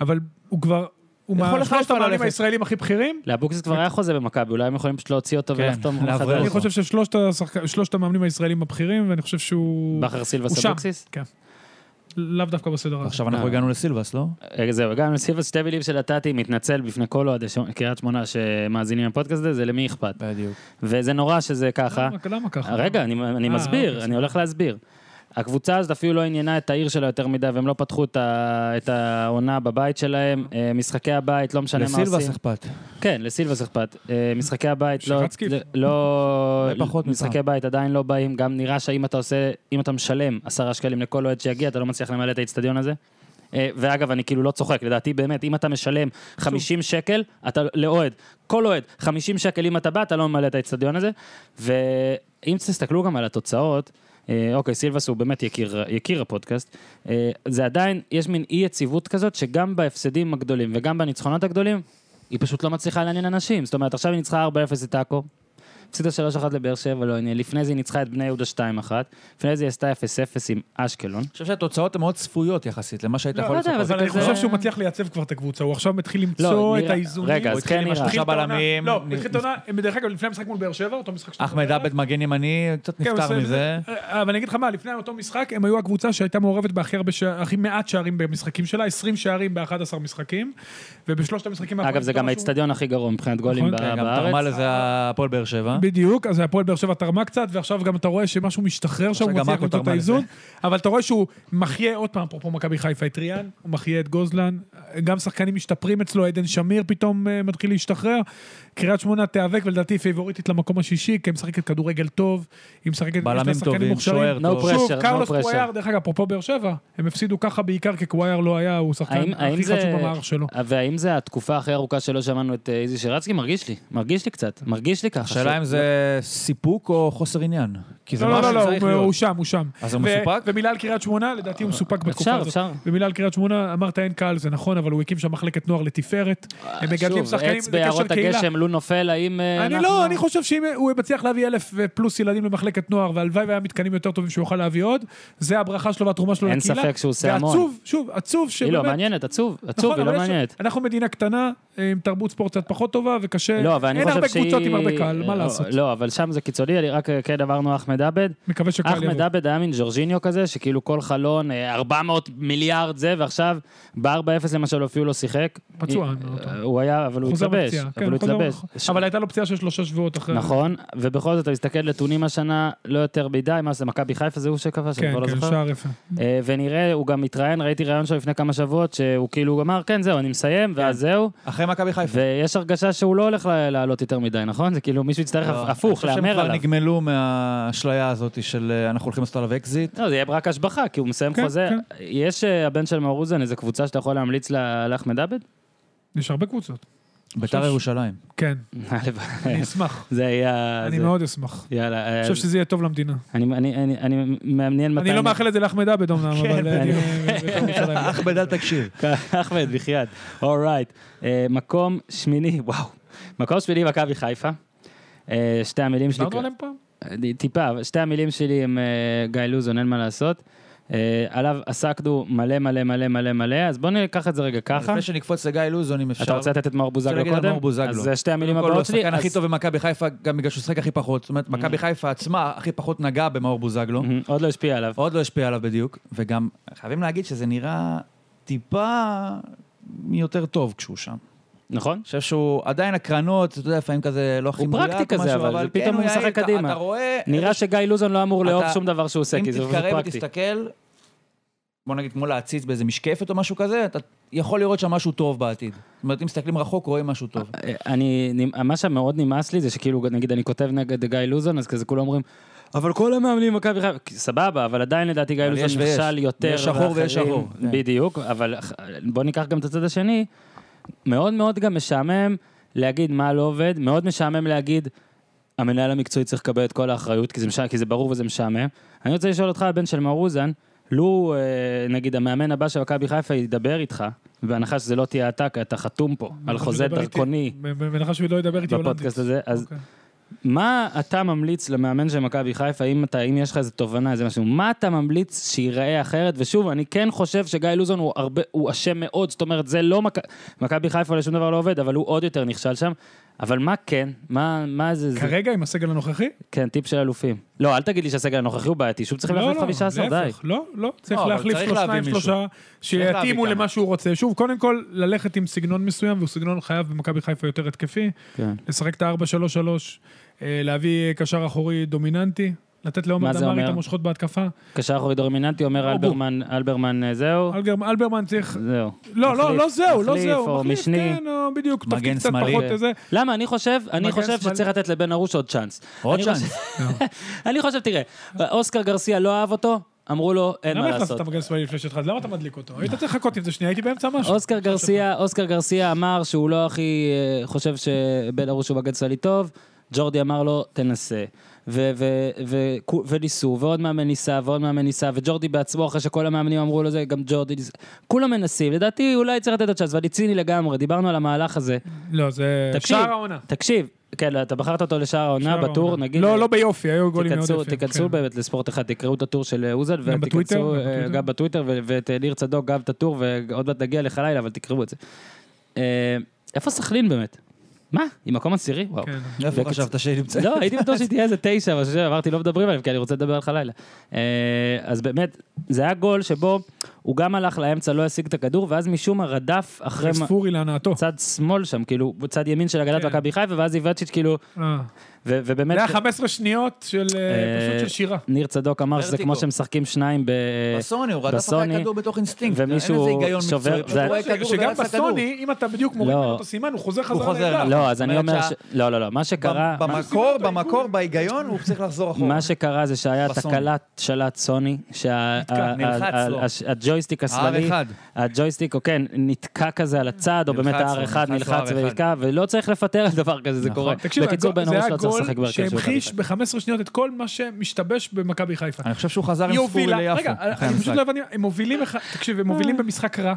[SPEAKER 2] אבל הוא כבר... הוא
[SPEAKER 3] יכול
[SPEAKER 2] מהשלושת
[SPEAKER 3] לחיפה
[SPEAKER 2] המאמנים
[SPEAKER 3] ללכת.
[SPEAKER 2] הישראלים הכי בכירים.
[SPEAKER 1] לאבוקסיס כבר היה חוזה במכבי, אולי הם יכולים פשוט להוציא אותו
[SPEAKER 3] כן,
[SPEAKER 1] ולחתום
[SPEAKER 3] לאוורר
[SPEAKER 1] מחדש.
[SPEAKER 3] אותו.
[SPEAKER 2] אני חושב ששלושת השחק- שלושת המאמנים הישראלים הבכירים, ואני חושב שהוא...
[SPEAKER 1] בכר סילבס
[SPEAKER 2] הוא שם.
[SPEAKER 1] אבוקסיס?
[SPEAKER 2] כן. לאו דווקא בסדר הזה.
[SPEAKER 3] עכשיו אנחנו
[SPEAKER 1] אה.
[SPEAKER 3] הגענו לסילבס, לא?
[SPEAKER 1] אה, זהו, גם סילבס שתי מילים שנתתי, מתנצל בפני כל אוהדי ש- קריית שמונה שמאזינים לפודקאסט הזה, זה למי אכפת.
[SPEAKER 3] בדיוק.
[SPEAKER 1] וזה נורא שזה ככה.
[SPEAKER 2] למה- למה ככה?
[SPEAKER 1] רגע, אני, אני
[SPEAKER 2] לא, אה,
[SPEAKER 1] מסביר,
[SPEAKER 2] אוקיי,
[SPEAKER 1] אני הולך להסביר. הקבוצה הזאת אפילו לא עניינה את העיר שלה יותר מדי, והם לא פתחו את, ה, את העונה בבית שלהם. אה, משחקי הבית, לא משנה מה עושים.
[SPEAKER 3] לסילבס אכפת.
[SPEAKER 1] כן, לסילבס אכפת. אה, משחקי הבית לא...
[SPEAKER 2] שרצקי.
[SPEAKER 1] לא...
[SPEAKER 3] אולי פחות
[SPEAKER 1] משחקי
[SPEAKER 3] מפעם.
[SPEAKER 1] בית עדיין לא באים. גם נראה שאם אתה עושה... אם אתה משלם עשרה שקלים לכל אוהד שיגיע, אתה לא מצליח למלא את האיצטדיון הזה. אה, ואגב, אני כאילו לא צוחק, לדעתי באמת, אם אתה משלם 50 שקל, אתה לאוהד, כל אוהד, 50 שקל אם אתה בא, אתה לא ממלא את האיצטדיון הזה. ואם תסתכלו גם על התוצאות, אה, אוקיי, סילבס הוא באמת יקיר, יקיר הפודקאסט, אה, זה עדיין, יש מין אי יציבות כזאת, שגם בהפסדים הגדולים וגם בניצחונות הגדולים, היא פשוט לא מצליחה לעניין אנשים. זאת אומרת, עכשיו היא ניצחה 4-0 את עכו, הפסידה 3-1 לבאר שבע, לא עניין. לפני זה היא ניצחה את בני יהודה 2-1, לפני זה היא עשתה 0-0 עם אשקלון.
[SPEAKER 2] נכון,
[SPEAKER 3] אני חושב שהתוצאות הן מאוד צפויות יחסית למה שהיית
[SPEAKER 2] לא,
[SPEAKER 3] יכול
[SPEAKER 1] לא יודע,
[SPEAKER 3] לצפות.
[SPEAKER 1] אבל זה
[SPEAKER 2] אבל אני
[SPEAKER 1] כזה-
[SPEAKER 2] חושב שהוא מצליח לייצב כבר את הקבוצה, הוא עכשיו מתחיל
[SPEAKER 1] לא,
[SPEAKER 2] למצוא את
[SPEAKER 1] נראה-
[SPEAKER 2] האיזונים.
[SPEAKER 1] רגע,
[SPEAKER 2] הוא
[SPEAKER 1] אז כן
[SPEAKER 3] עם
[SPEAKER 1] נראה.
[SPEAKER 2] התחיל את העונה-
[SPEAKER 3] בלמים.
[SPEAKER 2] לא, הוא התחיל את העונה, דרך אגב, לפני המשחק מול באר שבע, אותו משחק שאתה
[SPEAKER 3] אחמד
[SPEAKER 2] מדבר
[SPEAKER 3] עבד מגן ימני, קצת
[SPEAKER 2] כן,
[SPEAKER 3] נפטר
[SPEAKER 2] בסדר,
[SPEAKER 3] מזה.
[SPEAKER 2] אבל אני אגיד לך מה, לפני אותו משחק, הם היו הקבוצה שהייתה מעורבת בהכי הרבה, שע- הכי מעט שערים במשחקים שלה, 20 שערים ב-11 משחקים, ובשלושת המשחקים
[SPEAKER 1] אגב, זה
[SPEAKER 2] האחרונים
[SPEAKER 1] גם
[SPEAKER 2] משהו-
[SPEAKER 1] האיצטדיון הכי גרוע מבחינת גולים
[SPEAKER 2] נכון,
[SPEAKER 1] ב-
[SPEAKER 3] כן, גם תרמה
[SPEAKER 1] בארץ.
[SPEAKER 3] לזה הפועל באר שבע.
[SPEAKER 2] בדיוק, אז הפועל באר שבע תרמה קצת, ועכשיו גם אתה רואה שמשהו משתחרר שם,
[SPEAKER 3] עכשיו
[SPEAKER 2] הוא
[SPEAKER 3] גם
[SPEAKER 2] מצליח
[SPEAKER 3] עכו
[SPEAKER 2] למצוא את
[SPEAKER 3] תרמה
[SPEAKER 2] האיזון, אבל אתה רואה שהוא מחיה, עוד פעם, אפרופו מכבי חיפה, את ריאן, הוא מחיה את גוזלן, גם שחקנים משתפרים אצלו, עדן שמיר פתאום אה, מתחיל להשתחרר, קריית שמונה תיאבק, ולדעתי היא פייבוריטית למקום השישי, כי היא משחקת כדורגל טוב, היא משחקת, יש לה
[SPEAKER 3] בלמים
[SPEAKER 2] שחקנים
[SPEAKER 3] טובים,
[SPEAKER 2] מוכשרים.
[SPEAKER 3] שוער
[SPEAKER 1] No
[SPEAKER 3] טוב.
[SPEAKER 1] pressure.
[SPEAKER 2] שוב, קרלוס
[SPEAKER 1] no pressure.
[SPEAKER 2] קוויאר, דרך אגב, אפרופו באר שבע, הם הפסידו ככה בעיקר כי קוויאר לא היה, הוא השחקן
[SPEAKER 1] האם- האם
[SPEAKER 2] הכי
[SPEAKER 1] זה...
[SPEAKER 2] חשוב במערך שלו.
[SPEAKER 1] והאם זה התקופה הכי ארוכה שלא שמענו את אה, איזי שרצקי? מרגיש לי, מרגיש לי קצת, מרגיש לי ככה.
[SPEAKER 3] השאלה אם זה סיפוק או חוסר עניין. כי זה
[SPEAKER 2] לא, לא,
[SPEAKER 3] משהו
[SPEAKER 2] לא,
[SPEAKER 3] שצריך
[SPEAKER 2] לא, הוא
[SPEAKER 3] להיות.
[SPEAKER 2] שם, הוא שם.
[SPEAKER 3] אז הוא
[SPEAKER 2] ו-
[SPEAKER 3] מסופק?
[SPEAKER 2] ומילה על קריית שמונה, לדעתי הוא מסופק בתקופה הזאת.
[SPEAKER 1] אה, אפשר.
[SPEAKER 2] ומילה על קריית שמונה, אמרת אין קהל, זה נכון, אבל הוא הקים שם מחלקת נוער לתפארת. הם מגדלים
[SPEAKER 1] אה, שוב,
[SPEAKER 2] שחקנים,
[SPEAKER 1] עץ
[SPEAKER 2] זה קשר
[SPEAKER 1] ביערות
[SPEAKER 2] קהילה.
[SPEAKER 1] הגשם, לו נופל, האם... אה,
[SPEAKER 2] אני
[SPEAKER 1] אנחנו-
[SPEAKER 2] לא, אני חושב שאם הוא מצליח להביא אלף פלוס ילדים למחלקת נוער, והלוואי והיה מתקנים יותר טובים שהוא יוכל להביא עוד, זה הברכה שלו והתרומה שלו
[SPEAKER 1] אין
[SPEAKER 2] לקהילה.
[SPEAKER 1] ספק שהוא עושה המון.
[SPEAKER 2] ועצוב, שוב, עצוב
[SPEAKER 1] היא לא
[SPEAKER 2] שבאמת...
[SPEAKER 1] מעניינת, עצוב, עצוב, היא
[SPEAKER 2] נכון, אבל
[SPEAKER 1] לא
[SPEAKER 2] יש-
[SPEAKER 1] מעניינת.
[SPEAKER 2] אנחנו מדינה קטנה, עם תרבות ספורט קצת פחות טובה, וקשה...
[SPEAKER 1] לא, אבל אני
[SPEAKER 2] אה, אין
[SPEAKER 1] חושב
[SPEAKER 2] הרבה
[SPEAKER 1] שהיא...
[SPEAKER 2] קבוצות עם הרבה קהל,
[SPEAKER 1] לא,
[SPEAKER 2] מה לעשות?
[SPEAKER 1] לא, אבל שם זה קיצוני, אני רק אה, כן עברנו אחמד עבד.
[SPEAKER 2] מקווה שקהל
[SPEAKER 1] אחמד
[SPEAKER 2] יבוא.
[SPEAKER 1] עבד היה מין ג'ורג'יניו כזה, שכאילו כל חלון, אה, 400 מיליארד זה, ועכשיו ב-4-0 למשל אפילו לא שיחק.
[SPEAKER 2] פצוע,
[SPEAKER 1] אה,
[SPEAKER 2] אני לא טועה.
[SPEAKER 1] הוא היה, אבל הוא
[SPEAKER 2] חוזר
[SPEAKER 1] התלבש.
[SPEAKER 2] מפציעה,
[SPEAKER 1] אבל הוא
[SPEAKER 2] כן, חוזר
[SPEAKER 1] התלבש.
[SPEAKER 2] מח- אבל הייתה לו פציעה של שלושה שבועות אחרי.
[SPEAKER 1] נכון, ובכל זאת אתה מסתכל נתונים השנה, לא יותר מדי, מה זה, מכבי חיפה זה הוא שכבש, אני
[SPEAKER 2] כן,
[SPEAKER 1] כבר לא
[SPEAKER 2] כן,
[SPEAKER 1] זוכר.
[SPEAKER 2] שער יפה.
[SPEAKER 1] אה, ונראה, הוא גם התראיין, ראיתי ראיון שלו לפני כמה שבועות, שהוא כאילו אמר, כן, זהו, אני מסיים, ואז זהו,
[SPEAKER 3] אחרי מכבי חיפה.
[SPEAKER 1] ויש הרגשה שהוא לא הולך ל- לעלות יותר מדי, נכון? זה כאילו מישהו יצטרך
[SPEAKER 3] לא,
[SPEAKER 1] הפוך,
[SPEAKER 3] אני חושב
[SPEAKER 1] להמר
[SPEAKER 3] שהם כבר
[SPEAKER 1] עליו.
[SPEAKER 3] נגמלו מהאשליה הזאת של אה, אנחנו הולכים לעשות עליו אקזיט.
[SPEAKER 1] לא, זה יהיה רק השבחה, כי הוא מסיים
[SPEAKER 2] כן,
[SPEAKER 1] חוזה. יש אה, הבן של מאור אוזן, איזה קבוצה שאתה יכול להמליץ ל- לאחמד עבד?
[SPEAKER 2] יש הרבה קבוצות.
[SPEAKER 3] ביתר
[SPEAKER 2] חושב-
[SPEAKER 3] ירושלים.
[SPEAKER 2] כן, אני
[SPEAKER 1] הלוואי.
[SPEAKER 2] אשמח.
[SPEAKER 1] זה היה...
[SPEAKER 2] אני
[SPEAKER 1] זה-
[SPEAKER 2] מאוד אשמח.
[SPEAKER 1] יאללה.
[SPEAKER 2] אני
[SPEAKER 1] אה,
[SPEAKER 2] חושב שזה יהיה טוב למדינה.
[SPEAKER 1] אני- אני אני- אני מעניין מתי...
[SPEAKER 2] אני לא מאחל את זה לאחמד עבד אמנם, אבל... אה,
[SPEAKER 1] אני-
[SPEAKER 2] אני-
[SPEAKER 1] אה,
[SPEAKER 2] בירושלים.
[SPEAKER 3] אך בדל תקשיב.
[SPEAKER 1] אחמד, בחייאת. אורייט. מקום שמיני, וואו. מקום שמיני, מכבי חיפה. אה, שתי המילים שלי...
[SPEAKER 2] דיברנו עליהם פעם?
[SPEAKER 1] אה, טיפה, אבל שתי המילים שלי הם אה, גיא לוזון, אין מה לעשות. אה, עליו עסקנו מלא מלא מלא מלא מלא, אז בואו ניקח את זה רגע ככה.
[SPEAKER 3] לפני שנקפוץ לגיא לוזון, אם אפשר.
[SPEAKER 1] אתה רוצה לתת את מאור בוזגלו
[SPEAKER 3] רוצה להגיד
[SPEAKER 1] קודם?
[SPEAKER 3] על מאור בוזגלו.
[SPEAKER 1] אז זה שתי המילים
[SPEAKER 3] קודם כל,
[SPEAKER 1] הבאות
[SPEAKER 3] הוא
[SPEAKER 1] שלי.
[SPEAKER 3] השחקן הכי
[SPEAKER 1] אז- Mm.
[SPEAKER 3] טוב במכבי חיפה, גם בגלל שהוא שחק הכי פחות. זאת אומרת, מכבי חיפה עצמה הכי פחות נגעה במאור בוזגלו.
[SPEAKER 1] מהמם, עוד לא השפיע עליו.
[SPEAKER 3] עוד לא השפיע עליו בדיוק, וגם חייבים להגיד שזה נראה טיפה יותר טוב כשהוא שם.
[SPEAKER 1] נכון?
[SPEAKER 3] אני חושב שהוא עדיין הקרנות, אתה יודע, לפעמים כזה לא הכי
[SPEAKER 1] הוא
[SPEAKER 3] מדויק.
[SPEAKER 1] פרקטי כזה,
[SPEAKER 3] משהו,
[SPEAKER 1] אבל זה פתאום
[SPEAKER 3] כן,
[SPEAKER 1] הוא משחק
[SPEAKER 3] יעיל, אתה-
[SPEAKER 1] קדימה.
[SPEAKER 3] אתה רואה...
[SPEAKER 1] נראה שגיא לוזון לא אמור
[SPEAKER 3] אתה-
[SPEAKER 1] לאהוב שום דבר שהוא עושה,
[SPEAKER 3] אם
[SPEAKER 1] כי זה פשוט
[SPEAKER 3] תתקרב
[SPEAKER 1] פרקטי.
[SPEAKER 3] ותסתכל, בוא נגיד כמו להציץ באיזה משקפת או משהו כזה, אתה יכול לראות שם משהו טוב בעתיד. זאת אומרת, אם מסתכלים רחוק, רואים משהו טוב.
[SPEAKER 1] אה, אני, נמ- מה שמאוד נמאס לי זה שכאילו, נגיד, אני כותב נגד גיא לוזון, אז כזה כולם אומרים, אבל כל המאמנים במכבי חיפה, כי סבבה, אבל עדיין לדעתי גיא
[SPEAKER 3] אבל
[SPEAKER 1] לוזון
[SPEAKER 3] יש ויש.
[SPEAKER 1] נכשל יותר.
[SPEAKER 3] יש שחור ויש
[SPEAKER 1] ואחרים-
[SPEAKER 3] שחור, כן.
[SPEAKER 1] בדיוק, אבל אח- בוא ניקח גם את הצד השני. מאוד מאוד גם משעמם להגיד מה לא עובד, מאוד משעמם להגיד, המנהל המקצועי צריך לקבל את כל האחריות, כי זה, מש... כי זה ברור וזה משעמם. אני רוצה לשאול אותך, הבן של מאור אוזן, לו, אה, נגיד, המאמן הבא של מכבי חיפה ידבר איתך, בהנחה שזה לא תהיה אתה, כי אתה חתום פה על חוזה
[SPEAKER 2] מדבר איתי-
[SPEAKER 1] דרכוני
[SPEAKER 2] ב- ב- בהנחה שהוא לא ידבר איתי הולנדית.
[SPEAKER 1] בפודקאסט הזה, אז
[SPEAKER 2] אוקיי.
[SPEAKER 1] מה אתה ממליץ למאמן של מכבי חיפה, אם, אתה, אם יש לך איזו תובנה, איזה משהו, מה אתה ממליץ שייראה אחרת? ושוב, אני כן חושב שגיא לוזון הוא, הרבה, הוא אשם מאוד, זאת אומרת, זה לא... מכ- מכבי חיפה לשום דבר לא עובד, אבל הוא עוד יותר נכשל שם. אבל מה כן? מה, מה זה, זה?
[SPEAKER 2] כרגע עם הסגל הנוכחי?
[SPEAKER 1] כן, טיפ של אלופים. לא, אל תגיד לי שהסגל הנוכחי הוא בעייתי, שוב צריכים
[SPEAKER 2] לא,
[SPEAKER 1] להחליף
[SPEAKER 2] לא,
[SPEAKER 1] 15, די.
[SPEAKER 2] להפך, לא, לא, צריך
[SPEAKER 5] לא, אבל
[SPEAKER 2] להחליף
[SPEAKER 5] צריך
[SPEAKER 2] שלוש-
[SPEAKER 5] להביא
[SPEAKER 2] שניים,
[SPEAKER 5] מישהו.
[SPEAKER 2] שלושה,
[SPEAKER 5] להביא
[SPEAKER 2] שיתאימו
[SPEAKER 5] כמה.
[SPEAKER 2] למה שהוא רוצה. שוב, קודם כל, ללכת עם סגנון מסוים, והוא סגנון חייב במכבי חיפה יותר התקפי.
[SPEAKER 1] כן.
[SPEAKER 2] לשחק את ה-4-3-3, אה, להביא קשר אחורי דומיננטי, לתת לעומר
[SPEAKER 1] מה זה
[SPEAKER 2] דמארי
[SPEAKER 1] אומר?
[SPEAKER 2] את המושכות בהתקפה.
[SPEAKER 1] קשר אחורי דומיננטי אומר
[SPEAKER 2] או בוא.
[SPEAKER 1] אלברמן, אלברמן אה, זהו,
[SPEAKER 2] אלגר- אלברמן צריך...
[SPEAKER 1] זהו.
[SPEAKER 2] לא, לא,
[SPEAKER 1] מחליף-
[SPEAKER 2] לא זהו, לא
[SPEAKER 1] מחליף
[SPEAKER 2] זהו.
[SPEAKER 1] או
[SPEAKER 2] מחליף,
[SPEAKER 1] משני.
[SPEAKER 2] כן, או בדיוק, תפקיד
[SPEAKER 5] מגן
[SPEAKER 2] קצת
[SPEAKER 5] שמאלי.
[SPEAKER 2] פחות
[SPEAKER 1] כן.
[SPEAKER 2] זה.
[SPEAKER 1] למה? אני חושב, אני
[SPEAKER 2] מגן
[SPEAKER 1] חושב
[SPEAKER 2] שמאלי. לא.
[SPEAKER 1] שצריך לתת לבן ארוש עוד צ'אנס.
[SPEAKER 5] עוד
[SPEAKER 1] אני
[SPEAKER 5] צ'אנס.
[SPEAKER 1] חושב- אני חושב, תראה, אוסקר גרסיה לא אהב אותו, אמרו לו, אין
[SPEAKER 2] למה
[SPEAKER 1] מה
[SPEAKER 2] החלפת את
[SPEAKER 1] לעשות.
[SPEAKER 2] המגן שמאלי לפני שהתחלת? למה אתה מדליק אותו? היית צריך לחכות עם זה שנייה, הייתי באמצע משהו.
[SPEAKER 1] אוסקר גרסיה, אוסקר גרסיה אמר שהוא לא הכי אה, חושב שבן ארוש הוא בגד סלי טוב, ג'ורדי אמר לו, תנסה. ו- ו- ו- כו- וניסו, ועוד מאמן ניסה, ועוד מאמן ניסה, וג'ורדי בעצמו, אחרי שכל המאמנים אמרו לו זה, גם ג'ורדי ניסה. כולם מנסים, לדעתי אולי צריך לתת עוד צ'אנס, ואני ציני לגמרי, דיברנו על המהלך הזה.
[SPEAKER 2] לא, זה
[SPEAKER 1] תקשיב.
[SPEAKER 2] שער העונה.
[SPEAKER 1] תקשיב, כן, אתה בחרת אותו לשער העונה
[SPEAKER 2] שער
[SPEAKER 1] בטור,
[SPEAKER 2] העונה.
[SPEAKER 1] נגיד...
[SPEAKER 2] לא, לא ביופי, היו גולים מאוד
[SPEAKER 1] תיכנסו,
[SPEAKER 2] יפים.
[SPEAKER 1] תיכנסו
[SPEAKER 2] כן.
[SPEAKER 1] באמת לספורט אחד, תקראו את הטור של אה, אוזן,
[SPEAKER 2] בטוויטר,
[SPEAKER 1] ותיכנסו
[SPEAKER 2] גם
[SPEAKER 1] אה,
[SPEAKER 2] בטוויטר.
[SPEAKER 1] גם בטוויטר, ו- ואת אה, ניר צדוק, גם את הטור, ועוד מעט נגיע לך לילה, אבל תקראו את זה. אה, איפה סכלין באמת? מה? היא מקום עשירי? וואו.
[SPEAKER 2] כן.
[SPEAKER 5] איפה חשבת שהיא נמצאת?
[SPEAKER 1] לא, הייתי בטוח שהיא תהיה איזה תשע, אבל שזה, אמרתי, לא מדברים עליהם, כי אני רוצה לדבר עליך לילה. אה, אז באמת, זה היה גול שבו הוא גם הלך לאמצע, לא השיג את הכדור, ואז משום מה רדף אחרי... מה-
[SPEAKER 2] ספורי להנאתו.
[SPEAKER 1] צד שמאל שם, כאילו, צד ימין של הגדת
[SPEAKER 2] כן.
[SPEAKER 1] מכבי חיפה, ואז איבצ'יץ' כאילו,
[SPEAKER 2] אה.
[SPEAKER 1] ו- ובאמת...
[SPEAKER 2] זה היה 15 שניות של אה,
[SPEAKER 1] אה,
[SPEAKER 2] פשוט של שירה.
[SPEAKER 1] ניר צדוק אמר שזה
[SPEAKER 5] ורטיגו.
[SPEAKER 1] כמו שמשחקים שניים ב...
[SPEAKER 5] בסוני, הוא רדף אחרי
[SPEAKER 1] בסוני,
[SPEAKER 5] הכדור בתוך אינסטינקט.
[SPEAKER 1] ומישהו
[SPEAKER 5] אין איזה היגיון
[SPEAKER 1] שובר-
[SPEAKER 5] מקצועי.
[SPEAKER 1] זה-
[SPEAKER 5] הוא רואה כדור
[SPEAKER 2] שגם
[SPEAKER 5] ורץ לכדור.
[SPEAKER 2] בסוני, אם אתה בדיוק מוריד
[SPEAKER 1] לא.
[SPEAKER 2] ממנו את הסימן, הוא חוזר חזרה
[SPEAKER 5] חוזר
[SPEAKER 2] לעמדה.
[SPEAKER 5] אליו.
[SPEAKER 1] לא, אז אני
[SPEAKER 5] אומרת
[SPEAKER 1] אומר ש...
[SPEAKER 5] שה-
[SPEAKER 1] לא, לא, לא, מה שקרה...
[SPEAKER 5] ב- במקור, במקור, בהיגיון, הוא צריך לחזור אחורה.
[SPEAKER 3] נכון.
[SPEAKER 1] מה שקרה זה שהיה
[SPEAKER 5] בסוני.
[SPEAKER 1] תקלת שלט סוני,
[SPEAKER 5] נלחץ לו.
[SPEAKER 1] שהג'ויסטיק השמאלי,
[SPEAKER 5] R1.
[SPEAKER 1] הג'ויסטיק, או כן, נתקע כזה על הצד, או
[SPEAKER 5] נלחץ
[SPEAKER 1] באמת
[SPEAKER 5] לו,
[SPEAKER 1] ה-R1
[SPEAKER 5] נלחץ לו
[SPEAKER 1] נלחץ
[SPEAKER 5] R1.
[SPEAKER 1] ונתקע, ולא צריך לפטר על דבר כזה, זה קורה.
[SPEAKER 2] תקשיב,
[SPEAKER 1] בקיצור,
[SPEAKER 2] הגול-
[SPEAKER 1] בן
[SPEAKER 2] זה
[SPEAKER 1] ארוש
[SPEAKER 2] היה
[SPEAKER 1] לא צריך
[SPEAKER 2] גול
[SPEAKER 1] לשחק בהרכב של מכבי
[SPEAKER 2] שהמחיש
[SPEAKER 1] חיפה.
[SPEAKER 2] ב-15 שניות את כל מה שמשתבש במכבי חיפה.
[SPEAKER 5] אני חושב שהוא חזר
[SPEAKER 2] היא
[SPEAKER 5] עם ספורי ליפו.
[SPEAKER 2] הובילה, לא-
[SPEAKER 5] כן, אחרי
[SPEAKER 2] רגע, אני
[SPEAKER 5] המשחק.
[SPEAKER 2] פשוט לא הבנתי, הם מובילים, אחד- תקשיב, הם מובילים במשחק רע,
[SPEAKER 1] אה.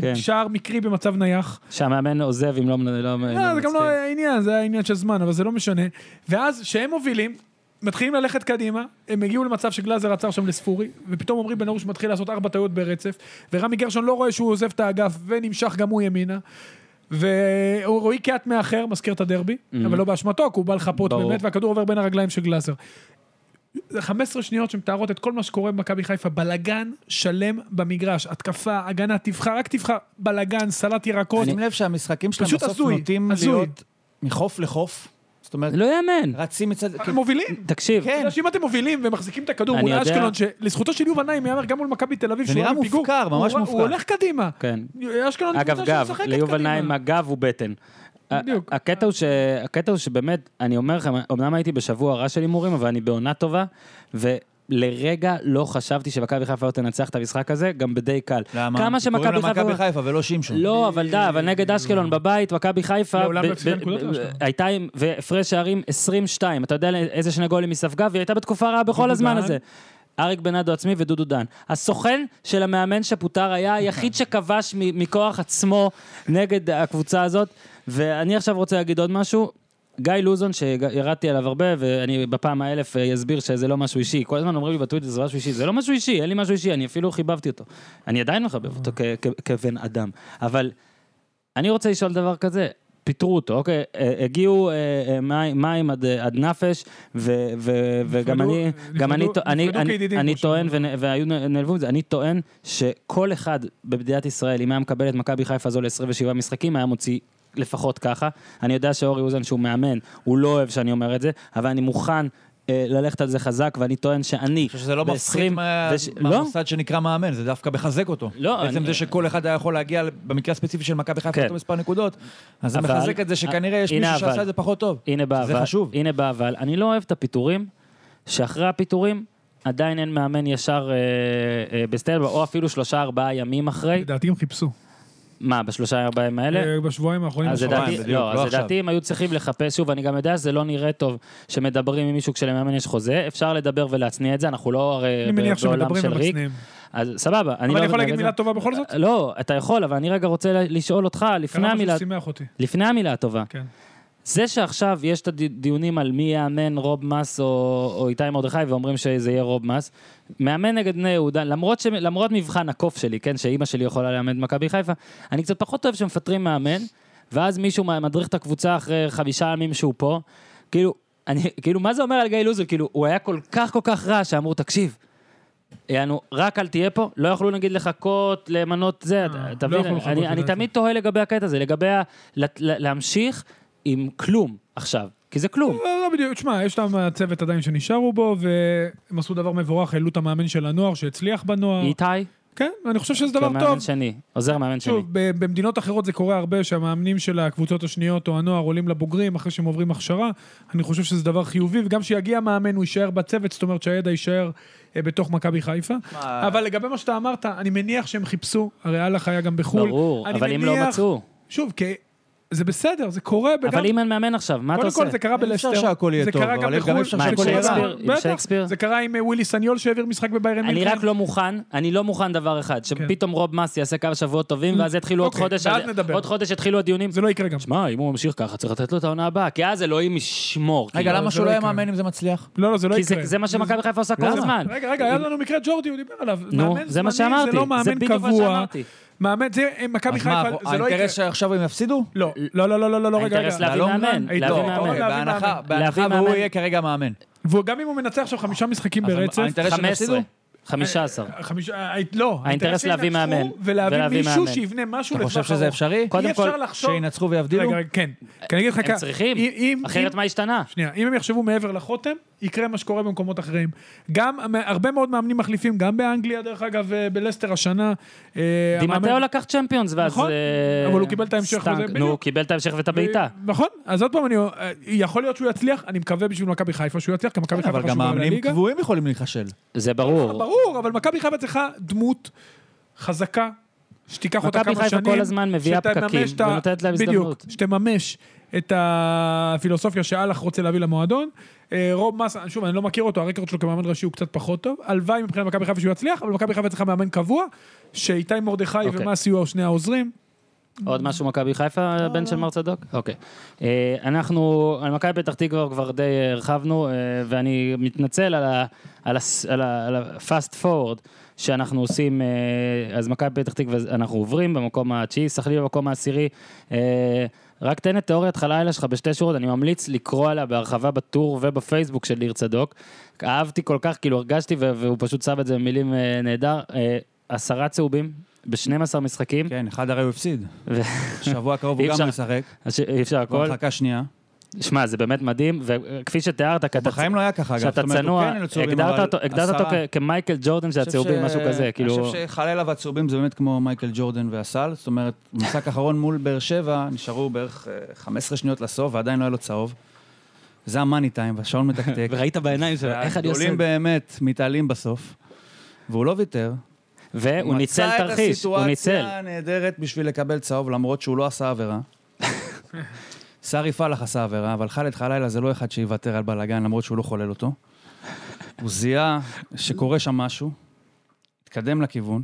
[SPEAKER 1] כן,
[SPEAKER 2] שער מקרי במצב נייח.
[SPEAKER 1] שהמאמן עוזב אם לא... לא-
[SPEAKER 2] לא, זה גם לא
[SPEAKER 1] מצליח.
[SPEAKER 2] העניין, זה היה עניין של זמן, אבל זה לא משנה. ואז כשהם מובילים, מתחילים ללכת קדימה, הם הגיעו למצב שגלאזר עצר שם לספורי, ופתאום עמרי בן ארוש מתחיל לעשות ארבע טעויות ברצף, ורמי גרשון לא רואה שהוא עוזב את האגף, ונמשך גם הוא ימינה. ורועי קיאט מאחר, מזכיר את הדרבי, אבל לא באשמתו, כי הוא בא לחפות
[SPEAKER 1] ברור.
[SPEAKER 2] באמת, והכדור עובר בין הרגליים של גלאזר. זה 15 שניות שמתארות את כל מה שקורה במכבי חיפה, בלגן שלם במגרש, התקפה, הגנה, תבחר, רק תבחר, בלגן, סלט ירקות,
[SPEAKER 5] שים לב שהמשחקים שלהם
[SPEAKER 2] פשוט
[SPEAKER 5] בסוף
[SPEAKER 2] הזוי,
[SPEAKER 5] נוטים
[SPEAKER 2] הזוי.
[SPEAKER 5] להיות מחוף לחוף. זאת אומרת,
[SPEAKER 1] זה לא יאמן.
[SPEAKER 3] כן.
[SPEAKER 5] רצים מצד...
[SPEAKER 2] אתם מובילים.
[SPEAKER 1] תקשיב,
[SPEAKER 5] כן.
[SPEAKER 2] בגלל שאם אתם מובילים ומחזיקים את הכדור
[SPEAKER 1] אני
[SPEAKER 2] מול
[SPEAKER 1] יודע.
[SPEAKER 2] אשקלון, שלזכותו של יובל נעים ייאמר גם מול מכבי תל אביב,
[SPEAKER 5] זה
[SPEAKER 2] שהוא
[SPEAKER 5] נראה
[SPEAKER 2] היה בפיגור,
[SPEAKER 5] מופקר, ממש
[SPEAKER 2] הוא- הוא
[SPEAKER 5] מופקר.
[SPEAKER 2] הולך קדימה.
[SPEAKER 1] כן.
[SPEAKER 2] אשקלון היא
[SPEAKER 1] אגב,
[SPEAKER 2] קבוצה
[SPEAKER 1] גב,
[SPEAKER 2] שמשחקת
[SPEAKER 1] ליובל
[SPEAKER 2] קדימה.
[SPEAKER 1] נעים הגב הוא בטן.
[SPEAKER 2] בדיוק.
[SPEAKER 1] ה- הקטע הוא, ש... הקטע הוא שבאמת, אני אומר לכם, אמנם הייתי בשבוע רע של הימורים, אבל אני בעונה טובה, ולרגע לא חשבתי שמכבי חיפה לא תנצח את המשחק הזה, גם בדי קל.
[SPEAKER 5] למה?
[SPEAKER 1] כמה שמכבי
[SPEAKER 5] קוראים לה מכבי
[SPEAKER 1] חיפה...
[SPEAKER 5] חיפה ולא שמשון.
[SPEAKER 1] לא, אבל די, אבל נגד אשקלון בבית, מכבי חיפה...
[SPEAKER 2] לעולם
[SPEAKER 1] ב-
[SPEAKER 2] לא הפסידה
[SPEAKER 1] ב-
[SPEAKER 2] נקודות
[SPEAKER 1] ב-
[SPEAKER 2] לאשקלון.
[SPEAKER 1] הייתה עם והפרש שערים 22, אתה יודע איזה שני גולים היא ספגה, והיא הייתה בתקופה רעה בכל הזמן
[SPEAKER 2] דן.
[SPEAKER 1] הזה. אריק בנאדו עצמי ודודו דן. הסוכן של המאמן שפוטר היה היחיד שכבש מ- מכוח עצמו נגד הקבוצה הזאת. ואני עכשיו רוצה להגיד עוד משהו. גיא לוזון, שירדתי עליו הרבה, ואני בפעם האלף אה, אסביר שזה לא משהו אישי. כל הזמן אומרים לי בטוויטר זה משהו אישי. זה לא משהו אישי, אין לי משהו אישי, אני אפילו חיבבתי אותו. אני עדיין מחבב אותו כ- כ- כבן אדם. אבל אני רוצה לשאול דבר כזה. פיטרו אותו, אוקיי? אה, הגיעו אה, אה, מי- מים עד, אה, עד נפש, ו- ו- וגם
[SPEAKER 2] נפרדו-
[SPEAKER 1] אני,
[SPEAKER 2] נפרדו-
[SPEAKER 1] גם אני, טוע- אני,
[SPEAKER 2] נפרדו
[SPEAKER 1] אני,
[SPEAKER 2] כידידים,
[SPEAKER 1] אני
[SPEAKER 2] כמו
[SPEAKER 1] טוען, ונ- והיו נ- נעלבו מזה, אני טוען שכל אחד במדינת ישראל, אם היה מקבל את מכבי חיפה הזו ל-27 משחקים, היה מוציא לפחות ככה. אני יודע שאורי אוזן, שהוא מאמן, הוא לא אוהב שאני אומר את זה, אבל אני מוכן אה, ללכת על זה חזק, ואני טוען שאני,
[SPEAKER 5] אני חושב שזה לא
[SPEAKER 1] ב-
[SPEAKER 5] מפחית
[SPEAKER 1] 20
[SPEAKER 5] מה-
[SPEAKER 1] וש- לא,
[SPEAKER 5] מהמוסד שנקרא מאמן, זה דווקא מחזק אותו.
[SPEAKER 1] לא,
[SPEAKER 5] בעצם
[SPEAKER 1] אני-
[SPEAKER 5] זה שכל אחד היה יכול להגיע, במקרה הספציפי של מכבי חיפה,
[SPEAKER 1] כן.
[SPEAKER 5] אותו מספר נקודות, אז זה
[SPEAKER 1] אבל-
[SPEAKER 5] מחזק את זה שכנראה יש
[SPEAKER 1] הנה
[SPEAKER 5] מישהו
[SPEAKER 1] אבל.
[SPEAKER 5] שעשה את זה פחות טוב.
[SPEAKER 1] הנה בא
[SPEAKER 5] שזה
[SPEAKER 1] אבל,
[SPEAKER 5] חשוב.
[SPEAKER 1] הנה בא אבל, אני לא אוהב את הפיטורים, שאחרי הפיטורים עדיין אין מאמן ישר אה, אה, בסטלבה, או אפילו שלושה ארבעה ימים אחרי.
[SPEAKER 2] לדעתי הם חיפשו.
[SPEAKER 1] מה, בשלושה ארבעה ימים האלה?
[SPEAKER 2] אה, בשבועיים האחרונים.
[SPEAKER 1] אז
[SPEAKER 2] יש
[SPEAKER 1] לדעתי,
[SPEAKER 3] בדיוק,
[SPEAKER 1] לא,
[SPEAKER 3] לא
[SPEAKER 1] אז
[SPEAKER 3] עכשיו.
[SPEAKER 1] לדעתי הם היו צריכים לחפש, שוב, אני גם יודע שזה לא נראה טוב שמדברים עם מישהו כשלמאמן יש חוזה, אפשר לדבר ולהצניע את זה, אנחנו לא הרי
[SPEAKER 2] אני מניח
[SPEAKER 1] ב- בעולם
[SPEAKER 2] שמדברים
[SPEAKER 1] של ריק,
[SPEAKER 2] ומצניעים.
[SPEAKER 1] אז סבבה, אני
[SPEAKER 2] אבל
[SPEAKER 1] לא
[SPEAKER 2] אני
[SPEAKER 1] מגנה
[SPEAKER 2] יכול להגיד
[SPEAKER 1] את זה.
[SPEAKER 2] מילה טובה בכל זאת?
[SPEAKER 1] לא, אתה יכול, אבל אני רגע רוצה ל- לשאול אותך, לפני
[SPEAKER 2] קרה
[SPEAKER 1] המילה,
[SPEAKER 2] משהו ששימח אותי.
[SPEAKER 1] לפני המילה הטובה,
[SPEAKER 2] כן.
[SPEAKER 1] זה שעכשיו יש את הדיונים על מי יאמן רוב מס או, או איתי מרדכי ואומרים שזה יהיה רוב מס, מאמן נגד בני יהודה, למרות, ש, למרות מבחן הקוף שלי, כן, שאימא שלי יכולה לאמן את מכבי חיפה, אני קצת פחות אוהב שמפטרים מאמן, ואז מישהו מה- מדריך את הקבוצה אחרי חמישה ימים שהוא פה, כאילו, אני, כאילו, מה זה אומר על גיא לוזון? כאילו, הוא היה כל כך כל כך רע שאמרו, תקשיב, יענו, רק אל תהיה פה, לא יכלו נגיד לחכות, למנות זה, אתה-
[SPEAKER 2] לא
[SPEAKER 1] תבין,
[SPEAKER 2] יכלו לחכות,
[SPEAKER 1] אני- אני
[SPEAKER 2] לדעתי.
[SPEAKER 1] תמיד תוהה לגבי הקטע הזה, לגבי ה- ל- ל- להמשיך עם כלום עכשיו, כי זה כלום.
[SPEAKER 2] לא, לא בדיוק, תשמע, יש שם צוות עדיין שנשארו בו, והם עשו דבר מבורך, העלו את המאמן של הנוער שהצליח בנוער.
[SPEAKER 1] איתי,
[SPEAKER 2] כן, אני חושב שזה דבר טוב.
[SPEAKER 1] כמאמן שני, עוזר מאמן שני.
[SPEAKER 2] שוב, ב- במדינות אחרות זה קורה הרבה, שהמאמנים של הקבוצות השניות או הנוער עולים לבוגרים אחרי שהם עוברים הכשרה. אני חושב שזה דבר חיובי, וגם שיגיע מאמן הוא יישאר בצוות, זאת אומרת שהידע יישאר אה, בתוך מכבי חיפה. אבל לגבי מה שאתה אמרת, אני מניח שהם חיפשו, הרי אהלך היה גם בחו"ל.
[SPEAKER 1] ברור,
[SPEAKER 2] אני
[SPEAKER 1] אבל אם לא
[SPEAKER 2] מניח-
[SPEAKER 1] מצאו.
[SPEAKER 2] שוב, כי זה בסדר, זה קורה. וגם-
[SPEAKER 1] אבל אם אין מאמן עכשיו, מה אתה
[SPEAKER 2] קודם
[SPEAKER 1] עושה?
[SPEAKER 2] כל זה קרה בלסטר,
[SPEAKER 3] אפשר שהכל יהיה
[SPEAKER 2] זה
[SPEAKER 3] טוב,
[SPEAKER 2] קרה
[SPEAKER 3] אבל
[SPEAKER 2] גם
[SPEAKER 3] גם
[SPEAKER 2] בחו"ל,
[SPEAKER 3] אפשר
[SPEAKER 2] זה
[SPEAKER 1] שהכל יהיה
[SPEAKER 2] קרה-
[SPEAKER 1] רע. עם
[SPEAKER 2] בטח,
[SPEAKER 1] שייקספיר?
[SPEAKER 2] זה קרה עם אה, ווילי סניול שהעביר משחק בביירן
[SPEAKER 1] אני
[SPEAKER 2] מינכן.
[SPEAKER 1] רק לא מוכן, אני לא מוכן דבר אחד, שפתאום רוב מס יעשה כמה שבועות טובים, ואז יתחילו עוד
[SPEAKER 2] כן. אוקיי,
[SPEAKER 1] חודש,
[SPEAKER 2] ואז
[SPEAKER 1] אז-
[SPEAKER 2] נדבר.
[SPEAKER 1] עוד חודש יתחילו הדיונים.
[SPEAKER 2] זה לא יקרה גם.
[SPEAKER 1] שמע, אם הוא ממשיך ככה, צריך לתת לו את העונה הבאה, כי אז אלוהים ישמור.
[SPEAKER 3] רגע,
[SPEAKER 1] כאילו.
[SPEAKER 2] זה
[SPEAKER 3] למה שהוא
[SPEAKER 2] לא
[SPEAKER 3] לא יהיה
[SPEAKER 2] יקרה.
[SPEAKER 3] מאמן אם זה מצליח?
[SPEAKER 2] לא, לא, זה לא
[SPEAKER 1] כי זה-
[SPEAKER 2] יקרה.
[SPEAKER 1] זה מה שמכבי חיפה עושה כל הזמן.
[SPEAKER 2] רגע, רגע, היה לנו מקרה ג'ורדי, הוא דיבר עליו.
[SPEAKER 1] נו,
[SPEAKER 2] מאמן
[SPEAKER 1] זה מה
[SPEAKER 2] זמני,
[SPEAKER 1] שאמרתי.
[SPEAKER 2] זה לא
[SPEAKER 1] זה
[SPEAKER 2] מאמן
[SPEAKER 1] בדיוק מה
[SPEAKER 2] קבוע.
[SPEAKER 1] שאמרתי.
[SPEAKER 2] מאמן, זה אה, מכבי
[SPEAKER 3] אז מה,
[SPEAKER 2] חיפה, זה לא יקרה.
[SPEAKER 3] האינטרס שעכשיו הם יפסידו?
[SPEAKER 2] לא, לא, לא, לא, לא, לא, לא, רגע,
[SPEAKER 1] האינטרס
[SPEAKER 2] רגע.
[SPEAKER 1] להביא
[SPEAKER 3] להלום?
[SPEAKER 1] מאמן,
[SPEAKER 2] היית-
[SPEAKER 1] להביא
[SPEAKER 3] לא,
[SPEAKER 2] מאמן.
[SPEAKER 3] אוקיי,
[SPEAKER 1] מאמן.
[SPEAKER 2] להביא
[SPEAKER 3] בהנחה
[SPEAKER 2] מאמן.
[SPEAKER 3] בהנחה
[SPEAKER 1] להביא
[SPEAKER 3] והוא
[SPEAKER 1] מאמן.
[SPEAKER 3] יהיה כרגע מאמן.
[SPEAKER 2] וגם אם הוא מנצח עכשיו חמישה משחקים
[SPEAKER 3] אז
[SPEAKER 2] ברצף,
[SPEAKER 3] האינטרס שהם
[SPEAKER 1] 15,
[SPEAKER 3] יפסידו?
[SPEAKER 1] 15.
[SPEAKER 2] חמישה- אה, לא,
[SPEAKER 1] האינטרס
[SPEAKER 2] שהם
[SPEAKER 1] להביא
[SPEAKER 2] ינצחו
[SPEAKER 1] מאמן.
[SPEAKER 2] ולהביא
[SPEAKER 1] ולהביא
[SPEAKER 2] מישהו
[SPEAKER 1] מאמן.
[SPEAKER 2] שיבנה משהו
[SPEAKER 3] אתה
[SPEAKER 2] לטווח
[SPEAKER 3] חושב
[SPEAKER 2] ארוך.
[SPEAKER 3] שזה אפשרי?
[SPEAKER 1] קודם
[SPEAKER 2] אי אפשר
[SPEAKER 1] כל,
[SPEAKER 2] לחשוב...
[SPEAKER 3] שינצחו ויבדילו?
[SPEAKER 2] רגע, רגע, כן. כי אני אגיד לך
[SPEAKER 1] הם
[SPEAKER 2] ככה,
[SPEAKER 1] צריכים,
[SPEAKER 2] אם- אם-
[SPEAKER 1] אחרת מה השתנה?
[SPEAKER 2] שנייה, אם הם יחשבו מעבר לחותם, יקרה מה שקורה במקומות אחרים. גם המ- הרבה מאוד מאמנים מחליפים, גם באנגליה, דרך אגב, אה, בלסטר השנה. אה, המאמן-
[SPEAKER 1] דימטאו לקח צ'מפיונס, ואז...
[SPEAKER 2] נכון,
[SPEAKER 1] אה,
[SPEAKER 2] אבל הוא קיבל את ההמשך
[SPEAKER 1] סטנק.
[SPEAKER 2] וזה, בדיוק.
[SPEAKER 1] נו, הוא קיבל את ההמשך ואת הבעיטה.
[SPEAKER 2] נכון, אז עוד פעם, אני, אה, יכול להיות שהוא יצליח, אני מקווה בשביל מכבי חיפה שהוא יצליח, כי
[SPEAKER 1] כן,
[SPEAKER 2] מכבי חיפה
[SPEAKER 3] כן, אבל גם
[SPEAKER 2] חשובה
[SPEAKER 3] מאמנים
[SPEAKER 2] לליגה.
[SPEAKER 3] קבועים יכולים להיכשל.
[SPEAKER 1] זה ברור.
[SPEAKER 2] ברור, אבל מכבי חיפה צריכה דמות חזקה, שתיקח אותה
[SPEAKER 1] מכבי
[SPEAKER 2] כמה
[SPEAKER 1] חיפה
[SPEAKER 2] שנים.
[SPEAKER 1] כל הזמן מביאה
[SPEAKER 2] שתממש
[SPEAKER 1] פקקים
[SPEAKER 2] את ה-
[SPEAKER 1] ונותנת להם
[SPEAKER 2] בדיוק,
[SPEAKER 1] הזדמנות.
[SPEAKER 2] שתממש את הפילוסופיה שאלח רוצה להביא למועדון. אה, רוב מסה, שוב, אני לא מכיר אותו, הרקורד שלו כמאמן ראשי הוא קצת פחות טוב. הלוואי מבחינת מכבי חיפה שהוא יצליח, אבל מכבי חיפה צריכה מאמן קבוע, שאיתי מרדכי
[SPEAKER 1] אוקיי.
[SPEAKER 2] ומסי הוא שני העוזרים.
[SPEAKER 1] עוד משהו מכבי חיפה, הבן של מר צדוק? אוקיי. אה, אנחנו, על מכבי פתח תקווה כבר די אה, הרחבנו, אה, ואני מתנצל על ה- על הס- על ה- על ה-fast forward שאנחנו עושים, אה, אז מכבי פתח תקווה, אנחנו עוברים במקום התשיעי, סחלי במקום העשירי. אה, רק תן את תיאוריית חלילה שלך בשתי שורות, אני ממליץ לקרוא עליה בהרחבה בטור ובפייסבוק של ניר צדוק. אהבתי כל כך, כאילו הרגשתי, ו- והוא פשוט שם את זה במילים אה, נהדר. אה, עשרה צהובים ב-12 משחקים.
[SPEAKER 3] כן, אחד הרי הוא הפסיד.
[SPEAKER 1] ו-
[SPEAKER 3] שבוע הקרוב
[SPEAKER 1] אי
[SPEAKER 3] הוא גם
[SPEAKER 1] אפשר.
[SPEAKER 3] לא ישחק.
[SPEAKER 1] אז ש- אי אפשר הכל.
[SPEAKER 3] הרחקה שנייה.
[SPEAKER 1] שמע, זה באמת מדהים, וכפי שתיארת, כי אתה-
[SPEAKER 3] בחיים לא היה ככה, אגב.
[SPEAKER 1] שאתה
[SPEAKER 3] זאת אומרת, הוא
[SPEAKER 1] צנוע,
[SPEAKER 3] כן לצהובים,
[SPEAKER 1] הגדרת
[SPEAKER 3] אבל
[SPEAKER 1] אותו- הגדרת אותו
[SPEAKER 3] עשרה.
[SPEAKER 1] כ- כמייקל ג'ורדן של
[SPEAKER 3] אני חושב
[SPEAKER 1] הצהובים,
[SPEAKER 3] ש-
[SPEAKER 1] משהו כזה,
[SPEAKER 3] אני
[SPEAKER 1] כאילו...
[SPEAKER 3] חושב שחלילה והצהובים זה באמת כמו מייקל ג'ורדן והסל, זאת אומרת, במשחק האחרון מול באר שבע, נשארו בערך אה, 15 שניות לסוף, ועדיין לא היה לו צהוב. זה המאני טיים, והשעון מתקתק.
[SPEAKER 1] וראית בעיניים שלו, איך אני עושה
[SPEAKER 3] הגדולים
[SPEAKER 1] את זה?
[SPEAKER 3] באמת מתעלים בסוף, והוא לא ויתר.
[SPEAKER 1] והוא ניצל תרחיש, הוא
[SPEAKER 3] מצא
[SPEAKER 1] ניצל.
[SPEAKER 3] את הסיטואציה הנהדרת בשביל לקבל צהוב, למרות שהוא לא עשה עבירה. סארי פלח עשה עבירה, אבל חאלד חלילה זה לא אחד שיוותר על בלאגן, למרות שהוא לא חולל אותו. הוא זיהה שקורה שם משהו, התקדם לכיוון.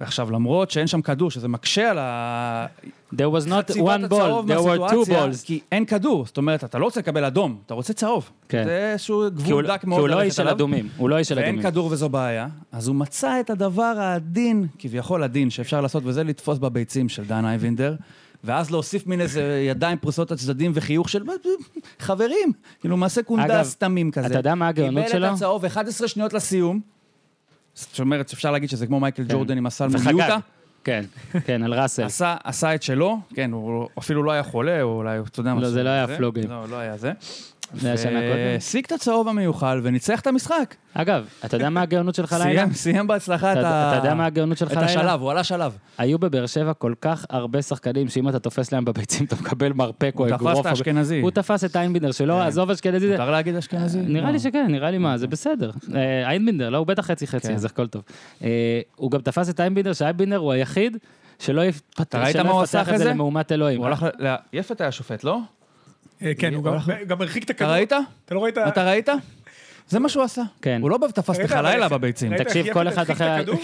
[SPEAKER 3] ועכשיו, למרות שאין שם כדור, שזה מקשה על ה...
[SPEAKER 1] There was not
[SPEAKER 3] חציפת
[SPEAKER 1] one ball,
[SPEAKER 3] הצהוב
[SPEAKER 1] there were two
[SPEAKER 3] מהסיטואציה,
[SPEAKER 1] balls.
[SPEAKER 3] כי אין כדור. זאת אומרת, אתה לא רוצה לקבל אדום, אתה רוצה צהוב.
[SPEAKER 1] כן.
[SPEAKER 3] זה
[SPEAKER 1] כי
[SPEAKER 3] איזשהו
[SPEAKER 1] הוא
[SPEAKER 3] גבול דק
[SPEAKER 1] כי
[SPEAKER 3] מאוד
[SPEAKER 1] הוא לא
[SPEAKER 3] ללכת
[SPEAKER 1] איש של
[SPEAKER 3] עליו.
[SPEAKER 1] אדומים, הוא לא איש של
[SPEAKER 3] ואין
[SPEAKER 1] אדומים.
[SPEAKER 3] כדור וזו בעיה, אז הוא מצא את הדבר העדין, כביכול עדין, שאפשר לעשות, וזה לתפוס בביצים של דן אייבינדר, ואז להוסיף מין איזה ידיים פרוסות לצדדים וחיוך של חברים, כאילו מעשה
[SPEAKER 1] אגב,
[SPEAKER 3] קונדס תמים כזה.
[SPEAKER 1] אתה יודע מה הגאונות שלו?
[SPEAKER 3] קיבל את הצהוב 11 שניות לסיום. זאת אומרת, שאפשר להגיד שזה כמו מייקל
[SPEAKER 1] כן.
[SPEAKER 3] ג'ורדן עם הסל
[SPEAKER 1] וחגג.
[SPEAKER 3] מיוטה.
[SPEAKER 1] כן, כן, על ראסל.
[SPEAKER 3] עשה, עשה את שלו, כן, הוא אפילו לא היה חולה, או אולי, אתה יודע מה
[SPEAKER 1] לא, זה לא היה הפלוגל.
[SPEAKER 3] לא, לא היה זה.
[SPEAKER 1] זה היה שנה קודם.
[SPEAKER 3] והשיג את הצהוב המיוחל וניצח את המשחק.
[SPEAKER 1] אגב, אתה יודע מה הגאונות שלך לילה?
[SPEAKER 3] סיים, סיים בהצלחה את ה...
[SPEAKER 1] אתה יודע מה הגאונות שלך
[SPEAKER 3] את
[SPEAKER 1] לילה?
[SPEAKER 3] השלב, הוא עלה שלב.
[SPEAKER 1] היו בבאר שבע כל כך הרבה שחקנים, שאם אתה תופס להם בביצים, אתה מקבל מרפק או
[SPEAKER 3] הוא
[SPEAKER 1] אגרוף.
[SPEAKER 3] תפס את
[SPEAKER 1] או-
[SPEAKER 3] האשכנזי.
[SPEAKER 1] הוא תפס את איינבינדר שלו, עזוב אשכנזי. זה-
[SPEAKER 3] מותר להגיד אשכנזי?
[SPEAKER 1] נראה
[SPEAKER 3] לא.
[SPEAKER 1] לי שכן, נראה לי מה, זה בסדר. אה, איינבינדר, לא, הוא בטח חצי חצי,
[SPEAKER 3] כן.
[SPEAKER 1] אז הכל טוב. אה, הוא גם תפס את איינבינדר, שאיינבינדר הוא היחיד שלא יפתח
[SPEAKER 5] ראית
[SPEAKER 1] שלא
[SPEAKER 5] מה הוא עשה
[SPEAKER 1] יפתח את זה
[SPEAKER 5] אחרי זה?
[SPEAKER 1] למהומת אלוהים.
[SPEAKER 5] הוא הלך ל... יפת היה שופט, לא?
[SPEAKER 2] אה, כן, הוא גם-
[SPEAKER 5] הלך-
[SPEAKER 2] גם הרחיק את
[SPEAKER 5] אתה
[SPEAKER 2] הכדור.
[SPEAKER 5] ראית?
[SPEAKER 2] אתה לא ראית?
[SPEAKER 5] אתה ראית? זה מה שהוא עשה.
[SPEAKER 1] כן.
[SPEAKER 5] הוא לא בא ותפס
[SPEAKER 2] ראית,
[SPEAKER 5] לך
[SPEAKER 2] אבל
[SPEAKER 5] לילה
[SPEAKER 2] יפה.
[SPEAKER 5] בביצים.
[SPEAKER 2] ראית איך
[SPEAKER 1] תקשיב,
[SPEAKER 2] יפת
[SPEAKER 1] כל אחד
[SPEAKER 2] הרחיק את
[SPEAKER 1] אחרי ה-
[SPEAKER 2] הכדור?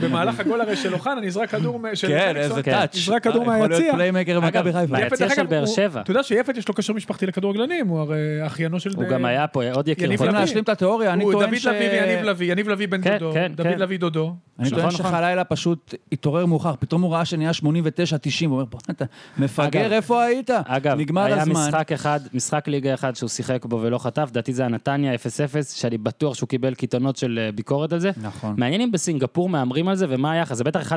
[SPEAKER 2] במהלך הגול הרי של אוחנה נזרק כדור מ- של
[SPEAKER 5] כן,
[SPEAKER 2] אליקסון.
[SPEAKER 5] איזה
[SPEAKER 1] כן.
[SPEAKER 5] טאץ'. אה,
[SPEAKER 2] נזרק כדור
[SPEAKER 5] יכול
[SPEAKER 2] מהיציע.
[SPEAKER 5] להיות פליימקר במכבי חיפה.
[SPEAKER 1] ביציע
[SPEAKER 2] דרך
[SPEAKER 1] של
[SPEAKER 2] אגב,
[SPEAKER 1] באר
[SPEAKER 2] הוא-
[SPEAKER 1] שבע.
[SPEAKER 2] אתה יודע שיפת יש לו קשר משפחתי לכדורגלנים, הוא הרי אחיינו של...
[SPEAKER 1] הוא גם היה פה, עוד יקיר
[SPEAKER 2] יניב
[SPEAKER 1] פה.
[SPEAKER 5] צריכים
[SPEAKER 2] לביא.
[SPEAKER 5] להשלים את התיאוריה, אני
[SPEAKER 2] הוא
[SPEAKER 5] טוען
[SPEAKER 2] דוד
[SPEAKER 5] ש...
[SPEAKER 2] לביא ויניב לביא, יניב לביא בן
[SPEAKER 1] כן,
[SPEAKER 2] דודו,
[SPEAKER 1] כן,
[SPEAKER 2] דוד
[SPEAKER 1] כן.
[SPEAKER 2] לביא דודו.
[SPEAKER 5] אני
[SPEAKER 1] נכון,
[SPEAKER 5] טוען
[SPEAKER 1] נכון.
[SPEAKER 5] שחלילה פשוט התעורר מאוחר, פתאום הוא ראה שנהיה 89-90, הוא אומר, בוא'נה, אתה
[SPEAKER 1] אגב-
[SPEAKER 5] מפגר, איפה היית?
[SPEAKER 1] אגב,
[SPEAKER 5] נגמר
[SPEAKER 1] היה
[SPEAKER 5] הזמן.
[SPEAKER 1] משחק אחד, משחק ליגה אחד שהוא שיחק בו ולא חטף, לדעתי זה היה נתניה 0-0, שאני בטוח שהוא קיבל קיתונות של אה, ביקורת על זה.
[SPEAKER 5] נכון.
[SPEAKER 1] מעניין אם בסינגפור מהמרים על זה, ומה היחס? זה בטח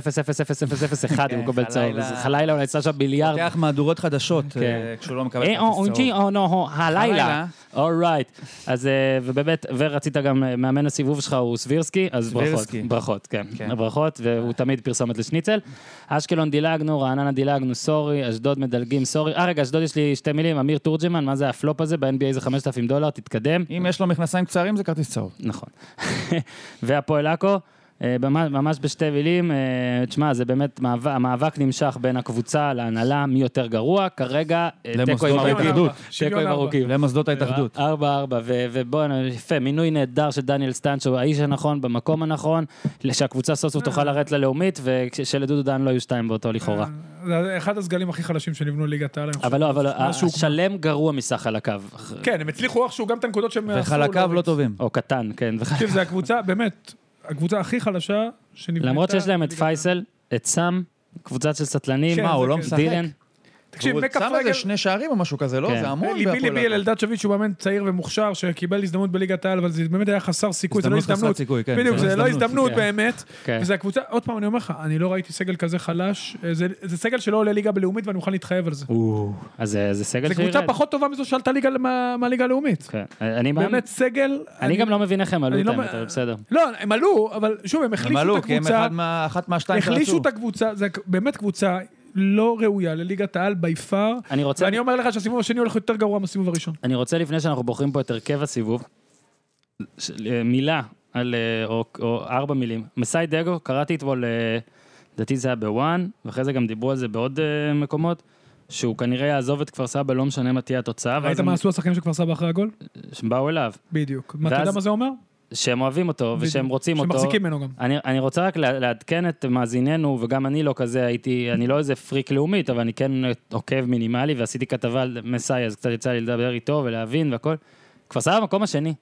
[SPEAKER 1] 1.0000001 הוא מקבל צהוב.
[SPEAKER 5] כן, חלילה.
[SPEAKER 1] אז חלילה אולי יצא שם ביליארד.
[SPEAKER 5] פותח מהדורות חדשות, אה, כשהוא לא מקבל
[SPEAKER 1] כן. אה, או,
[SPEAKER 5] כרטיס
[SPEAKER 1] אונג'י,
[SPEAKER 5] צהוב.
[SPEAKER 1] או, נו, הו, הלילה.
[SPEAKER 5] הלילה.
[SPEAKER 1] אורייט. אז, אה, ובאמת, ורצית גם, אה, מאמן הסיבוב שלך הוא סבירסקי, אז ברכות.
[SPEAKER 5] סבירסקי.
[SPEAKER 1] ברכות, כן.
[SPEAKER 5] כן.
[SPEAKER 1] ברכות, והוא תמיד פרסומת לשניצל. אשקלון דילגנו, רעננה דילגנו, סורי, אשדוד מדלגים, סורי. אה, רגע, אשדוד יש לי שתי מילים, אמיר תורג'מן, מה זה הפלופ הזה? ב-NBA זה 5,000 דולר, תתקדם.
[SPEAKER 5] אם יש לו מכנסיים קצרים זה כרטיס צהוב.
[SPEAKER 1] נכון. והפועל עכו, אה, ממש- ממש בשתי מילים, אה, תשמע, זה באמת, מאבק- המאבק נמשך בין הקבוצה להנהלה, מי יותר גרוע, כרגע אה, תיקו עם
[SPEAKER 5] למוסדות
[SPEAKER 1] ארוכים.
[SPEAKER 5] ההתאחדות.
[SPEAKER 1] תיקו עם ארוכים.
[SPEAKER 5] למוסדות ההתאחדות.
[SPEAKER 1] ארבע, ארבע, ו- ובוא, יפה, מינוי נהדר של דניאל סטנצ'ו, האיש הנכון במקום הנכון, שהקבוצה סוף סוף תוכל לרדת ללאומית, ושלדודו דן לא יהיו שתיים באותו לכאורה.
[SPEAKER 2] זה אחד הסגלים הכי חלשים שנבנו ליגת העל. אני חושב.
[SPEAKER 1] אבל לא, אבל
[SPEAKER 2] אה, משהו-
[SPEAKER 1] השלם גרוע מסך על הקו,
[SPEAKER 2] כן, הם הצליחו איכשהו גם את הנקודות שהם... עשו
[SPEAKER 5] וחלקיו לא
[SPEAKER 2] להוריד.
[SPEAKER 5] טובים.
[SPEAKER 1] או קטן, כן. וחלק-
[SPEAKER 2] תקשיב, זה הקבוצה, באמת, הקבוצה הכי חלשה שנבנתה.
[SPEAKER 1] למרות שיש להם את
[SPEAKER 2] בליגת העל.
[SPEAKER 1] פייסל, את סאם, קבוצה של סטלנים,
[SPEAKER 2] כן,
[SPEAKER 5] מה, הוא
[SPEAKER 2] זה
[SPEAKER 5] לא
[SPEAKER 2] כן.
[SPEAKER 5] משחק?
[SPEAKER 1] דילן.
[SPEAKER 2] תקשיב,
[SPEAKER 5] הוא
[SPEAKER 2] מכף
[SPEAKER 5] שם
[SPEAKER 2] רגל...
[SPEAKER 5] איזה שני שערים או משהו כזה, לא?
[SPEAKER 1] כן.
[SPEAKER 5] זה המון.
[SPEAKER 2] ליבי
[SPEAKER 5] בהפועל
[SPEAKER 2] ליבי אל
[SPEAKER 5] עכו.
[SPEAKER 2] אלדד שהוא מאמן צעיר ומוכשר, שקיבל הזדמנות בליגת העל, אבל זה באמת היה חסר סיכוי, זה לא
[SPEAKER 5] הזדמנות חסרת
[SPEAKER 2] הזדמנות.
[SPEAKER 5] סיכוי, כן.
[SPEAKER 2] בדיוק, זה לא הזדמנות
[SPEAKER 1] כן.
[SPEAKER 2] באמת.
[SPEAKER 1] כן.
[SPEAKER 2] וזה הקבוצה, עוד פעם אני אומר לך, אני לא ראיתי סגל כזה חלש, אה, זה- זה סגל שלא עולה ליגה בלאומית ואני מוכן להתחייב על זה.
[SPEAKER 1] אז אה, זה סגל
[SPEAKER 2] זו
[SPEAKER 1] שירד.
[SPEAKER 2] קבוצה פחות טובה מזו שעלתה ליגה למ- מהליגה הלאומית.
[SPEAKER 1] כן. אני מאמין.
[SPEAKER 2] באמת סגל...
[SPEAKER 1] אני גם לא מבין איך הם עלו
[SPEAKER 2] אני
[SPEAKER 1] את
[SPEAKER 2] לא
[SPEAKER 1] האמת,
[SPEAKER 2] מ-
[SPEAKER 1] אבל בסדר.
[SPEAKER 2] לא, הם עלו, אבל שוב, הם
[SPEAKER 5] הם
[SPEAKER 2] החלישו
[SPEAKER 5] עלו,
[SPEAKER 2] את
[SPEAKER 5] כי הם
[SPEAKER 2] הקבוצה.
[SPEAKER 5] אחד מה- אחת מהשתיים
[SPEAKER 2] החלישו
[SPEAKER 5] שרצו.
[SPEAKER 2] את הקבוצה, זה באמת קבוצה לא ראויה לליגת העל בי פאר.
[SPEAKER 1] אני רוצה
[SPEAKER 2] ואני אומר לך שהסיבוב השני הולך יותר גרוע מהסיבוב הראשון.
[SPEAKER 1] אני רוצה לפני שאנחנו בוחרים פה את הרכב הסיבוב, ש- אה, מילה על, אה, או, או ארבע מילים. מסאי דגו, קראתי אתמול, אה, לדעתי זה היה בוואן, ואחרי זה גם דיברו על זה בעוד אה, מקומות, שהוא כנראה יעזוב את כפר סבא, לא משנה מה תהיה התוצאה,
[SPEAKER 2] ראית
[SPEAKER 1] ואז הם,
[SPEAKER 2] מה עשו השחקנים של כפר סבא אחרי הגול?
[SPEAKER 1] שהם באו אליו,
[SPEAKER 2] בדיוק. מה, אתה
[SPEAKER 1] ואז-
[SPEAKER 2] יודע מה זה אומר?
[SPEAKER 1] שהם אוהבים אותו ושהם
[SPEAKER 2] בדיוק.
[SPEAKER 1] רוצים אותו.
[SPEAKER 2] שמחזיקים ממנו גם.
[SPEAKER 1] אני, אני רוצה רק לה- לעדכן את מאזיננו, וגם אני לא כזה הייתי, אני לא איזה פריק לאומית, אבל אני כן עוקב מינימלי, ועשיתי כתבה על מסאי, אז קצת יצא לי לדבר איתו ולהבין והכל. כפר סבא במקום השני,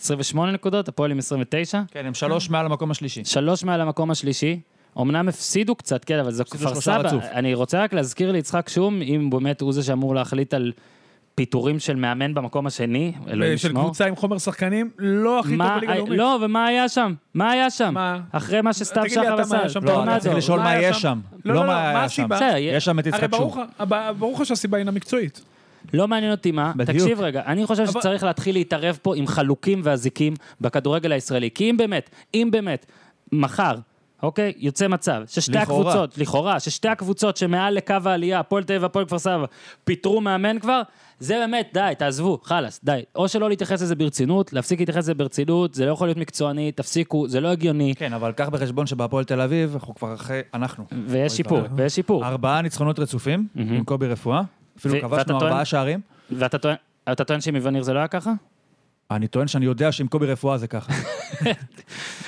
[SPEAKER 1] 28 נקודות, הפועל עם 29,
[SPEAKER 5] כן, הם שלוש מעל המקום השלישי.
[SPEAKER 1] שלוש מעל המקום השלישי. אמנם הפסידו קצת, כן, אבל זה כפר
[SPEAKER 5] שלושה
[SPEAKER 1] סבא.
[SPEAKER 5] רצוף.
[SPEAKER 1] אני רוצה רק להזכיר ליצחק שום, אם באמת הוא זה שאמור להחליט על פיטורים של מאמן במקום השני, אלוהים
[SPEAKER 2] של
[SPEAKER 1] ישמור.
[SPEAKER 2] קבוצה עם חומר שחקנים לא הכי טוב
[SPEAKER 1] מה-
[SPEAKER 2] בליגה הלאומית.
[SPEAKER 1] לא, ומה היה שם? מה היה שם?
[SPEAKER 2] מה?
[SPEAKER 1] אחרי מה שסתיו
[SPEAKER 2] תגיד לי
[SPEAKER 1] שחר
[SPEAKER 2] אתה מה היה
[SPEAKER 1] עשה,
[SPEAKER 2] שם.
[SPEAKER 5] לא, אתה צריך
[SPEAKER 1] טורנדו.
[SPEAKER 5] לשאול מה
[SPEAKER 2] היה
[SPEAKER 5] יש
[SPEAKER 2] שם?
[SPEAKER 5] שם.
[SPEAKER 2] לא, לא,
[SPEAKER 5] לא
[SPEAKER 2] לא,
[SPEAKER 5] מה
[SPEAKER 2] מה
[SPEAKER 5] היה שם.
[SPEAKER 2] הסיבה?
[SPEAKER 1] בסדר,
[SPEAKER 5] יש שם את
[SPEAKER 2] הרי
[SPEAKER 5] יצחק
[SPEAKER 2] ברור
[SPEAKER 5] שוב.
[SPEAKER 2] לך- הב- ברור לך שהסיבה אינה מקצועית.
[SPEAKER 1] לא מעניין אותי מה.
[SPEAKER 5] בדיוק.
[SPEAKER 1] תקשיב רגע, אני חושב
[SPEAKER 2] אבל-
[SPEAKER 1] שצריך להתחיל להתערב פה עם חלוקים ואזיקים בכדורגל הישראלי. כי אם באמת, אם באמת, מחר, אוקיי, יוצא מצב ששתי
[SPEAKER 5] לכאורה.
[SPEAKER 1] הקבוצות, לכאורה, ששתי הקבוצות שמעל לקו העלייה, הפועל תל אביב והפועל כפר סבא, פיטרו מאמן כבר, זה באמת, די, תעזבו, חלאס, די. או שלא להתייחס לזה ברצינות, להפסיק להתייחס לזה ברצינות, זה לא יכול להיות מקצועני, תפסיקו, זה לא הגיוני,
[SPEAKER 5] כן, אבל קח בחשבון שבהפועל תל אביב, אנחנו כבר אחרי, אנחנו.
[SPEAKER 1] ויש שיפור, ויש שיפור.
[SPEAKER 5] ארבעה ניצחונות רצופים עם קובי רפואה.
[SPEAKER 1] ו-
[SPEAKER 5] אפילו
[SPEAKER 1] ואתה
[SPEAKER 5] כבשנו
[SPEAKER 1] טוען-
[SPEAKER 5] ארבעה שערים.
[SPEAKER 1] ואתה טוען, אתה טוען שעם איווניר זה לא היה ככה?
[SPEAKER 5] אה, אני טוען שאני יודע שעם קובי רפואה זה ככה.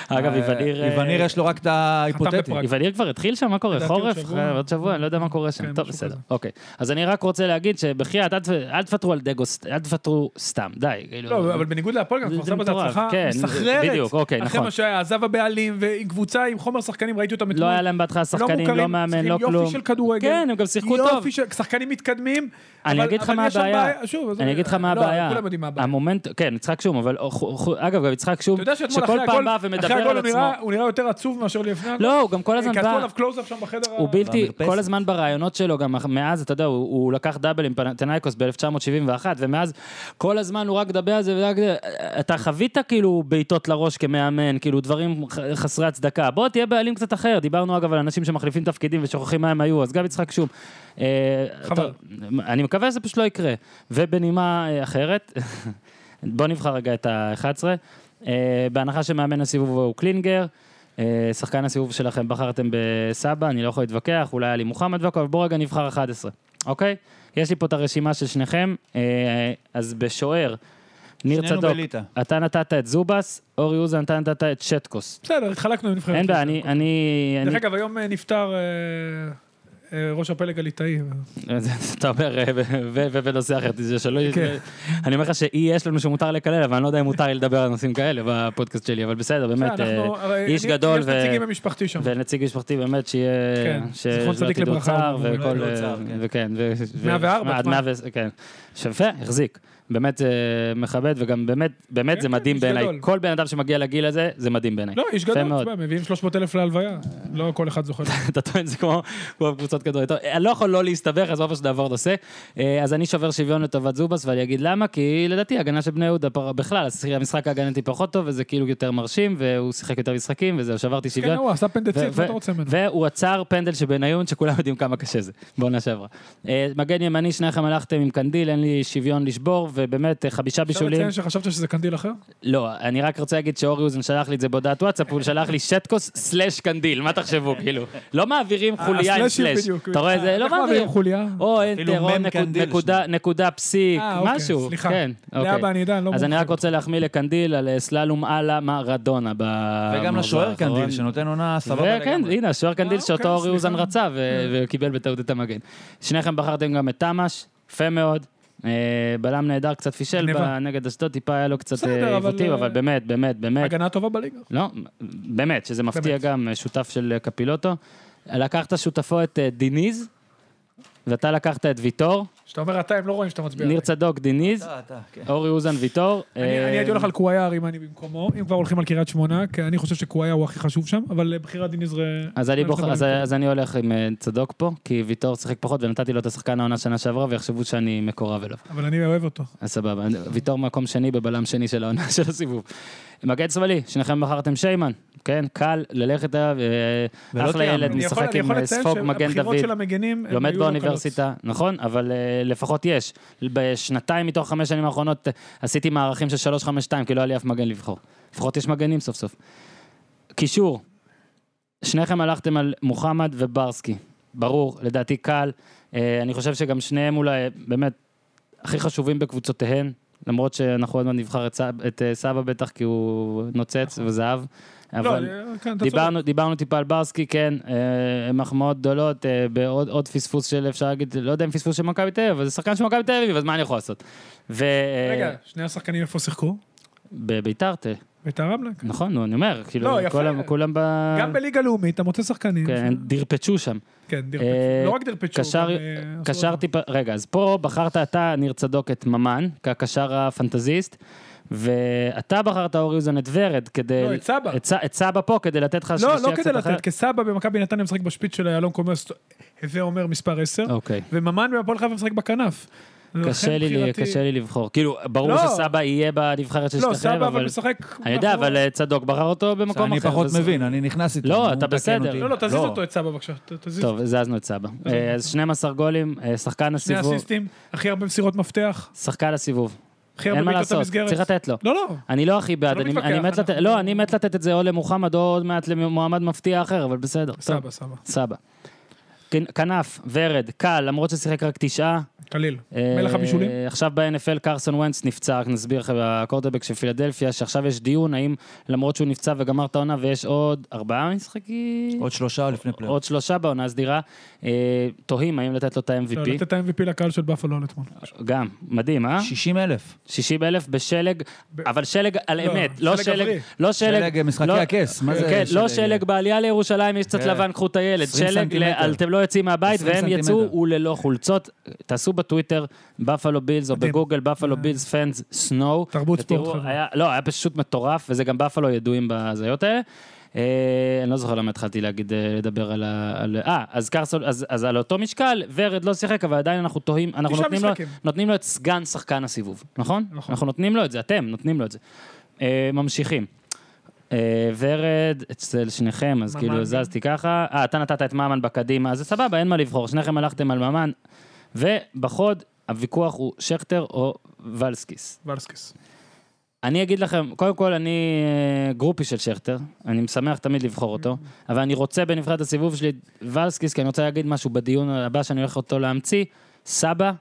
[SPEAKER 1] אגב, איווניר... אה,
[SPEAKER 5] איווניר יש לו רק את ההיפותטי.
[SPEAKER 2] בפרק.
[SPEAKER 1] אבל עיר כבר התחיל שם, מה קורה?
[SPEAKER 2] לדעתי
[SPEAKER 1] חורף?
[SPEAKER 2] עוד שבוע.
[SPEAKER 1] עוד שבוע, אני לא יודע מה קורה שם.
[SPEAKER 2] כן,
[SPEAKER 1] טוב,
[SPEAKER 2] משהו
[SPEAKER 1] בסדר.
[SPEAKER 2] כזה.
[SPEAKER 1] אוקיי. אז אני רק רוצה להגיד שבחייאת, אל ת- אל תוותרו על דגו, סת- אל תוותרו סתם, די. כאילו.
[SPEAKER 2] לא, אבל בניגוד להפועל גם
[SPEAKER 1] זה-
[SPEAKER 2] כפר
[SPEAKER 1] זה
[SPEAKER 2] סבא זה
[SPEAKER 1] מטורף,
[SPEAKER 2] הצלחה
[SPEAKER 1] כן,
[SPEAKER 2] מסחררת.
[SPEAKER 1] בדיוק, אוקיי,
[SPEAKER 2] אחרי
[SPEAKER 1] נכון.
[SPEAKER 2] מה שהיה, עזב הבעלים, ועם קבוצה עם חומר שחקנים, ראיתי אותם
[SPEAKER 1] לא
[SPEAKER 2] אתמול.
[SPEAKER 1] היה להם בהתחלה שחקנים, לא
[SPEAKER 2] מוכרים,
[SPEAKER 1] מאמן,
[SPEAKER 2] צריכים
[SPEAKER 1] לא כלום.
[SPEAKER 2] יופי של כדורגל.
[SPEAKER 1] כן, הם גם שיחקו
[SPEAKER 2] יופי
[SPEAKER 1] טוב.
[SPEAKER 2] של שחקנים מתקדמים.
[SPEAKER 1] אני
[SPEAKER 2] אבל-
[SPEAKER 1] אגיד לך
[SPEAKER 2] אבל
[SPEAKER 1] מה
[SPEAKER 2] יש שם
[SPEAKER 1] הבעיה.
[SPEAKER 2] בעיה- שוב, אז-
[SPEAKER 1] אני אגיד לך מה
[SPEAKER 2] לא,
[SPEAKER 1] הבעיה.
[SPEAKER 2] כולם יודעים מה הבעיה.
[SPEAKER 1] המומנט, כן, יצחק שום, אבל חו- חו- אגב, גם יצחק שום,
[SPEAKER 2] אתה יודע שאתמול
[SPEAKER 1] שכל
[SPEAKER 2] אחרי
[SPEAKER 1] פעם
[SPEAKER 2] הגול,
[SPEAKER 1] בא
[SPEAKER 2] אחרי
[SPEAKER 1] ומדבר
[SPEAKER 2] הגול
[SPEAKER 1] על
[SPEAKER 2] הוא
[SPEAKER 1] עצמו.
[SPEAKER 2] נראה- הוא נראה יותר עצוב מאשר לפני הגול.
[SPEAKER 1] לא, הוא גם כל הזמן
[SPEAKER 2] כי עשו
[SPEAKER 1] בא.
[SPEAKER 2] עליו קלוז-אפ שם בחדר ה...
[SPEAKER 1] הוא בלתי,
[SPEAKER 5] במרפסת.
[SPEAKER 1] כל הזמן ברעיונות שלו, גם מאז, אתה יודע, הוא, הוא לקח דאבל עם פנתנאיקוס ב-1971, ומאז כל הזמן הוא רק מדבר על זה, ורק זה. אתה חווית כאילו בעיטות לראש כמאמן, כאילו דברים ח- חסרי הצדקה. בוא, תהיה בעלים קצת אחר. דיברנו אגב על אנשים שמחליפים תפקידים ושוכחים מה הם היו, אז גם יצחק שום. אה,
[SPEAKER 2] חבל.
[SPEAKER 1] טוב, אני מקווה שזה פשוט לא יקרה. ובנימה אה, אחרת, אה, בוא נבחר רגע את ה-11. בהנחה שמאמן הסיבוב הוא קלינגר, אה, שחקן הסיבוב שלכם בחרתם בסבא, אני לא יכול להתווכח, אולי היה לי מוחמד והכל, אבל בואו רגע נבחר 11, אוקיי? יש לי פה את הרשימה של שניכם, אה, אז בשוער, ניר
[SPEAKER 5] שנינו
[SPEAKER 1] צדוק,
[SPEAKER 5] בליטא.
[SPEAKER 1] אתה נתת את זובס, אורי אוזן, אתה נתת את שטקוס.
[SPEAKER 2] בסדר, התחלקנו עם נבחרת.
[SPEAKER 1] אין בעיה,
[SPEAKER 2] ישראל.
[SPEAKER 1] אני... אני-
[SPEAKER 2] אוקיי. דרך
[SPEAKER 1] אני-
[SPEAKER 2] אגב, היום אה, נפטר אה, אה, ראש הפלג הליטאי.
[SPEAKER 1] אתה אומר, אה, ו- ו- ובנושא אחר, זה שלא...
[SPEAKER 2] כן.
[SPEAKER 1] אני אומר לך שאי יש לנו שמותר לקלל, אבל אני לא יודע אם מותר לי לדבר על נושאים כאלה בפודקאסט שלי, אבל בסדר, באמת,
[SPEAKER 2] אנחנו-
[SPEAKER 1] אה,
[SPEAKER 2] הרי
[SPEAKER 1] איש
[SPEAKER 2] אני-
[SPEAKER 1] גדול
[SPEAKER 2] יש
[SPEAKER 1] ו-
[SPEAKER 2] נציגים במשפחתי שם.
[SPEAKER 1] ונציג משפחתי באמת שיהיה...
[SPEAKER 2] כן,
[SPEAKER 1] ש-
[SPEAKER 2] זכר
[SPEAKER 1] שלא
[SPEAKER 2] צדיק
[SPEAKER 1] תדעו
[SPEAKER 2] לברכה,
[SPEAKER 1] צער
[SPEAKER 2] הוא
[SPEAKER 1] וכל... אה,
[SPEAKER 5] לא צער, כן.
[SPEAKER 1] וכן. ו- ו-
[SPEAKER 2] 104,
[SPEAKER 1] עד
[SPEAKER 2] תשמע.
[SPEAKER 1] 100 ו- כן. שווה, החזיק. באמת אה, מכבד, וגם באמת, באמת
[SPEAKER 2] כן,
[SPEAKER 1] זה
[SPEAKER 2] כן,
[SPEAKER 1] מדהים
[SPEAKER 2] איש
[SPEAKER 1] בעיניי.
[SPEAKER 2] גדול.
[SPEAKER 1] כל בן אדם שמגיע לגיל הזה, זה מדהים בעיניי.
[SPEAKER 2] לא, איש
[SPEAKER 1] יפה
[SPEAKER 2] גדול,
[SPEAKER 1] מאוד.
[SPEAKER 2] תשמע, מביאים 300 אלף להלוויה, לא כל אחד זוכר.
[SPEAKER 1] אתה טוען זה כמו כמו קבוצות כדורגל. טוב, אני לא יכול לא להסתבך, אז אופן שנעבור נושא. אה, אז אני שובר שוויון לטובת זובס, ואני אגיד למה, כי לדעתי ההגנה של בני יהודה פר- בכלל, אז המשחק ההגנתי פחות טוב, וזה כאילו יותר מרשים, והוא שיחק יותר משחקים, וזהו, שברתי
[SPEAKER 2] כן,
[SPEAKER 1] שוויון.
[SPEAKER 2] הוא עשה פנדצית,
[SPEAKER 1] ו-
[SPEAKER 2] מה אתה רוצה ממנו?
[SPEAKER 1] והוא עצר פנדל של בניון, שכולם יודעים כמה קשה זה, בעונה שעברה. אה, מגן ימני, שניכם הלכתם עם קנדיל, אין לי שוויון לשבור, ובאמת, אה, חמישה
[SPEAKER 2] אפשר
[SPEAKER 1] בישולים.
[SPEAKER 2] לציין שחשבת שזה קנדיל אחר?
[SPEAKER 1] לא, אני רק רוצה להגיד שאורי אוזן שלח לי את זה בהודעת וואטסאפ, הוא שלח לי שטקוס סלאש קנדיל, מה תחשבו, כאילו? לא מעבירים חוליה עם
[SPEAKER 2] אה, הסלאשים
[SPEAKER 1] סלאש.
[SPEAKER 2] בדיוק.
[SPEAKER 1] אתה רואה, זה לא
[SPEAKER 2] אנחנו מעבירים
[SPEAKER 1] מעבירים.
[SPEAKER 2] חוליה.
[SPEAKER 1] או
[SPEAKER 5] אפילו
[SPEAKER 1] אנטר, או
[SPEAKER 5] מם
[SPEAKER 1] נקוד-
[SPEAKER 5] קנדיל
[SPEAKER 1] נקודה- נקודה פסיק,
[SPEAKER 2] אה, אוקיי,
[SPEAKER 1] משהו.
[SPEAKER 2] סליחה.
[SPEAKER 1] כן,
[SPEAKER 2] לאבא, אני יודע, אני לא
[SPEAKER 1] אז אני
[SPEAKER 2] מומחה.
[SPEAKER 1] רק רוצה להחמיא לקנדיל על אה, סללום אללה מרדונה. אה,
[SPEAKER 5] וגם לשוער
[SPEAKER 1] נכון.
[SPEAKER 5] קנדיל, שנותן עונה סבבה
[SPEAKER 1] וכן,
[SPEAKER 5] לגמרי.
[SPEAKER 1] הנה, השוער קנדיל
[SPEAKER 2] אה,
[SPEAKER 1] שאותו
[SPEAKER 2] אוקיי,
[SPEAKER 1] אורי אוזן
[SPEAKER 2] סליחה. כן.
[SPEAKER 1] רצה ו- וקיבל בטעות את המגן. שניכם בחרתם גם את תמ"ש, יפה מאוד. אה, בלם נהדר קצת פישל
[SPEAKER 2] גניבה.
[SPEAKER 1] ב- נגד אשדוד, טיפה היה לו קצת
[SPEAKER 2] בסדר,
[SPEAKER 1] אה,
[SPEAKER 2] אבל,
[SPEAKER 1] עיוותים,
[SPEAKER 2] אה,
[SPEAKER 1] אבל באמת, באמת, באמת.
[SPEAKER 2] הגנה טובה בליגה.
[SPEAKER 1] לא, באמת, שזה מפתיע
[SPEAKER 2] באמת.
[SPEAKER 1] גם, אה, שותף של אה, קפילוטו. לקחת שותפו את אה, דיניז, ואתה לקחת את ויטור,
[SPEAKER 2] כשאתה אומר אתה, הם לא רואים שאתה מצביע.
[SPEAKER 1] ניר
[SPEAKER 2] עליי.
[SPEAKER 1] צדוק דיניז,
[SPEAKER 5] אתה, אתה, כן.
[SPEAKER 1] אורי אוזן ויטור.
[SPEAKER 2] אוקיי. אני
[SPEAKER 1] אה,
[SPEAKER 2] אני הייתי הולך על קוויה הרימני במקומו, אם כבר הולכים על קריית שמונה, כי אני חושב שקוויה הוא הכי חשוב שם, אבל אה, בחירת דין עזרא...
[SPEAKER 1] אז אני, בוח... אז,
[SPEAKER 2] אני-
[SPEAKER 1] אז אני הולך עם אה, צדוק פה, כי ויטור שיחק פחות ונתתי לו את השחקן העונה שנה שעברה ויחשבו שאני מקורב אליו.
[SPEAKER 2] אבל אני אוהב אותו.
[SPEAKER 1] אז סבבה, אני- ויטור מקום שני בבלם שני של העונה של הסיבוב. מגן שמאלי, שניכם בחרתם שיימן, כן? קל ללכת עליו, אה,
[SPEAKER 5] ולא
[SPEAKER 1] אחלה
[SPEAKER 5] תיאמנו.
[SPEAKER 1] ילד,
[SPEAKER 2] כן, אני יכול-
[SPEAKER 1] משחק
[SPEAKER 2] אני יכול
[SPEAKER 1] עם אה,
[SPEAKER 2] לציין
[SPEAKER 1] ספוג מגן
[SPEAKER 2] שהבחירות
[SPEAKER 1] דוד.
[SPEAKER 2] של המגנים... הם
[SPEAKER 1] לומד
[SPEAKER 2] היו לא
[SPEAKER 1] באוניברסיטה, נכון, אבל אה, לפחות יש. בשנתיים מתוך חמש שנים האחרונות אה, עשיתי מערכים של 3-5-2, כי לא היה לי אף מגן לבחור. לפחות יש מגנים סוף סוף. קישור, שניכם הלכתם על מוחמד וברסקי. ברור, לדעתי קל. אה, אני חושב שגם שניהם אולי אה, באמת הכי חשובים בקבוצותיהן, למרות שאנחנו עוד מעט נבחר את, סב, את אה, סבא בטח, כי הוא נוצץ וזהב.
[SPEAKER 2] קלות.
[SPEAKER 1] אבל...
[SPEAKER 2] נכון. לא, אה, כן, אתה צודק.
[SPEAKER 1] דיברנו, דיברנו טיפה על ברסקי, כן, אה, מחמאות גדולות, אה, בעוד עוד פספוס של, אפשר להגיד, לא יודע אם פספוס של מכבי תל אביב, אבל זה שחקן של מכבי תל אביב, אז מה אני יכול לעשות? ו...
[SPEAKER 2] רגע, שני השחקנים איפה שיחקו?
[SPEAKER 1] בביתר, ת-
[SPEAKER 2] ביתר רמלה. כן.
[SPEAKER 1] נכון, נו, אני אומר, כאילו,
[SPEAKER 2] לא, יפה.
[SPEAKER 1] כולם, כולם ב...
[SPEAKER 2] גם בליגה לאומית אתה מוצא שחקנים.
[SPEAKER 1] אה, כן, דרפצ'ו שם.
[SPEAKER 2] כן, דרפצ'ו.
[SPEAKER 1] אה,
[SPEAKER 2] לא רק דרפצ'ו.
[SPEAKER 1] קשר-
[SPEAKER 2] גם, אה, עשו
[SPEAKER 1] קשר
[SPEAKER 2] אותו.
[SPEAKER 1] טיפה, רגע, אז פה בחרת אתה, ניר צדוק, את ממן, כקשר הפנטזיסט, ואתה בחרת אורי אוזן את ורד, כדי...
[SPEAKER 2] לא, את סבא.
[SPEAKER 1] את, ס- את סבא פה, כדי לתת לך
[SPEAKER 2] לא,
[SPEAKER 1] שלישייה
[SPEAKER 2] לא
[SPEAKER 1] קצת
[SPEAKER 2] כדי
[SPEAKER 1] אחרת.
[SPEAKER 2] לתת, כסבא במכבי נתניה משחק בשפיץ של איילון קומרס, הווה אומר מספר 10,
[SPEAKER 1] אוקיי.
[SPEAKER 2] וממן בהפועל חיפה משחק בכנף.
[SPEAKER 1] קשה
[SPEAKER 2] ולכן
[SPEAKER 1] לי,
[SPEAKER 2] בחירתי-
[SPEAKER 1] קשה לי לבחור. כאילו, ברור
[SPEAKER 2] לא.
[SPEAKER 1] שסבא יהיה בנבחרת של
[SPEAKER 2] לא,
[SPEAKER 1] שתיכם,
[SPEAKER 2] סבא אבל
[SPEAKER 1] אבל...
[SPEAKER 2] משחק... נכון.
[SPEAKER 1] אני יודע,
[SPEAKER 2] מאחורה.
[SPEAKER 1] אבל אה, צדוק בחר אותו במקום
[SPEAKER 5] אני
[SPEAKER 1] אחר.
[SPEAKER 5] פחות
[SPEAKER 1] וזה-
[SPEAKER 5] מבין, אני נכנס איתו.
[SPEAKER 1] לא,
[SPEAKER 5] הוא
[SPEAKER 1] אתה
[SPEAKER 5] מתקן
[SPEAKER 1] בסדר.
[SPEAKER 5] אותי.
[SPEAKER 1] לא,
[SPEAKER 2] לא, לא, תזיז
[SPEAKER 5] לא.
[SPEAKER 2] אותו את סבא בבקשה, ת- תזיז.
[SPEAKER 1] טוב, זזנו את סבא. אה, אז 12 גולים, אה, שחקן
[SPEAKER 2] שני
[SPEAKER 1] הסיבוב.
[SPEAKER 2] אסיסטים, הכי הרבה מסירות מפתח,
[SPEAKER 1] שחקן הסיבוב.
[SPEAKER 2] הכי הרבה
[SPEAKER 1] אין מה
[SPEAKER 2] בעיטות
[SPEAKER 1] לעשות,
[SPEAKER 2] המסגרת.
[SPEAKER 1] צריך לתת לו.
[SPEAKER 2] לא, לא.
[SPEAKER 1] אני לא הכי בעד,
[SPEAKER 2] אתה לא
[SPEAKER 1] אני
[SPEAKER 2] מתווכח,
[SPEAKER 1] אני מת לתת,
[SPEAKER 2] אנחנו-
[SPEAKER 1] לא, אני מת לתת את זה או למוחמד או עוד מעט למועמד מפתיע אחר, אבל בסדר. טוב,
[SPEAKER 2] סבא, סבא.
[SPEAKER 1] סבא. כן, כנף, ורד, קל, למרות ששיחק רק תשעה,
[SPEAKER 2] קליל.
[SPEAKER 1] אה,
[SPEAKER 2] מלך הבישולים.
[SPEAKER 1] עכשיו ב-NFL קרסון ונץ נפצע, רק נסביר לכם, הקורטרבק של פילדלפיה, שעכשיו יש דיון האם למרות שהוא נפצע וגמר את העונה ויש עוד ארבעה משחקים,
[SPEAKER 5] עוד שלושה לפני פלייאוף.
[SPEAKER 1] עוד שלושה בעונה הסדירה, אה, תוהים האם לתת לו את
[SPEAKER 2] לא,
[SPEAKER 1] ה-MVP.
[SPEAKER 2] לתת את ה-MVP לקהל של בפלו על אתמול.
[SPEAKER 1] גם, מדהים, אה?
[SPEAKER 5] 60 אלף.
[SPEAKER 1] 60 אלף בשלג,
[SPEAKER 2] ב-
[SPEAKER 1] אבל שלג על
[SPEAKER 2] לא,
[SPEAKER 1] אמת, לא
[SPEAKER 2] שלג
[SPEAKER 1] שלג,
[SPEAKER 2] גברי.
[SPEAKER 1] לא שלג,
[SPEAKER 5] שלג, משחקי
[SPEAKER 1] לא-
[SPEAKER 5] הכס, מה זה
[SPEAKER 1] כן, לא
[SPEAKER 5] שלג?
[SPEAKER 1] שלג בעלייה לירושלים, יש קצת
[SPEAKER 5] כן.
[SPEAKER 1] לבן, קחו את הילד.
[SPEAKER 5] 20
[SPEAKER 1] שלג, ל-
[SPEAKER 5] סנטימטר.
[SPEAKER 1] אתם לא יוצאים מהבית,
[SPEAKER 5] 20
[SPEAKER 1] והם יצאו,
[SPEAKER 5] סנטימטר.
[SPEAKER 1] הוא ללא חולצות. תעשו בטוויטר, בפלו בילס, או
[SPEAKER 2] מדהים. אה.
[SPEAKER 1] בגוגל, בפלו בילס פאנס סנואו.
[SPEAKER 2] תרבות ספורט, חבר'ה.
[SPEAKER 1] לא, היה פשוט מטורף, וזה גם בפלו ידועים בהזיות האלה. אה, אני לא זוכר למה התחלתי להגיד, אה, לדבר על ה... על- אה, אז קרסון, אז אז על אותו משקל, ורד לא שיחק, אבל עדיין אנחנו תוהים, אנחנו
[SPEAKER 2] תשעה
[SPEAKER 1] נותנים לו-
[SPEAKER 2] משחקים.
[SPEAKER 1] נותנים לו את סגן שחקן הסיבוב, נכון?
[SPEAKER 2] נכון.
[SPEAKER 1] אנחנו נותנים לו את זה, אתם נותנים לו את זה. אה, ממשיכים. אה, ורד, אצל שניכם, אז
[SPEAKER 2] ממן
[SPEAKER 1] כאילו
[SPEAKER 2] גם.
[SPEAKER 1] זזתי ככה. אה, אתה נתת את ממן בקדימה, אז סבבה, אין מה לבחור, שניכם הלכתם על ממן. ובחוד, הוויכוח הוא שכטר או ולסקיס.
[SPEAKER 2] ולסקיס.
[SPEAKER 1] אני אגיד לכם, קודם כל, אני אה, גרופי של שכטר, אני משמח תמיד לבחור אותו, אבל אני רוצה בנבחרת הסיבוב שלי את ולסקיס, כי אני רוצה להגיד משהו בדיון הבא שאני הולך אותו להמציא, סבא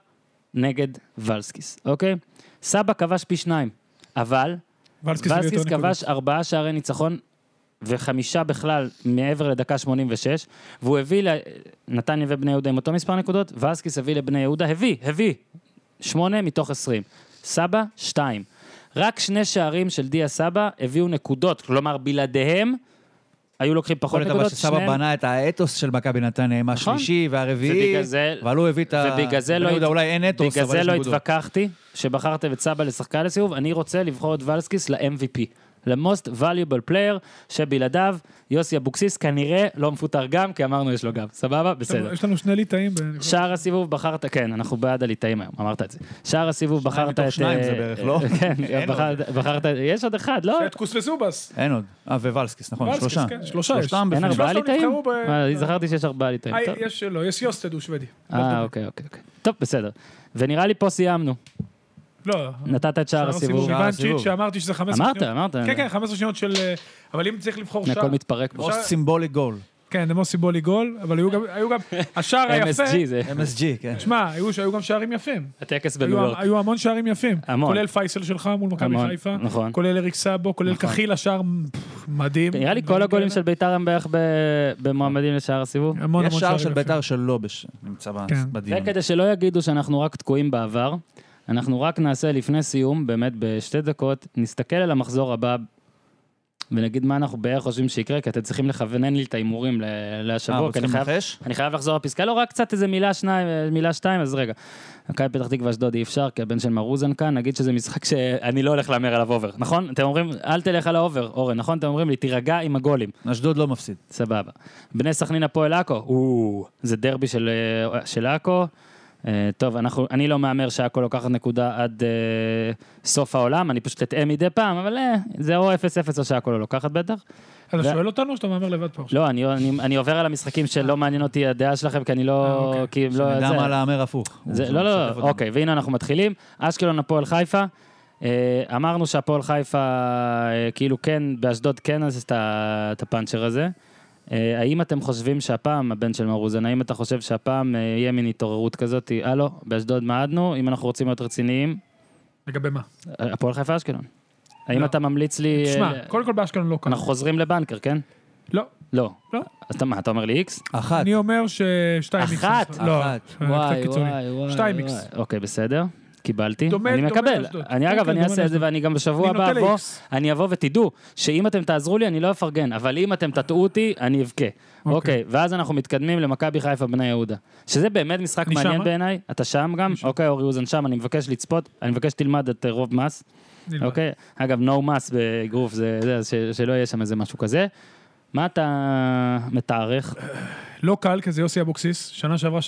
[SPEAKER 1] נגד ולסקיס, אוקיי? סבא כבש פי שניים, אבל
[SPEAKER 2] ולסקיס הביא
[SPEAKER 1] ולסקיס
[SPEAKER 2] יותר נקודות.
[SPEAKER 1] כבש ארבעה שערי ניצחון וחמישה בכלל מעבר לדקה 86, והוא הביא, ל- נתניה ובני יהודה עם אותו מספר נקודות, ולסקיס הביא לבני יהודה, הביא, הביא, שמונה מתוך עשרים. סבא, שתיים. רק שני שערים של דיה סבא הביאו נקודות, כלומר בלעדיהם היו לוקחים
[SPEAKER 5] יכול
[SPEAKER 1] פחות
[SPEAKER 5] להיות אבל
[SPEAKER 1] נקודות,
[SPEAKER 5] שסבא בנה את האתוס של מכבי נתניה עם השלישי והרביעי,
[SPEAKER 1] ובגלל זה-
[SPEAKER 5] אבל הוא הביא את ה...
[SPEAKER 1] ובגלל זה
[SPEAKER 5] בני
[SPEAKER 1] לא
[SPEAKER 5] יהודה
[SPEAKER 1] הת-
[SPEAKER 5] אולי אין אתוס,
[SPEAKER 1] בגלל
[SPEAKER 5] אבל
[SPEAKER 1] זה
[SPEAKER 5] יש
[SPEAKER 1] לא
[SPEAKER 5] נקודות.
[SPEAKER 1] התווכחתי שבחרתם את סבא לשחקן לסיבוב, אני רוצה לבחור את ולסקיס ל-MVP. ל-most valuable player, שבלעדיו יוסי אבוקסיס כנראה לא מפוטר גם, כי אמרנו יש לו גם. סבבה? בסדר.
[SPEAKER 2] יש לנו שני ליטאים. ב-
[SPEAKER 1] שער הסיבוב בחרת, כן, אנחנו בעד הליטאים היום, אמרת את זה. שער הסיבוב בחרת את...
[SPEAKER 5] מתוך שניים
[SPEAKER 1] אה,
[SPEAKER 5] זה בערך, לא?
[SPEAKER 1] כן, בחרת- בחרת... יש עוד אחד, לא?
[SPEAKER 2] את קוסבסובס.
[SPEAKER 5] אין עוד. אה, ווולסקיס, נכון,
[SPEAKER 2] ולסקיס,
[SPEAKER 5] שלושה.
[SPEAKER 2] כן, שלושה יש.
[SPEAKER 5] שלושתם
[SPEAKER 1] אין
[SPEAKER 5] בפנים.
[SPEAKER 1] ארבעה
[SPEAKER 2] שלושתם
[SPEAKER 1] ליטאים?
[SPEAKER 2] נבחרו ב-
[SPEAKER 1] אה, אני זכרתי שיש ארבעה ליטאים.
[SPEAKER 2] אה,
[SPEAKER 1] טוב.
[SPEAKER 2] יש, לא, יש יוסטד, הוא שוודי.
[SPEAKER 1] אה, אוקיי, אוקיי. אוקיי. טוב, בסדר. ונראה לי פה סיימנו.
[SPEAKER 2] לא,
[SPEAKER 1] נתת את שער הסיבוב.
[SPEAKER 5] שער
[SPEAKER 2] הבנתי
[SPEAKER 5] הסיבוב.
[SPEAKER 2] שאמרתי שזה 15
[SPEAKER 1] אמרת,
[SPEAKER 2] שניות.
[SPEAKER 1] אמרת.
[SPEAKER 2] כן, כן, 15 שניות של... אה, אבל אם צריך לבחור
[SPEAKER 1] הנה,
[SPEAKER 2] שער...
[SPEAKER 1] הכל מתפרק פה.
[SPEAKER 5] או סימבולי גול.
[SPEAKER 2] כן, זה מוסי בולי גול, אבל היו גם- היו גם... השער היפה...
[SPEAKER 1] MSG זה
[SPEAKER 5] MSG, כן.
[SPEAKER 2] שמע, היו היו גם שערים יפים.
[SPEAKER 1] הטקס
[SPEAKER 2] היו-
[SPEAKER 1] בניו יורק.
[SPEAKER 2] היו המון שערים יפים.
[SPEAKER 1] המון.
[SPEAKER 2] כולל פייסל שלך מול מכבי
[SPEAKER 1] המון,
[SPEAKER 2] חיפה.
[SPEAKER 1] נכון.
[SPEAKER 2] כולל אריק סאבו, כולל קחילה, שער פפ, מדהים.
[SPEAKER 1] נראה לי כל הגולים של ביתר הם בערך ב- במועמדים לשער הסיבוב.
[SPEAKER 2] המון
[SPEAKER 5] יש
[SPEAKER 2] המון
[SPEAKER 5] שער
[SPEAKER 2] שערים
[SPEAKER 5] של
[SPEAKER 2] יפים.
[SPEAKER 5] ביתר שלא בש- נמצא ב-
[SPEAKER 2] כן.
[SPEAKER 5] בדיון. אה,
[SPEAKER 1] וכדי שלא יגידו שאנחנו רק תקועים בעבר, אנחנו רק נעשה לפני סיום, באמת בשתי דקות, נסתכל על המחזור הבא ונגיד מה אנחנו בערך חושבים שיקרה, כי אתם צריכים לכוונן לי את ההימורים ל-
[SPEAKER 5] אה,
[SPEAKER 1] להשבוע,
[SPEAKER 5] אנחנו
[SPEAKER 1] כי אני
[SPEAKER 5] צריכים
[SPEAKER 1] חייב...
[SPEAKER 5] לנחש?
[SPEAKER 1] אני חייב לחזור לפסקה, לא רק קצת איזה מילה שניים, אה, מילה שתיים, אז רגע. מכבי פתח תקווה אשדוד אי אפשר, כי הבן של מרוזן כאן, נגיד שזה משחק שאני לא הולך להמר עליו אובר, נכון? אתם אומרים, אל תלך על האובר, אורן, נכון? אתם אומרים לי, תירגע עם הגולים.
[SPEAKER 5] אשדוד לא מפסיד.
[SPEAKER 1] סבבה. בני סכנין הפועל עכו, או, זה דרבי של, אה, של עכו. אה, טוב, אנחנו, אני לא מהמר שעכו לוקחת נקודה עד אה, סוף העולם, אני פשוט אטעה מדי פעם, אבל אה, זה או 0-0 או שעכו לא לוקחת בטח.
[SPEAKER 2] אתה
[SPEAKER 1] ו-
[SPEAKER 2] שואל אותנו או שאתה מהמר לבד פה עכשיו?
[SPEAKER 1] לא, אני, אני, אני עובר על המשחקים שלא מעניין אותי הדעה שלכם, כי אני
[SPEAKER 2] אה,
[SPEAKER 1] לא...
[SPEAKER 2] אוקיי.
[SPEAKER 1] כי הם לא...
[SPEAKER 5] שנדע
[SPEAKER 1] זה-
[SPEAKER 5] מה להמר הפוך.
[SPEAKER 1] זה,
[SPEAKER 5] הוא
[SPEAKER 1] לא, לא,
[SPEAKER 5] משתף
[SPEAKER 1] לא,
[SPEAKER 5] אותנו.
[SPEAKER 1] אוקיי, והנה אנחנו מתחילים. אשקלון, הפועל חיפה. אה, אמרנו שהפועל חיפה, אה, כאילו כן, באשדוד כן אז את ה- את הפאנצ'ר הזה. אה, האם אתם חושבים שהפעם, הבן של מרוזן, האם אתה חושב שהפעם אה, יהיה מין התעוררות כזאת? אה, לא, באשדוד מעדנו, אם אנחנו רוצים להיות רציניים,
[SPEAKER 2] לגבי מה?
[SPEAKER 1] אה, הפועל חיפה אשקלון. האם
[SPEAKER 2] לא.
[SPEAKER 1] אתה ממליץ לי... אה,
[SPEAKER 2] תשמע, קודם כל באשקלון לא קל.
[SPEAKER 1] אנחנו חוזרים לבנקר, כן?
[SPEAKER 2] לא,
[SPEAKER 1] לא.
[SPEAKER 2] לא.
[SPEAKER 1] אז אתה מה, אתה אומר לי איקס?
[SPEAKER 5] אחת.
[SPEAKER 2] אני אומר ששתיים איקס.
[SPEAKER 1] אחת?
[SPEAKER 2] לא,
[SPEAKER 5] אחת.
[SPEAKER 2] אה, קצת קיצוני. שתיים איקס.
[SPEAKER 1] אוקיי, בסדר. קיבלתי,
[SPEAKER 2] דומה-
[SPEAKER 1] אני
[SPEAKER 2] דומה
[SPEAKER 1] מקבל.
[SPEAKER 2] לאשדוד.
[SPEAKER 1] אני
[SPEAKER 2] כן,
[SPEAKER 1] אגב,
[SPEAKER 2] כן,
[SPEAKER 1] אני
[SPEAKER 2] דומה
[SPEAKER 1] אעשה את זה
[SPEAKER 2] לאשדוד.
[SPEAKER 1] ואני גם בשבוע
[SPEAKER 2] אני
[SPEAKER 1] הבא
[SPEAKER 2] נוטה
[SPEAKER 1] אבוא,
[SPEAKER 2] לאיקס.
[SPEAKER 1] אני אבוא ותדעו שאם אתם תעזרו לי אני לא אפרגן, אבל אם אתם תטעו אותי אני אבכה. אוקיי, ואז אנחנו מתקדמים למכבי חיפה בני יהודה. שזה באמת משחק
[SPEAKER 2] אני אה?
[SPEAKER 1] מעניין
[SPEAKER 2] שמה?
[SPEAKER 1] בעיניי, אתה שם גם? אוקיי, אורי אוזן שם, אני מבקש לצפות, אני מבקש שתלמד את אה, רוב מס.
[SPEAKER 2] נלמד.
[SPEAKER 1] אוקיי, אגב, no mass באגרוף, זה, זה, אז ש- שלא יהיה שם איזה משהו כזה. מה אתה מתארך?
[SPEAKER 2] לא קל, כי זה יוסי אבוקסיס, שנה שעברה 3-0,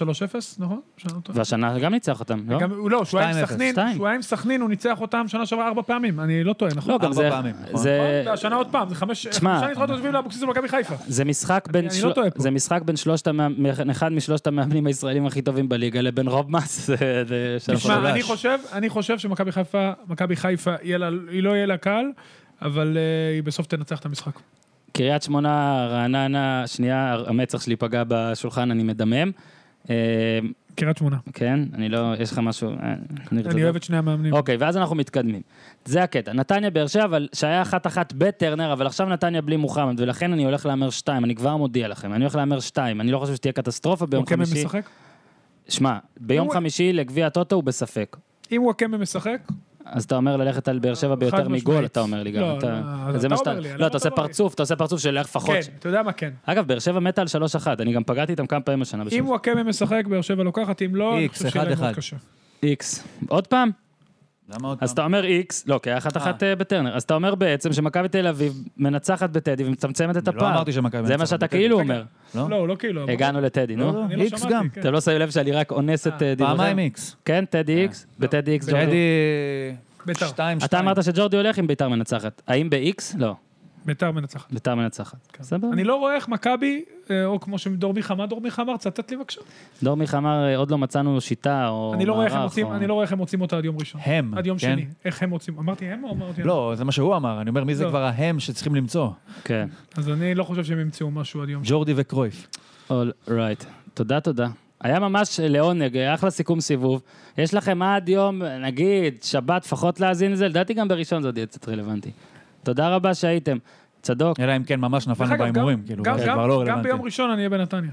[SPEAKER 2] נכון? שנה טובה.
[SPEAKER 1] והשנה גם ניצח אותם, לא?
[SPEAKER 2] גם- הוא לא, שהוא היה עם
[SPEAKER 5] 2-0,
[SPEAKER 2] סכנין,
[SPEAKER 1] שתיים.
[SPEAKER 2] שהוא היה עם סכנין, הוא ניצח אותם שנה שעברה ארבע פעמים, אני לא טועה, נכון?
[SPEAKER 1] לא, אה, גם
[SPEAKER 5] ארבע
[SPEAKER 1] זה...
[SPEAKER 5] פעמים, נכון?
[SPEAKER 1] זה...
[SPEAKER 2] נכון? השנה עוד פעם, זה חמש...
[SPEAKER 1] תשמע,
[SPEAKER 2] חמישה ניצחונות עוזבים לאבוקסיס במכבי חיפה.
[SPEAKER 1] זה משחק בין,
[SPEAKER 2] אני לא טועה פה.
[SPEAKER 1] זה משחק בין שלושת המאמ... אחד משלושת המאמנים הישראלים הכי טובים בליגה לבין רוב מס. זה- זה- שאנחנו-
[SPEAKER 2] תשמע, אני חושב, אני חושב שמכבי חיפה, מכבי חיפה, יהיה לה- היא לא יהיה לה קל, אבל אה, היא בסוף תנצח את המשחק.
[SPEAKER 1] קריית שמונה, רעננה, שנייה, המצח שלי פגע בשולחן, אני מדמם. אה,
[SPEAKER 2] קריית שמונה.
[SPEAKER 1] כן, אני לא, יש לך משהו, אה, ניר,
[SPEAKER 2] אני
[SPEAKER 1] תודה.
[SPEAKER 2] אוהב את שני המאמנים.
[SPEAKER 1] אוקיי, ואז אנחנו מתקדמים. זה הקטע. נתניה באר שבע, אבל שהיה אחת אחת בטרנר, אבל עכשיו נתניה בלי מוחמד, ולכן אני הולך להמר שתיים, אני כבר מודיע לכם, אני הולך להמר שתיים, אני לא חושב שתהיה קטסטרופה ביום
[SPEAKER 2] וואקמה
[SPEAKER 1] חמישי.
[SPEAKER 2] משחק?
[SPEAKER 1] שמע, ביום
[SPEAKER 2] כן הוא-
[SPEAKER 1] חמישי לגביע הטוטו הוא בספק.
[SPEAKER 2] אם וואקמה משחק,
[SPEAKER 1] אז אתה אומר ללכת על באר שבע ביותר
[SPEAKER 2] משמעית.
[SPEAKER 1] מגול, אתה אומר לי גם.
[SPEAKER 2] לא,
[SPEAKER 1] אתה-
[SPEAKER 2] לא, אז
[SPEAKER 1] זה
[SPEAKER 2] אתה
[SPEAKER 1] מה שאתה-
[SPEAKER 2] אומר לי, למה
[SPEAKER 1] לא, אתה
[SPEAKER 2] אתה
[SPEAKER 1] עושה
[SPEAKER 2] אומר לי?
[SPEAKER 1] פרצוף, אתה עושה פרצוף של איך פחות.
[SPEAKER 2] כן, אתה יודע מה כן.
[SPEAKER 1] אגב, באר שבע מתה על 3-1, אני גם פגעתי איתם כמה פעמים השנה
[SPEAKER 2] אם
[SPEAKER 1] בשביל
[SPEAKER 2] וואקמה משחק, באר שבע לוקחת, אם לא, אני
[SPEAKER 5] איקס,
[SPEAKER 2] חושב שיהיה להם
[SPEAKER 5] אחד,
[SPEAKER 2] מאוד
[SPEAKER 5] אחד.
[SPEAKER 2] קשה.
[SPEAKER 1] איקס. עוד פעם?
[SPEAKER 5] למה עוד
[SPEAKER 1] אז
[SPEAKER 5] פעם?
[SPEAKER 1] אתה אומר איקס, לא, כי היה 1-1 אה, בטרנר. אז אתה אומר בעצם שמכבי תל אביב מנצחת בטדי ומצמצמת את
[SPEAKER 5] אני לא
[SPEAKER 1] הפער.
[SPEAKER 5] אמרתי שמכבי
[SPEAKER 1] זה מה
[SPEAKER 5] מנצחת
[SPEAKER 1] שאתה
[SPEAKER 5] בטדי.
[SPEAKER 1] כאילו
[SPEAKER 2] רגע.
[SPEAKER 1] אומר.
[SPEAKER 5] לא?
[SPEAKER 2] לא, הוא לא כאילו.
[SPEAKER 1] הגענו לטדי,
[SPEAKER 5] לא,
[SPEAKER 1] נו.
[SPEAKER 5] לא,
[SPEAKER 2] אני לא
[SPEAKER 5] איקס
[SPEAKER 2] שמעתי,
[SPEAKER 5] גם.
[SPEAKER 2] כן.
[SPEAKER 1] אתם לא שמים לב שאני רק אונס את אה, דיבוריכם?
[SPEAKER 5] פעמיים איקס.
[SPEAKER 1] כן, טדי איקס, בטדי איקס ג'ורדי.
[SPEAKER 5] ג'די...
[SPEAKER 2] ביתר.
[SPEAKER 5] שתיים,
[SPEAKER 1] אתה
[SPEAKER 5] שתיים.
[SPEAKER 1] אמרת שג'ורדי הולך עם ביתר מנצחת. האם באיקס? לא.
[SPEAKER 2] ביתר מנצחת.
[SPEAKER 1] ביתר מנצחת. בסדר.
[SPEAKER 2] אני לא רואה איך מכבי, אה, או כמו שדור מיכה, מה דור מיכה אמר? תצטט לי בבקשה.
[SPEAKER 1] דור מיכה אמר, "אה, עוד לא מצאנו שיטה או
[SPEAKER 2] אני לא רואה איך הם
[SPEAKER 1] מערך
[SPEAKER 2] מוצאים-
[SPEAKER 1] או-
[SPEAKER 2] אני לא רואה איך הם מוצאים אותה עד יום ראשון.
[SPEAKER 5] הם,
[SPEAKER 2] עד יום
[SPEAKER 5] כן?
[SPEAKER 2] שני. איך הם מוצאים? אמרתי הם או אמרתי הם?
[SPEAKER 5] לא, זה מה שהוא אמר, אני אומר, מי זה
[SPEAKER 2] לא.
[SPEAKER 5] כבר ההם שצריכים למצוא?
[SPEAKER 1] כן.
[SPEAKER 2] אז אני לא חושב שהם ימצאו משהו עד יום שני.
[SPEAKER 5] ג'ורדי וקרויף.
[SPEAKER 1] All right. תודה, תודה. היה ממש אה, לעונג, היה אחלה סיכום סיבוב. יש לכם עד יום, אה, נגיד, שבת, לפחות להאזין לזה, לדעתי גם בראשון זה עוד יהיה קצת רלוונטי. תודה רבה שהייתם. צדוק,
[SPEAKER 5] אלא אם כן ממש
[SPEAKER 2] דרך
[SPEAKER 5] נפלנו
[SPEAKER 2] אגב,
[SPEAKER 5] בהימורים,
[SPEAKER 2] גם-
[SPEAKER 5] כאילו,
[SPEAKER 2] גם-
[SPEAKER 5] זה
[SPEAKER 2] גם-
[SPEAKER 5] כבר לא
[SPEAKER 2] גם
[SPEAKER 5] רלוונטי.
[SPEAKER 2] ביום ראשון אני אהיה בנתניה.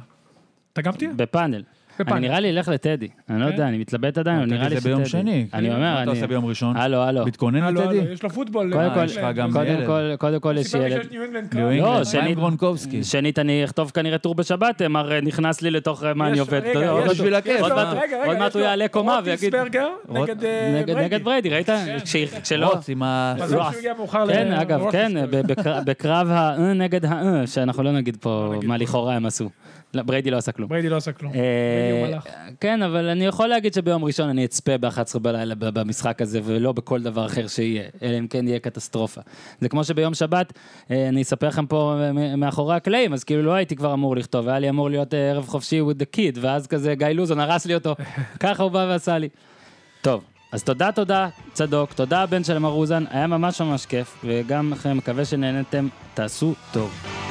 [SPEAKER 2] אתה גם תהיה?
[SPEAKER 1] בפאנל.
[SPEAKER 2] בפאנל.
[SPEAKER 1] אני נראה לי אלך לטדי. אני לא
[SPEAKER 2] כן?
[SPEAKER 1] יודע, אני מתלבט עדיין, אבל
[SPEAKER 5] טדי
[SPEAKER 1] נראה לי
[SPEAKER 5] זה
[SPEAKER 1] שטדי.
[SPEAKER 5] ביום שני. כאילו,
[SPEAKER 1] אני אומר,
[SPEAKER 5] מה אתה
[SPEAKER 1] אני...
[SPEAKER 5] עושה ביום ראשון?
[SPEAKER 1] הלו, הלו.
[SPEAKER 5] מתכונן
[SPEAKER 2] הלו, הלו,
[SPEAKER 5] לטדי?
[SPEAKER 2] אה, לא, יש לו פוטבול.
[SPEAKER 1] קודם
[SPEAKER 2] אה,
[SPEAKER 1] כל-
[SPEAKER 2] יש להם.
[SPEAKER 5] גם
[SPEAKER 1] קודם
[SPEAKER 5] ילד.
[SPEAKER 1] כל, קודם כל יש
[SPEAKER 2] סיפר לי
[SPEAKER 1] ילד.
[SPEAKER 2] שיש ניו אינגלנד
[SPEAKER 5] ניו
[SPEAKER 2] קראוץ'.
[SPEAKER 1] לא,
[SPEAKER 5] אינגלנד, מה
[SPEAKER 1] שנית-
[SPEAKER 5] עם גרונקובסקי?
[SPEAKER 1] שנית, אני אכתוב כנראה טור בשבת, מר אה, נכנס לי לתוך אה, מה אני
[SPEAKER 2] יש-
[SPEAKER 1] עובד.
[SPEAKER 2] רגע,
[SPEAKER 1] אתה יודע, עוד לא- מעט-
[SPEAKER 2] יש לו-
[SPEAKER 5] בשביל הכיף.
[SPEAKER 2] יש לו-
[SPEAKER 1] עוד מעט-
[SPEAKER 2] רגע, רגע,
[SPEAKER 1] עוד מעט
[SPEAKER 2] יש
[SPEAKER 1] הוא
[SPEAKER 2] לו
[SPEAKER 1] יעלה קומה ויגיד-
[SPEAKER 2] רוטינסברגר נגד אה,
[SPEAKER 1] נגד-
[SPEAKER 2] בריידי.
[SPEAKER 1] נגד בריידי, כן. אה. ראית? כש- כשלא...
[SPEAKER 5] רוץ עם ה...
[SPEAKER 2] מזל שהוא
[SPEAKER 1] לא,
[SPEAKER 2] הגיע מאוחר
[SPEAKER 1] כן,
[SPEAKER 2] ל-
[SPEAKER 1] אגב, כן,
[SPEAKER 2] לרוטינסברגר.
[SPEAKER 1] ב- בקר- בקרב ה"א נגד ה"א, שאנחנו לא נגיד פה מה לכאורה הם עשו. לא, בריידי לא עשה כלום.
[SPEAKER 2] בריידי לא עשה כלום.
[SPEAKER 1] אה,
[SPEAKER 2] בריידי הוא מלאך.
[SPEAKER 1] כן, אבל אני יכול להגיד שביום ראשון אני אצפה ב-11 בלילה ב- במשחק הזה, ולא בכל דבר אחר שיהיה, אלא אם כן יהיה קטסטרופה. זה כמו שביום שבת, אה, אני אספר לכם פה אה, מ- מאחורי הקלעים, אז כאילו לא הייתי כבר אמור לכתוב, היה לי אמור להיות אה, ערב חופשי with the kid, ואז כזה גיא לוזון הרס לי אותו, ככה הוא בא ועשה לי. טוב, אז תודה, תודה, צדוק, תודה הבן של מר אוזן, היה ממש ממש כיף, וגם לכם, מקווה שנהנתם, תעשו טוב.